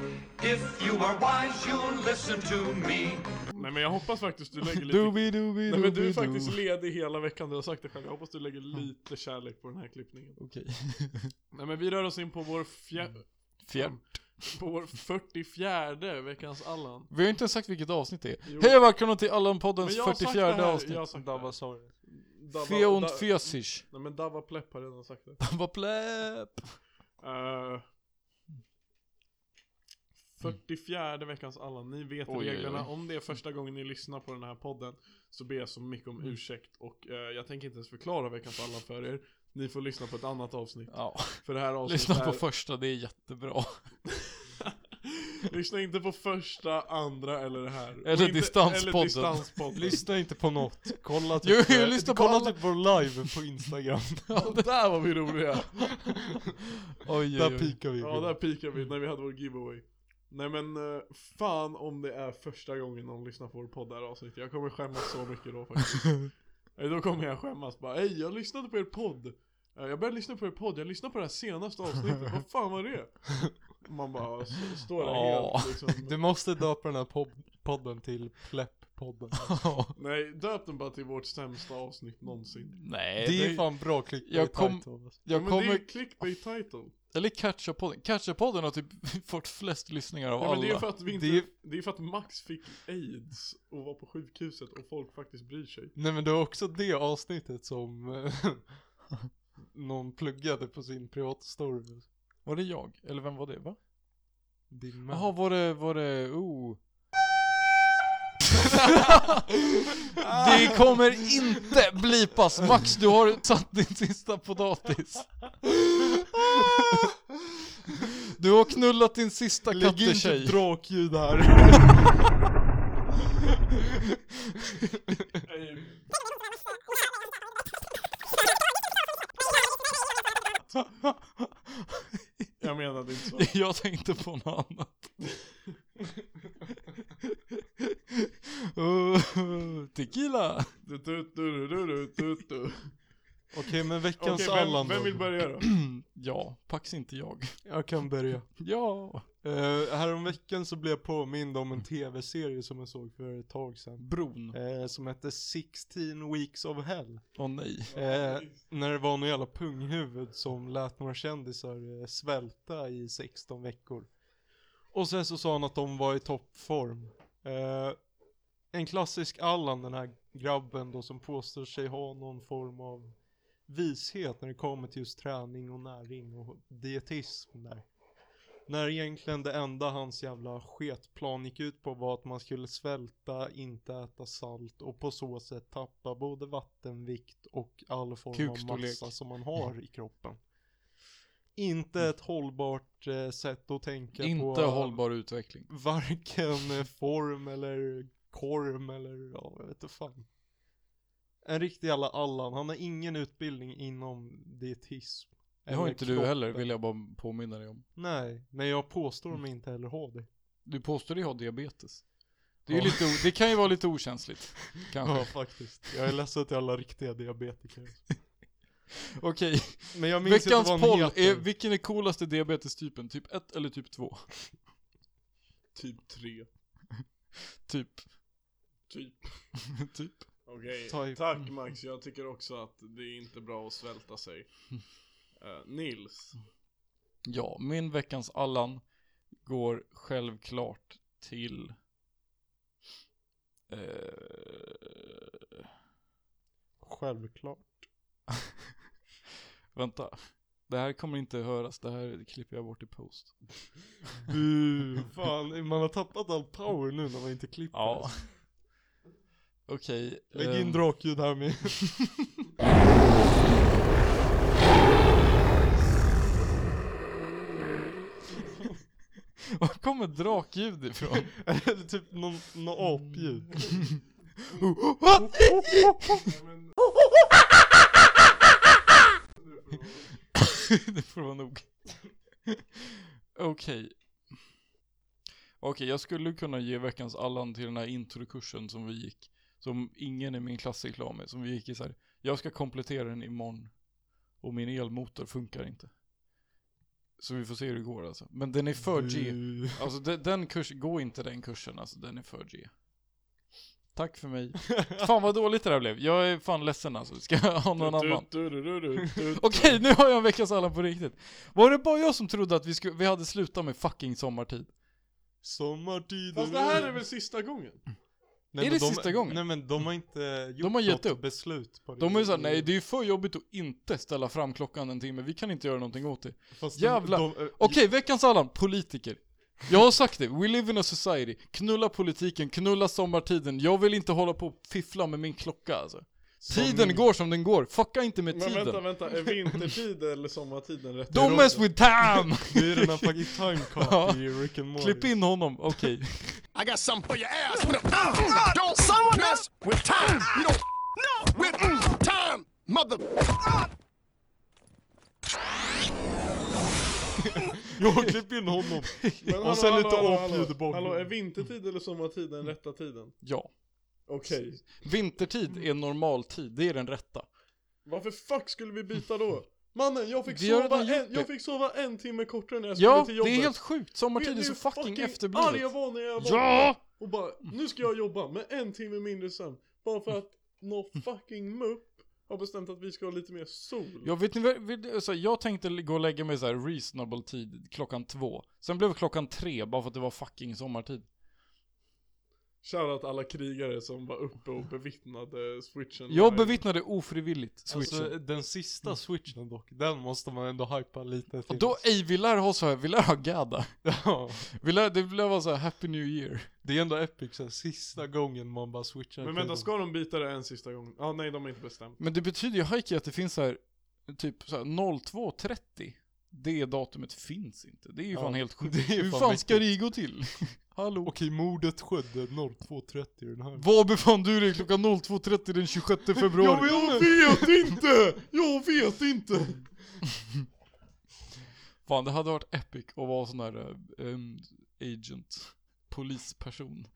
[SPEAKER 11] If you are wise, you'll listen to me.
[SPEAKER 4] Nej men jag hoppas faktiskt du lägger lite...
[SPEAKER 3] Dooby dooby
[SPEAKER 4] Nej men du
[SPEAKER 3] dooby
[SPEAKER 4] är faktiskt
[SPEAKER 3] doo.
[SPEAKER 4] ledig hela veckan, du har sagt det själv. Jag hoppas du lägger lite kärlek på den här klippningen.
[SPEAKER 3] Okej. Mm.
[SPEAKER 4] Nej men vi rör oss in på vår fjär...
[SPEAKER 3] Fjärm.
[SPEAKER 4] På vår 44 veckans Allan.
[SPEAKER 3] Vi har inte ens sagt vilket avsnitt det är.
[SPEAKER 4] Jo.
[SPEAKER 3] Hej och välkomna till Allan-poddens
[SPEAKER 4] Men jag har sagt
[SPEAKER 3] 44
[SPEAKER 4] det här,
[SPEAKER 3] avsnitt.
[SPEAKER 4] Jag har sagt det här.
[SPEAKER 6] Davasaurus.
[SPEAKER 4] Dabba-
[SPEAKER 3] Feont
[SPEAKER 4] Da-
[SPEAKER 3] fjösisch.
[SPEAKER 4] Nej men Dava Plepp har redan sagt det.
[SPEAKER 3] Vad pläpp.
[SPEAKER 4] Eh, 44 veckans alla, ni vet
[SPEAKER 3] Oj, oj,
[SPEAKER 4] reglerna.
[SPEAKER 3] oj.
[SPEAKER 4] Om det är första gången ni lyssnar på den här podden så ber jag så mycket
[SPEAKER 3] Mm.
[SPEAKER 4] om ursäkt och eh, jag tänker inte ens förklara veckans alla för er. Ni får lyssna på ett annat avsnitt.
[SPEAKER 3] Ja,
[SPEAKER 4] För det här avsnittet
[SPEAKER 3] lyssna på
[SPEAKER 4] är...
[SPEAKER 3] första, det är jättebra.
[SPEAKER 4] lyssna inte på första, andra eller det här. Och
[SPEAKER 3] Eller
[SPEAKER 4] inte-
[SPEAKER 3] distanspodden.
[SPEAKER 4] Eller distanspodden.
[SPEAKER 6] Lyssna inte på något. Kolla
[SPEAKER 3] Jo,
[SPEAKER 6] typ,
[SPEAKER 3] jo,
[SPEAKER 6] eh,
[SPEAKER 3] lyssna på
[SPEAKER 6] kolla
[SPEAKER 3] alla-
[SPEAKER 6] typ vår live på Instagram.
[SPEAKER 3] Ja, det där var vi roliga. oj,
[SPEAKER 6] där
[SPEAKER 3] oj, oj.
[SPEAKER 6] pikar vi.
[SPEAKER 4] ja, där peakade vi när vi hade vår giveaway. Nej men eh, fan om det är första gången någon lyssnar på vår podd det här avsnittet. Jag kommer skämmas så mycket då faktiskt. Nej, då kommer jag skämmas bara. Ey jag lyssnade på er podd. Eh, Jag började lyssna på er podd. Jag lyssnade på det här senaste avsnittet. Vad fan var det? Man bara s- står där
[SPEAKER 3] Ja.
[SPEAKER 4] helt liksom.
[SPEAKER 6] Du måste döpa den här pod- podden till Plepp-podden.
[SPEAKER 4] Nej döp den bara till vårt sämsta avsnitt någonsin.
[SPEAKER 3] Nej,
[SPEAKER 6] Det är fan bra klick
[SPEAKER 3] Jag kom-
[SPEAKER 4] Ja,
[SPEAKER 6] alltså.
[SPEAKER 3] Jag
[SPEAKER 4] men det är
[SPEAKER 3] kommer...
[SPEAKER 4] ju clickbait title.
[SPEAKER 3] Eller Catcha-podden. Catcha-podden har typ fått flest lyssningar av
[SPEAKER 4] Ja, men
[SPEAKER 3] alla.
[SPEAKER 4] det är ju för att vi inte,
[SPEAKER 6] Det är-
[SPEAKER 4] det är för att Max fick aids och var på sjukhuset och folk faktiskt bryr sig.
[SPEAKER 6] Nej men det var också det avsnittet som eh, någon pluggade på sin privata story.
[SPEAKER 3] Var det jag? Eller vem var det? Va?
[SPEAKER 6] Din man.
[SPEAKER 3] Jaha, var det... Var det... Oh. det kommer inte blipas. Max, du har satt din sista potatis. Du har knullat din sista
[SPEAKER 6] Lägg in typ
[SPEAKER 3] kattetjej.
[SPEAKER 6] drakljud här.
[SPEAKER 4] Jag menade inte så.
[SPEAKER 3] Jag tänkte på något annat. Uh, Tequila!
[SPEAKER 4] Du, du, du, du, du, du, du.
[SPEAKER 6] Okej men
[SPEAKER 4] Okej,
[SPEAKER 6] veckans
[SPEAKER 4] vem,
[SPEAKER 6] Allan
[SPEAKER 4] vem
[SPEAKER 6] då.
[SPEAKER 4] vill börja då?
[SPEAKER 3] Ja, pax inte jag.
[SPEAKER 6] Jag kan börja.
[SPEAKER 3] Ja,
[SPEAKER 6] Uh, häromveckan så blev jag påmind om en tv-serie som jag såg för ett tag sedan.
[SPEAKER 3] bron.
[SPEAKER 6] Eh, som hette 16 Weeks of Hell.
[SPEAKER 3] Åh nej.
[SPEAKER 6] Eh, när det var någon jävla punghuvud som lät några kändisar eh, svälta i 16 veckor. Och sen så sa han att de var i toppform. Eh, en klassisk Allan, den här grabben då som påstår sig ha någon form av vishet när det kommer till just träning och näring och dietism där. När egentligen det enda hans jävla sketplan gick ut på var att man skulle svälta, inte äta salt och på så sätt tappa både vattenvikt och all form av
[SPEAKER 3] Kukstorlek.
[SPEAKER 6] massa som man har i kroppen. Inte ett hållbart eh, sätt att tänka på.
[SPEAKER 3] Inte hållbar utveckling.
[SPEAKER 6] Varken eh, form eller korm eller ja, jag vet inte fan. En riktig jävla Allan. Han har ingen utbildning inom dietism.
[SPEAKER 3] Det har
[SPEAKER 6] Eller
[SPEAKER 3] inte du
[SPEAKER 6] kroppen.
[SPEAKER 3] heller, vill jag Mm. bara påminna dig om.
[SPEAKER 6] Nej, men jag påstår mig inte heller ha det.
[SPEAKER 3] Du påstår dig ha diabetes. Det, är ju
[SPEAKER 6] Ja.
[SPEAKER 3] lite, o- det kan ju vara lite okänsligt, kanske.
[SPEAKER 6] Ja, faktiskt. Jag är ledsen till alla riktiga diabetiker.
[SPEAKER 3] Okej.
[SPEAKER 6] Men jag minns inte
[SPEAKER 3] Veckans
[SPEAKER 6] vad han
[SPEAKER 3] poll
[SPEAKER 6] heter.
[SPEAKER 3] är, vilken är coolaste diabetestypen? Typ 1 eller typ 2?
[SPEAKER 4] Typ 3.
[SPEAKER 3] typ.
[SPEAKER 4] Typ.
[SPEAKER 3] typ.
[SPEAKER 4] Okej,
[SPEAKER 3] Typ.
[SPEAKER 4] tack Max. Jag tycker också att det är inte bra att svälta sig. Eh, Nils.
[SPEAKER 3] Ja, min veckans Allan går självklart till... Eh,
[SPEAKER 6] Självklart.
[SPEAKER 3] vänta. Det här kommer inte höras, det här klipper jag bort i post.
[SPEAKER 6] Bu, fan. Man har tappat all power nu när man inte klipper.
[SPEAKER 3] Ja. Okej.
[SPEAKER 6] Lägg in
[SPEAKER 3] ehm,
[SPEAKER 6] drakljud här med.
[SPEAKER 3] Var kommer drakljud ifrån?
[SPEAKER 6] Eller typ någon, någon apljud.
[SPEAKER 3] Oh, det får vara nog. Okej. Okej, jag skulle kunna ge veckans Allan till den här introkursen som vi gick. Som ingen i min klass är klar med. Som vi gick i så här. jag ska komplettera den imorgon. Och min elmotor funkar inte. Så vi får se hur det går alltså. Men den är för G.
[SPEAKER 6] Du.
[SPEAKER 3] Alltså de- den kursen, gå inte den kursen alltså, den är för G. Tack för mig. Fan vad dåligt det här blev. Jag är fan ledsen alltså. Ska jag ha någon annan?
[SPEAKER 4] Du, du, du, du, du, du.
[SPEAKER 3] Okej, nu har jag en veckans Allan på riktigt. Var det bara jag som trodde att vi, skulle, vi hade slutat med fucking sommartid?
[SPEAKER 6] Sommartiden.
[SPEAKER 4] Fast det här är väl sista gången?
[SPEAKER 6] Nej,
[SPEAKER 3] Mm. Är
[SPEAKER 6] men
[SPEAKER 3] det
[SPEAKER 6] de,
[SPEAKER 3] sista gången?
[SPEAKER 6] Nej men de har inte gjort
[SPEAKER 3] har gett
[SPEAKER 6] något
[SPEAKER 3] upp.
[SPEAKER 6] beslut på det.
[SPEAKER 3] De är ju såhär, nej det är ju för jobbigt att inte ställa fram klockan en timme, vi kan inte göra någonting åt det.
[SPEAKER 6] Fast
[SPEAKER 3] jävla-
[SPEAKER 6] de- eh,
[SPEAKER 3] Okej, veckans Allan, politiker. Jag har sagt det, we live in a society. Knulla politiken, knulla sommartiden. Jag vill inte hålla på och fiffla med min klocka alltså. Tiden går som den går, fucka inte med
[SPEAKER 4] Men vänta,
[SPEAKER 3] tiden.
[SPEAKER 4] vänta. Är vintertid eller sommartiden rätt?
[SPEAKER 3] Don't mess with time!
[SPEAKER 6] Det är den här fucking time
[SPEAKER 3] Ja.
[SPEAKER 6] cop i Rick and Morty.
[SPEAKER 3] Klipp in honom, okej.
[SPEAKER 10] I got something for your ass. With a, mm, don't someone mess with time. You don't no with mm, time, mother.
[SPEAKER 6] Jo, klipp in honom.
[SPEAKER 4] Men
[SPEAKER 6] Och sen lite apljud i
[SPEAKER 4] hallå.
[SPEAKER 6] bakgrunden.
[SPEAKER 4] hallå, är vintertid eller sommartid den rätta tiden?
[SPEAKER 3] Ja.
[SPEAKER 4] Okej.
[SPEAKER 3] Vintertid är normaltid, det är den rätta.
[SPEAKER 4] Varför fuck skulle vi byta då? Mannen, jag fick,
[SPEAKER 3] Vi har
[SPEAKER 4] sova
[SPEAKER 3] redan gjort
[SPEAKER 4] en, jag
[SPEAKER 3] det.
[SPEAKER 4] fick sova en timme kortare när jag skulle
[SPEAKER 3] Ja,
[SPEAKER 4] till
[SPEAKER 3] det
[SPEAKER 4] jobbet.
[SPEAKER 3] är helt sjukt.
[SPEAKER 4] Vet
[SPEAKER 3] Sommartid
[SPEAKER 4] ni
[SPEAKER 3] är så
[SPEAKER 4] hur
[SPEAKER 3] fucking
[SPEAKER 4] arg jag
[SPEAKER 3] efterblivet.
[SPEAKER 4] var när jag var
[SPEAKER 3] Ja!
[SPEAKER 4] och bara nu ska jag jobba med en timme mindre sömn. Bara för att någon fucking mupp har bestämt att vi ska ha lite mer sol.
[SPEAKER 3] Jag vet ni vad- vet, så här, jag tänkte gå och lägga mig så här reasonable tid klockan två. Sen blev det klockan tre bara för att det var fucking sommartid.
[SPEAKER 4] Shoutout alla krigare som var uppe och bevittnade switchen.
[SPEAKER 3] Jag
[SPEAKER 4] live.
[SPEAKER 3] bevittnade ofrivilligt switchen.
[SPEAKER 6] Alltså den sista switchen dock, den måste man ändå hypa lite till.
[SPEAKER 3] Mm. och då, ej vi lär ha så här, vi lär ha gada.
[SPEAKER 6] ja,
[SPEAKER 3] Vi lär, det lär vara så här happy new year.
[SPEAKER 6] det är ändå epic såhär, sista gången man bara switchar
[SPEAKER 4] Men vänta, ska de byta det en sista gång? Ja, ah, nej de har inte bestämt.
[SPEAKER 3] Men det betyder ju hajki att det finns så här, typ så här 02.30. Det datumet finns inte. Det är ju
[SPEAKER 6] Ja,
[SPEAKER 3] fan helt sjukt.
[SPEAKER 6] det är
[SPEAKER 3] Hur
[SPEAKER 6] fan
[SPEAKER 3] fan ska det
[SPEAKER 6] mäktigt.
[SPEAKER 3] gå till? Hallå?
[SPEAKER 6] Okej, mordet skedde 02.30 den här
[SPEAKER 3] Var befann du dig klockan 02.30 den 26 februari?
[SPEAKER 4] Jag vet inte! Jag vet inte!
[SPEAKER 3] Fan, det hade varit epic att vara sån här eh, em, agent, polisperson,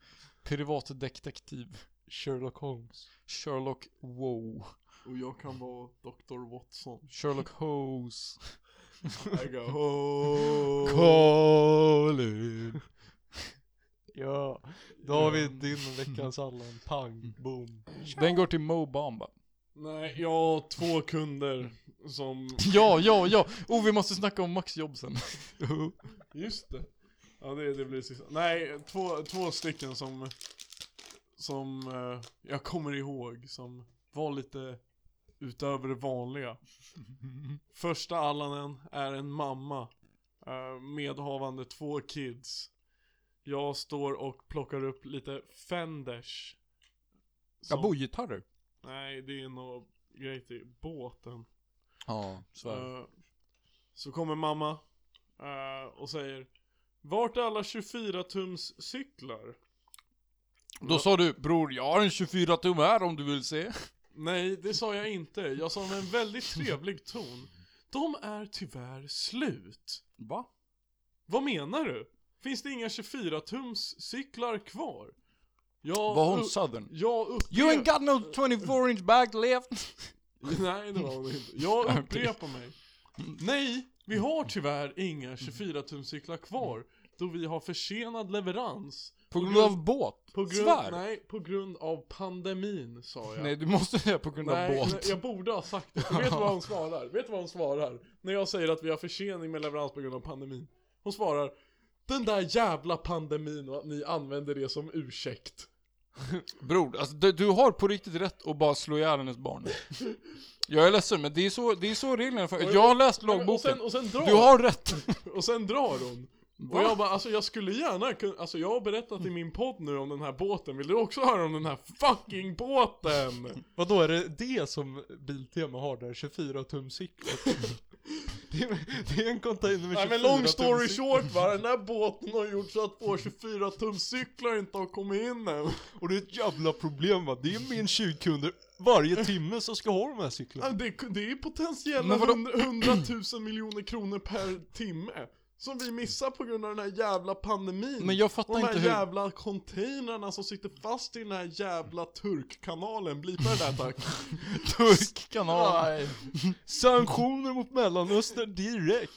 [SPEAKER 3] privatdetektiv,
[SPEAKER 6] Sherlock Holmes.
[SPEAKER 3] Sherlock Wow,
[SPEAKER 4] Och jag kan vara Dr. Watson.
[SPEAKER 3] Sherlock Hose,
[SPEAKER 4] I go, oh.
[SPEAKER 3] Colin.
[SPEAKER 6] Ja, då har vi din veckans Allan,
[SPEAKER 4] Mm.
[SPEAKER 6] pang, boom.
[SPEAKER 3] Den går till Mo Bamba.
[SPEAKER 4] Nej, jag har två kunder som...
[SPEAKER 3] Ja, ja, ja! Oh, vi måste snacka om Max jobb sen.
[SPEAKER 4] Just det. Ja det, det blir sista. Nej, två, två stycken som Som eh, jag kommer ihåg som var lite utöver det vanliga Första Allanen är en mamma eh, Medhavande två kids Jag står och plockar upp lite Fenders
[SPEAKER 3] Jag bor gitarrer.
[SPEAKER 4] Nej, det är nog grej till båten
[SPEAKER 3] Ja, så är det.
[SPEAKER 4] Eh, Så kommer mamma eh, och säger Vart är alla 24-tums cyklar?
[SPEAKER 3] Då sa du, bror jag har en 24 tum här om du vill se.
[SPEAKER 4] Nej, det sa jag inte. Jag sa med en väldigt trevlig ton. De är tyvärr slut.
[SPEAKER 3] Va?
[SPEAKER 4] Vad menar du? Finns det inga 24-tums cyklar kvar? Jag
[SPEAKER 3] Var hon
[SPEAKER 4] u-
[SPEAKER 3] southern?
[SPEAKER 4] Jag
[SPEAKER 3] You
[SPEAKER 4] upprepar...
[SPEAKER 3] ain't got no 24 inch bag left.
[SPEAKER 4] Nej, det var hon inte. Jag upprepar mig. Nej, vi har tyvärr inga 24-tums cyklar kvar. Då vi har försenad leverans.
[SPEAKER 3] På grund av båt.
[SPEAKER 4] På grund,
[SPEAKER 3] Svär.
[SPEAKER 4] nej, på grund av pandemin sa jag.
[SPEAKER 3] Nej, du måste säga på grund av
[SPEAKER 4] Nej,
[SPEAKER 3] båt.
[SPEAKER 4] nej, jag borde ha sagt det. Vet du vad hon svarar? Vet du vad hon svarar? När jag säger att vi har försening med leverans på grund av pandemin. Hon svarar Den där jävla pandemin och att ni använder det som ursäkt.
[SPEAKER 3] Bror, alltså, du, du har på riktigt rätt att bara slå ihjäl hennes barn. Jag är ledsen men det är så, det är så reglerna för. Jag har läst
[SPEAKER 4] Nej, men-
[SPEAKER 3] lagboken.
[SPEAKER 4] Och sen, och sen drar,
[SPEAKER 3] Du har rätt.
[SPEAKER 4] och sen drar hon.
[SPEAKER 3] Va?
[SPEAKER 4] Och jag bara, alltså jag skulle gärna kunna, alltså jag har berättat i min podd nu om den här båten, vill du också höra om den här fucking båten?
[SPEAKER 6] Vadå, är det det som Biltema har där? 24 tum cyklar? det, är, det är en container med 24
[SPEAKER 4] Nej men long story
[SPEAKER 6] tum cyklar.
[SPEAKER 4] short va, den här båten har gjort så att vår 24 tums cyklar inte har kommit in än.
[SPEAKER 6] Och det är ett jävla problem va? Det är minst 20 kunder varje timme som ska ha de här
[SPEAKER 4] Ja,
[SPEAKER 6] cyklarna.
[SPEAKER 4] Det, det är potentiella
[SPEAKER 3] Men vadå?
[SPEAKER 4] 100 000 miljoner kronor per timme som vi missar på grund av den här jävla pandemin.
[SPEAKER 3] Men jag fattar
[SPEAKER 4] och de här
[SPEAKER 3] inte hur-
[SPEAKER 4] jävla containrarna som sitter fast i den här jävla turkkanalen. Blipa det där tack.
[SPEAKER 3] Turkkanal.
[SPEAKER 6] Sanktioner mot Mellanöstern direkt.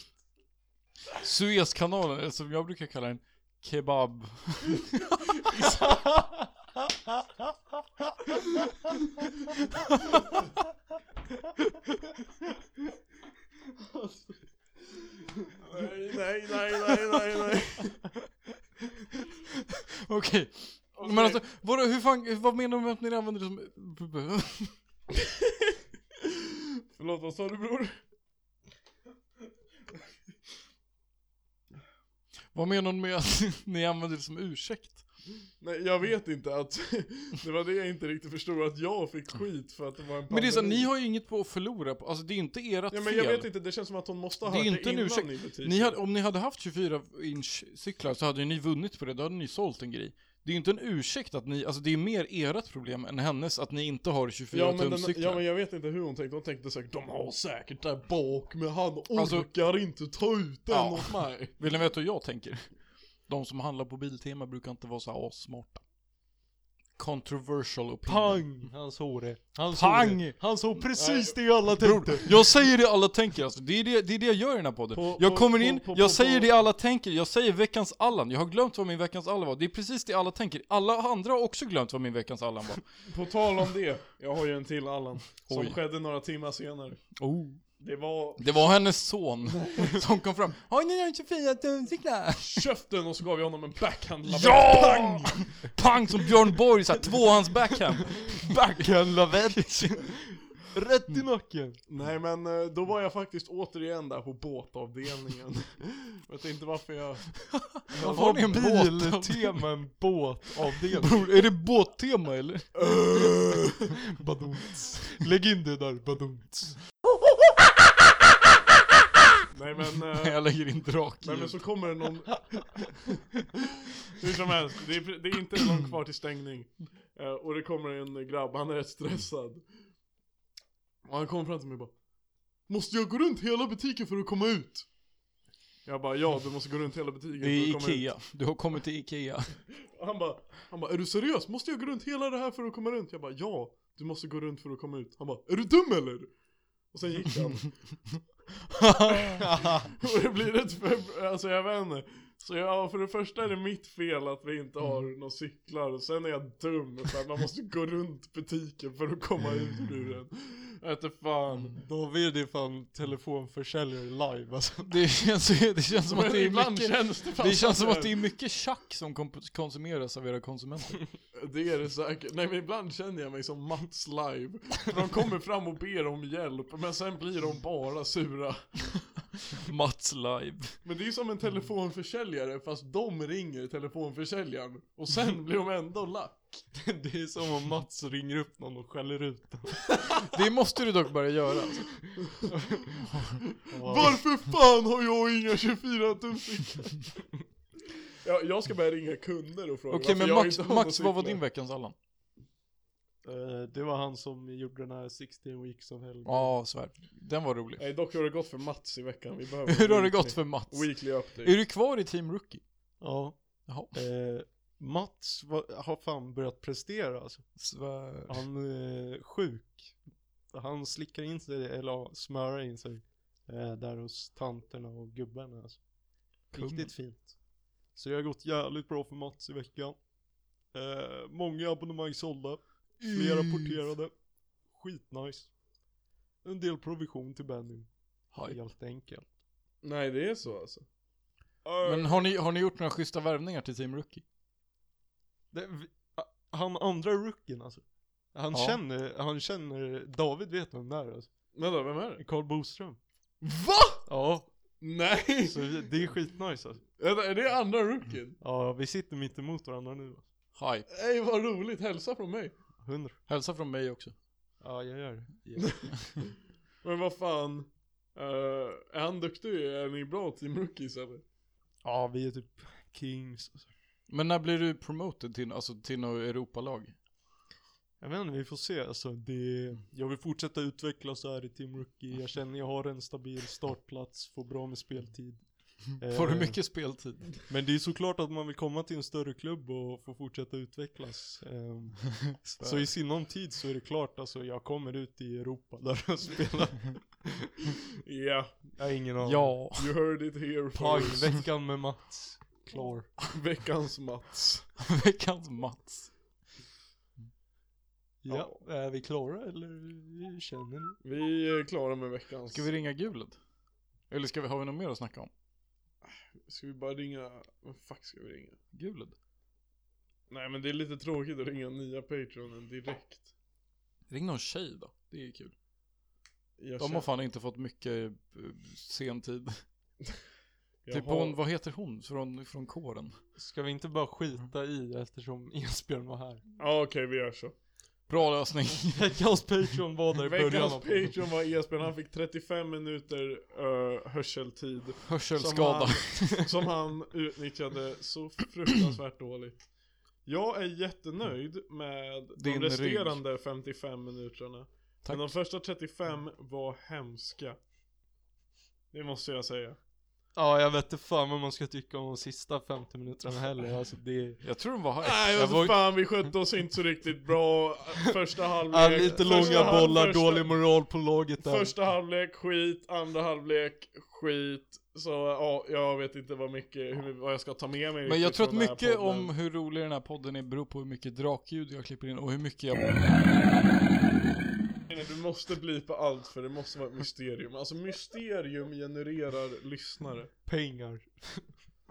[SPEAKER 3] Suezkanalen, eller som jag brukar kalla den, kebab.
[SPEAKER 4] nej, nej, nej, nej, nej, nej.
[SPEAKER 3] Okej. Men alltså, vadå, hur fan, vad menar du med att ni använder det som...
[SPEAKER 4] Förlåt, vad sa du bror?
[SPEAKER 3] Vad menar du med att ni använder det som ursäkt?
[SPEAKER 4] Nej, jag vet inte att det var det jag inte riktigt förstod, att jag fick skit för att det var en pandemi.
[SPEAKER 3] Men det är så, här, ni har ju inget på att förlora på, alltså det är inte ert
[SPEAKER 4] Ja men
[SPEAKER 3] fel.
[SPEAKER 4] jag vet inte, det känns som att hon måste ha
[SPEAKER 3] Det är
[SPEAKER 4] hört
[SPEAKER 3] inte
[SPEAKER 4] det
[SPEAKER 3] en
[SPEAKER 4] innan
[SPEAKER 3] ursäkt.
[SPEAKER 4] i butiken.
[SPEAKER 3] Ni hade, om ni hade haft 24 inch cyklar så hade ju ni vunnit på det, då hade ni sålt en grej. Det är ju inte en ursäkt att ni, alltså det är mer ert problem än hennes att ni inte har 24
[SPEAKER 4] Ja men,
[SPEAKER 3] tum
[SPEAKER 4] den,
[SPEAKER 3] cyklar.
[SPEAKER 4] ja men jag vet inte hur hon tänkte, hon tänkte säkert de har säkert där bak men han orkar
[SPEAKER 3] Alltså-
[SPEAKER 4] inte ta ut den
[SPEAKER 3] Ja.
[SPEAKER 4] åt mig.
[SPEAKER 3] Vill ni veta hur jag tänker? De som handlar på Biltema brukar inte vara så här assmarta. Controversial opinion.
[SPEAKER 6] Pang! Han såg det. Han såg
[SPEAKER 3] Pang!
[SPEAKER 6] det. Han såg precis det alla tänkte.
[SPEAKER 3] Jag säger det alla tänker alltså, det är det, det, är det jag gör i den här podden.
[SPEAKER 4] På-
[SPEAKER 3] jag
[SPEAKER 4] på-
[SPEAKER 3] kommer
[SPEAKER 4] på-
[SPEAKER 3] in,
[SPEAKER 4] på- på-
[SPEAKER 3] jag
[SPEAKER 4] på-
[SPEAKER 3] säger det alla tänker, jag säger veckans Allan. Jag har glömt vad min veckans Allan var. Det är precis det alla tänker. Alla andra har också glömt vad min veckans Allan var.
[SPEAKER 4] På tal om det, jag har ju en till Allan. Som
[SPEAKER 3] Oj.
[SPEAKER 4] skedde några timmar senare.
[SPEAKER 3] Oh.
[SPEAKER 4] Det var
[SPEAKER 3] Det var hennes son som kom fram. Har ni någon 24 tumcyklar?
[SPEAKER 4] köften och så gav jag honom en backhand
[SPEAKER 3] Ja! Pang! Pang som Björn Borg såhär, tvåhands backhand. Backhand lavett.
[SPEAKER 6] Rätt i nacken.
[SPEAKER 4] Nej men eh, då var jag faktiskt återigen där på båtavdelningen. jag vet inte varför jag...
[SPEAKER 3] Vad
[SPEAKER 6] Har
[SPEAKER 3] var det en båt?
[SPEAKER 6] Biltema en båt av det?
[SPEAKER 3] Bror, är det båttema eller?
[SPEAKER 4] Uh.
[SPEAKER 6] Badumts. Lägg in det där, badumts.
[SPEAKER 4] Nej men... eh,
[SPEAKER 3] Jag lägger in drake.
[SPEAKER 4] Nej men så kommer det någon... Hur som helst, det är, det är inte långt kvar till stängning. Eh, och det kommer en grabb, han är rätt stressad. Och han kommer fram till mig och bara Måste jag gå runt hela butiken för att komma ut? Jag bara ja, du måste gå runt hela butiken
[SPEAKER 3] Det
[SPEAKER 4] för
[SPEAKER 3] är
[SPEAKER 4] att komma
[SPEAKER 3] Ikea. Du har kommit till Ikea.
[SPEAKER 4] ut. Och han bara, han bara är du seriös? Måste jag gå runt hela det här för att komma runt? Jag bara ja, du måste gå runt för att komma ut. Han bara är du dum eller? Och sen gick han. Och det blir ett för... Alltså jag vet inte. Så ja, för det första är det mitt fel att vi inte har
[SPEAKER 3] Mm.
[SPEAKER 4] några cyklar. Och sen är jag dum för att man måste gå runt butiken för att komma ut ur den. Vete
[SPEAKER 3] Mm.
[SPEAKER 4] fan.
[SPEAKER 6] David är fan telefonförsäljare live alltså.
[SPEAKER 3] Det känns, det känns som att det är
[SPEAKER 4] Ibland
[SPEAKER 3] mycket,
[SPEAKER 4] känns det
[SPEAKER 3] det,
[SPEAKER 4] fan
[SPEAKER 3] känns som
[SPEAKER 4] så.
[SPEAKER 3] att det är mycket tjack som komp- konsumeras av era konsumenter.
[SPEAKER 4] Det är det säkert. Nej men ibland känner jag mig som Mats live. För de kommer fram och ber om hjälp, men sen blir de bara sura.
[SPEAKER 3] Mats live.
[SPEAKER 4] Men det är ju
[SPEAKER 6] Mm.
[SPEAKER 4] som en telefonförsäljare, fast de ringer telefonförsäljaren. Och sen blir de ändå lack.
[SPEAKER 6] Det är som om Mats ringer upp någon och skäller ut den.
[SPEAKER 3] Det måste du dock börja göra. Alltså.
[SPEAKER 4] Varför fan har jag inga 24 tusen jag, jag ska börja ringa kunder och fråga
[SPEAKER 3] Okej
[SPEAKER 4] varför
[SPEAKER 3] men
[SPEAKER 4] Alltså, jag inte har
[SPEAKER 3] Max,
[SPEAKER 4] några
[SPEAKER 3] Max vad var
[SPEAKER 4] cyklar.
[SPEAKER 3] din veckans Allan?
[SPEAKER 6] Eh, Det var han som gjorde den här 16 weeks of hell.
[SPEAKER 3] Ja, svär. Den var rolig.
[SPEAKER 4] Nej dock hur har det gått för Mats i veckan? Vi behöver
[SPEAKER 3] Hur har det
[SPEAKER 4] weekly-
[SPEAKER 3] gått för Mats?
[SPEAKER 4] Weekly update.
[SPEAKER 3] Är du kvar i Team Rookie?
[SPEAKER 6] Ja.
[SPEAKER 3] Jaha.
[SPEAKER 6] Eh, Mats var, har fan börjat prestera alltså.
[SPEAKER 3] Svär.
[SPEAKER 6] Han är sjuk. Han slickar in sig, eller ja, smörar in sig. Eh, där hos tanterna och gubbarna alltså. Riktigt fint. Så det har gått jävligt bra för Mats i veckan. Eh, många abonnemang sålda. Flera porterade. Skitnice. En del provision till Benny. Helt enkelt.
[SPEAKER 4] Nej det är så alltså. Äh.
[SPEAKER 3] Men har ni, har ni gjort några schyssta värvningar till Team Rookie?
[SPEAKER 6] Det, vi- a- han andra rookien alltså. Han,
[SPEAKER 3] Ja.
[SPEAKER 6] känner, han känner, David vet vem det är alltså.
[SPEAKER 4] Vänta, vem är det?
[SPEAKER 6] Carl Boström.
[SPEAKER 4] VA?
[SPEAKER 6] Ja,
[SPEAKER 4] Nej!
[SPEAKER 6] så vi- det är skitnice alltså.
[SPEAKER 4] Vänta, är det andra rookien?
[SPEAKER 6] Ja, vi sitter mitt emot varandra nu. alltså.
[SPEAKER 3] Hi.
[SPEAKER 4] Nej vad roligt, hälsa från mig.
[SPEAKER 6] Hundra.
[SPEAKER 3] Hälsa från mig också.
[SPEAKER 6] Ja, jag gör det.
[SPEAKER 4] Men vad fan. eh, är han duktig? Är ni bra team rookies eller?
[SPEAKER 6] Ja, vi är typ kings. alltså.
[SPEAKER 3] Men när blir du promoted till, alltså, till något Europalag?
[SPEAKER 6] Jag vet inte, vi får se alltså. Det, jag vill fortsätta utvecklas så här i Team Rookie. Jag känner jag har en stabil startplats, får bra med speltid.
[SPEAKER 3] Får du
[SPEAKER 6] Eh,
[SPEAKER 3] mycket
[SPEAKER 4] Äh.
[SPEAKER 3] speltid?
[SPEAKER 6] Men det är såklart att man vill komma till en större klubb och få fortsätta utvecklas. Ehm, så i sinom tid så är det klart, alltså jag kommer ut i Europa där och spelar.
[SPEAKER 4] Ja,
[SPEAKER 6] Jag har ingen aning.
[SPEAKER 3] Ja.
[SPEAKER 4] you heard it here
[SPEAKER 6] Pang,
[SPEAKER 4] first.
[SPEAKER 6] veckan med Mats. Klar.
[SPEAKER 4] Veckans Mats.
[SPEAKER 3] Veckans Mats.
[SPEAKER 6] Ja, är vi klara eller känner ni?
[SPEAKER 4] Vi är klara med veckans.
[SPEAKER 3] Ska vi ringa Gulet? Eller ska vi, har vi något mer att snacka om?
[SPEAKER 4] Ska vi bara ringa? Vad fuck ska vi ringa?
[SPEAKER 3] Gulet?
[SPEAKER 4] Nej men det är lite tråkigt att ringa nya Patreonen direkt.
[SPEAKER 3] Ring någon tjej då. Det är kul.
[SPEAKER 4] Jag
[SPEAKER 3] De
[SPEAKER 4] känner-
[SPEAKER 3] har fan inte fått mycket eh, sen tid.
[SPEAKER 4] jag
[SPEAKER 3] Typ
[SPEAKER 4] har-
[SPEAKER 3] hon, vad heter hon från, från kåren?
[SPEAKER 6] Ska vi inte bara skita i eftersom Esbjörn var här?
[SPEAKER 4] Ja okej vi gör så.
[SPEAKER 3] Bra lösning.
[SPEAKER 6] Veckans Patreon var där i början
[SPEAKER 4] Veckans
[SPEAKER 6] av
[SPEAKER 4] Patreon var Esbjörn, han fick 35 minuter eh, hörseltid.
[SPEAKER 3] Hörselskada.
[SPEAKER 4] Som han, som han utnyttjade så fruktansvärt dåligt. Jag är jättenöjd med
[SPEAKER 3] Din
[SPEAKER 4] de resterande 55 minuterna.
[SPEAKER 3] Tack.
[SPEAKER 4] Men de första 35 var hemska. Det måste jag säga.
[SPEAKER 6] Ja, jag vet inte fan vad man ska tycka om de sista 50 minuterna heller. Alltså det...
[SPEAKER 3] Jag tror de var här.
[SPEAKER 4] Nej,
[SPEAKER 3] jag
[SPEAKER 4] alltså
[SPEAKER 3] var,
[SPEAKER 4] fan vi skötte oss inte så riktigt bra första halvlek.
[SPEAKER 6] Ja, lite
[SPEAKER 4] första
[SPEAKER 6] långa
[SPEAKER 4] halv-
[SPEAKER 6] bollar,
[SPEAKER 4] första-
[SPEAKER 6] dålig moral på laget där.
[SPEAKER 4] Första halvlek skit, andra halvlek skit. Så ja, jag vet inte vad mycket, hur, vad jag ska ta med mig.
[SPEAKER 3] men jag
[SPEAKER 4] riktigt
[SPEAKER 3] tror att
[SPEAKER 4] från den här
[SPEAKER 3] mycket
[SPEAKER 4] podden.
[SPEAKER 3] om hur rolig den här podden är beror på hur mycket drakljud jag klipper in och hur mycket jag...
[SPEAKER 4] Nej, Du måste blipa allt för det måste vara ett mysterium. Alltså mysterium genererar lyssnare.
[SPEAKER 6] Pengar.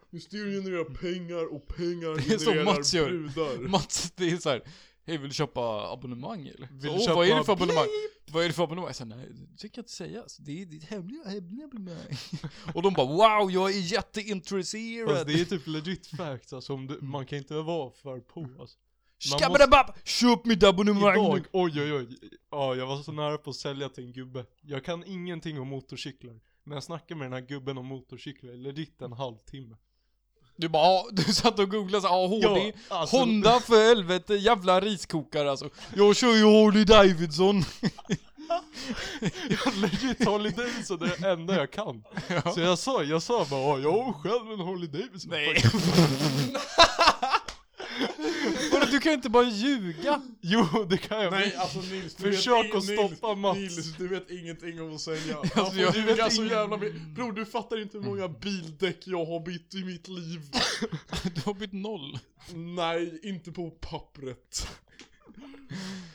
[SPEAKER 4] Mysterium genererar pengar och pengar
[SPEAKER 3] Det är som
[SPEAKER 4] genererar
[SPEAKER 3] Mats gör.
[SPEAKER 4] brudar.
[SPEAKER 3] Mats, det är så här. Hej, vill du köpa abonnemang eller?
[SPEAKER 6] Vill
[SPEAKER 3] Så,
[SPEAKER 6] du
[SPEAKER 3] "Åh,
[SPEAKER 6] köpa
[SPEAKER 3] vad är det för abonnemang? Vad är det för abonnemang? Jag säger, nej, det tycker jag inte sägas. Det är ditt hemliga, hemliga abonnemang. och de bara, wow, jag är
[SPEAKER 6] Fast
[SPEAKER 3] jätteintresserad.
[SPEAKER 6] det är typ legit facts alltså, om du, man kan inte vara för på alltså. man
[SPEAKER 3] Skabbadabab! Köp mitt abonnemang
[SPEAKER 6] Idag, oj oj oj. Ja, jag var så nära på att sälja till en gubbe. Jag kan ingenting om motorcyklar. Men jag snackade med den här gubben om motorcyklar, legit en halvtimme.
[SPEAKER 3] Du bara, "Ja, du satt och googlade såhär, HD,
[SPEAKER 6] Ja, alltså-
[SPEAKER 3] Honda för helvete, jävla riskokare alltså. Jag kör ju Harley Davidson.
[SPEAKER 6] Legit Harley Davidson är det enda jag kan. Så jag sa, jag sa bara "Ja, jag har själv en Harley Davidson.
[SPEAKER 3] Nej. Vadå, du kan inte bara ljuga.
[SPEAKER 6] Jo, det kan jag
[SPEAKER 4] Nej
[SPEAKER 6] visst.
[SPEAKER 4] alltså Nils, du
[SPEAKER 6] Försök
[SPEAKER 4] vet,
[SPEAKER 6] att stoppa Mats.
[SPEAKER 4] Nils, du vet ingenting om att sälja.
[SPEAKER 3] Alltså, Mm. jag
[SPEAKER 4] du
[SPEAKER 3] vet
[SPEAKER 4] vet så
[SPEAKER 3] ingen-
[SPEAKER 4] jävla mycket. Bror du fattar inte hur många bildäck jag har bytt i mitt liv.
[SPEAKER 3] Du har bytt noll.
[SPEAKER 4] Nej, inte på pappret.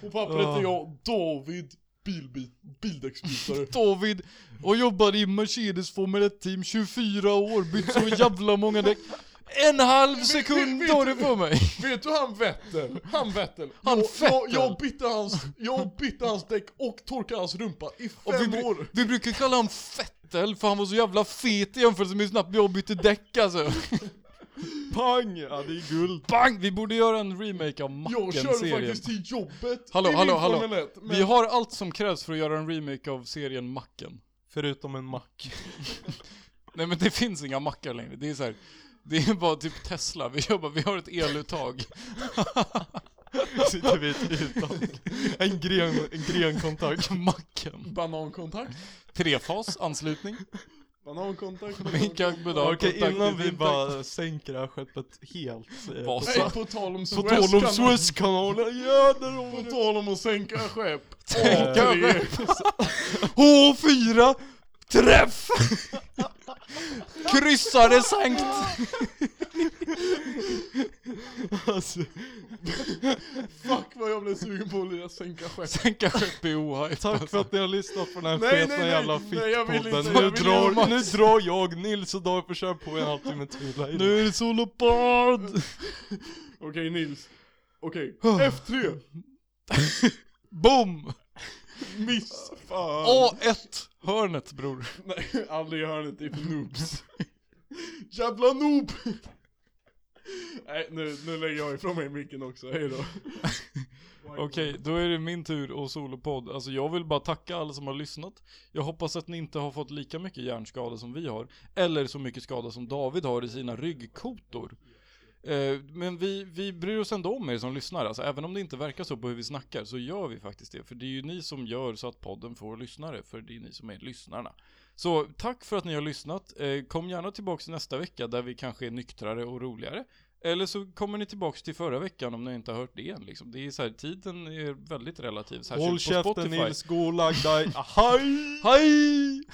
[SPEAKER 4] På pappret är jag David
[SPEAKER 3] bilbit, bildäcksbytare. David, och jobbar i Mercedes Formel 1 team, 24 år, bytt så jävla många däck. En halv sekund tar det för mig.
[SPEAKER 4] Vet du han Vettel? Han Vettel.
[SPEAKER 3] Han
[SPEAKER 4] jag, jag,
[SPEAKER 3] Vettel.
[SPEAKER 4] jag, bytte hans, jag bytte hans däck och torkade hans rumpa i
[SPEAKER 3] Och vi,
[SPEAKER 4] fem
[SPEAKER 3] bru-
[SPEAKER 4] år.
[SPEAKER 3] vi brukar kalla honom Fettel för han var så jävla fet i jämförelse med hur snabbt jag bytte däck alltså.
[SPEAKER 8] Pang! Ja det är guld.
[SPEAKER 3] Bang! Vi borde göra en remake av
[SPEAKER 4] Jag körde
[SPEAKER 3] Macken-serien.
[SPEAKER 4] faktiskt till jobbet
[SPEAKER 3] Hallå,
[SPEAKER 4] i min
[SPEAKER 3] hallå, hallå.
[SPEAKER 4] Formel 1, men
[SPEAKER 3] Vi har allt som krävs för att göra en remake av serien Macken.
[SPEAKER 6] Förutom en mack.
[SPEAKER 3] Nej men det finns inga mackar längre, det är så här. Det är bara typ Tesla, vi jobbar, vi har ett eluttag.
[SPEAKER 6] Sitter vi i ett uttag. En gren, en grenkontakt.
[SPEAKER 3] Macken.
[SPEAKER 4] banankontakt.
[SPEAKER 3] Trefas, anslutning.
[SPEAKER 4] Banankontakt.
[SPEAKER 3] Vilka
[SPEAKER 4] banankontakt.
[SPEAKER 3] bedömningar?
[SPEAKER 6] Okej innan vi
[SPEAKER 3] Kontaktigt,
[SPEAKER 6] bara sänker det här skeppet helt. eh,
[SPEAKER 3] Vad
[SPEAKER 6] på-
[SPEAKER 3] sa-
[SPEAKER 4] Nej, på tal om
[SPEAKER 6] På tal om
[SPEAKER 4] Suezkan.
[SPEAKER 6] Suezkanalen, jädrar om
[SPEAKER 4] På tal om att sänka skepp.
[SPEAKER 6] Eh.
[SPEAKER 3] Tänka
[SPEAKER 4] Åh,
[SPEAKER 3] mig. H4! Träff! Kryssade sankt!
[SPEAKER 6] alltså.
[SPEAKER 4] Fuck vad jag blev sugen på att lira sänka skepp.
[SPEAKER 3] Sänka skepp i ohype
[SPEAKER 6] Tack för att ni har lyssnat på den här
[SPEAKER 4] Nej, nej,
[SPEAKER 6] feta
[SPEAKER 4] nej,
[SPEAKER 6] jävla
[SPEAKER 4] nej, jag vill
[SPEAKER 6] fittpodden.
[SPEAKER 4] inte, jag vill
[SPEAKER 6] Nu, drar-
[SPEAKER 4] göra
[SPEAKER 6] nu drar jag, Nils och David försöker på en halvtimme till. här idag.
[SPEAKER 3] Nu är det solopad!
[SPEAKER 4] Okej Nils. Okej. F3.
[SPEAKER 3] Boom!
[SPEAKER 4] Miss. Fan.
[SPEAKER 3] Ah. A1! Hörnet bror.
[SPEAKER 4] Nej, aldrig i hörnet. Det är för noobs. Jävla noob. Nej, nu, nu lägger jag ifrån mig micken också. Hej då.
[SPEAKER 3] Okej, då är det min tur och solopodd. Alltså jag vill bara tacka alla som har lyssnat. Jag hoppas att ni inte har fått lika mycket hjärnskada som vi har. Eller så mycket skada som David har i sina ryggkotor. Eh, Men vi, vi bryr oss ändå om er som lyssnar. Alltså, även om det inte verkar så på hur vi snackar så gör vi faktiskt det. För det är ju ni som gör så att podden får lyssnare. För det är ni som är lyssnarna. Så tack för att ni har lyssnat. Eh, Kom gärna tillbaka nästa vecka där vi kanske är nyktrare och roligare. Eller så kommer ni tillbaks till förra veckan om ni inte har hört det än liksom. Det är så här, tiden är väldigt relativ. Särskilt
[SPEAKER 6] Håll
[SPEAKER 3] på
[SPEAKER 6] käften
[SPEAKER 3] Spotify.
[SPEAKER 6] Nils, gå och lägg dig. Hej!
[SPEAKER 3] Hej!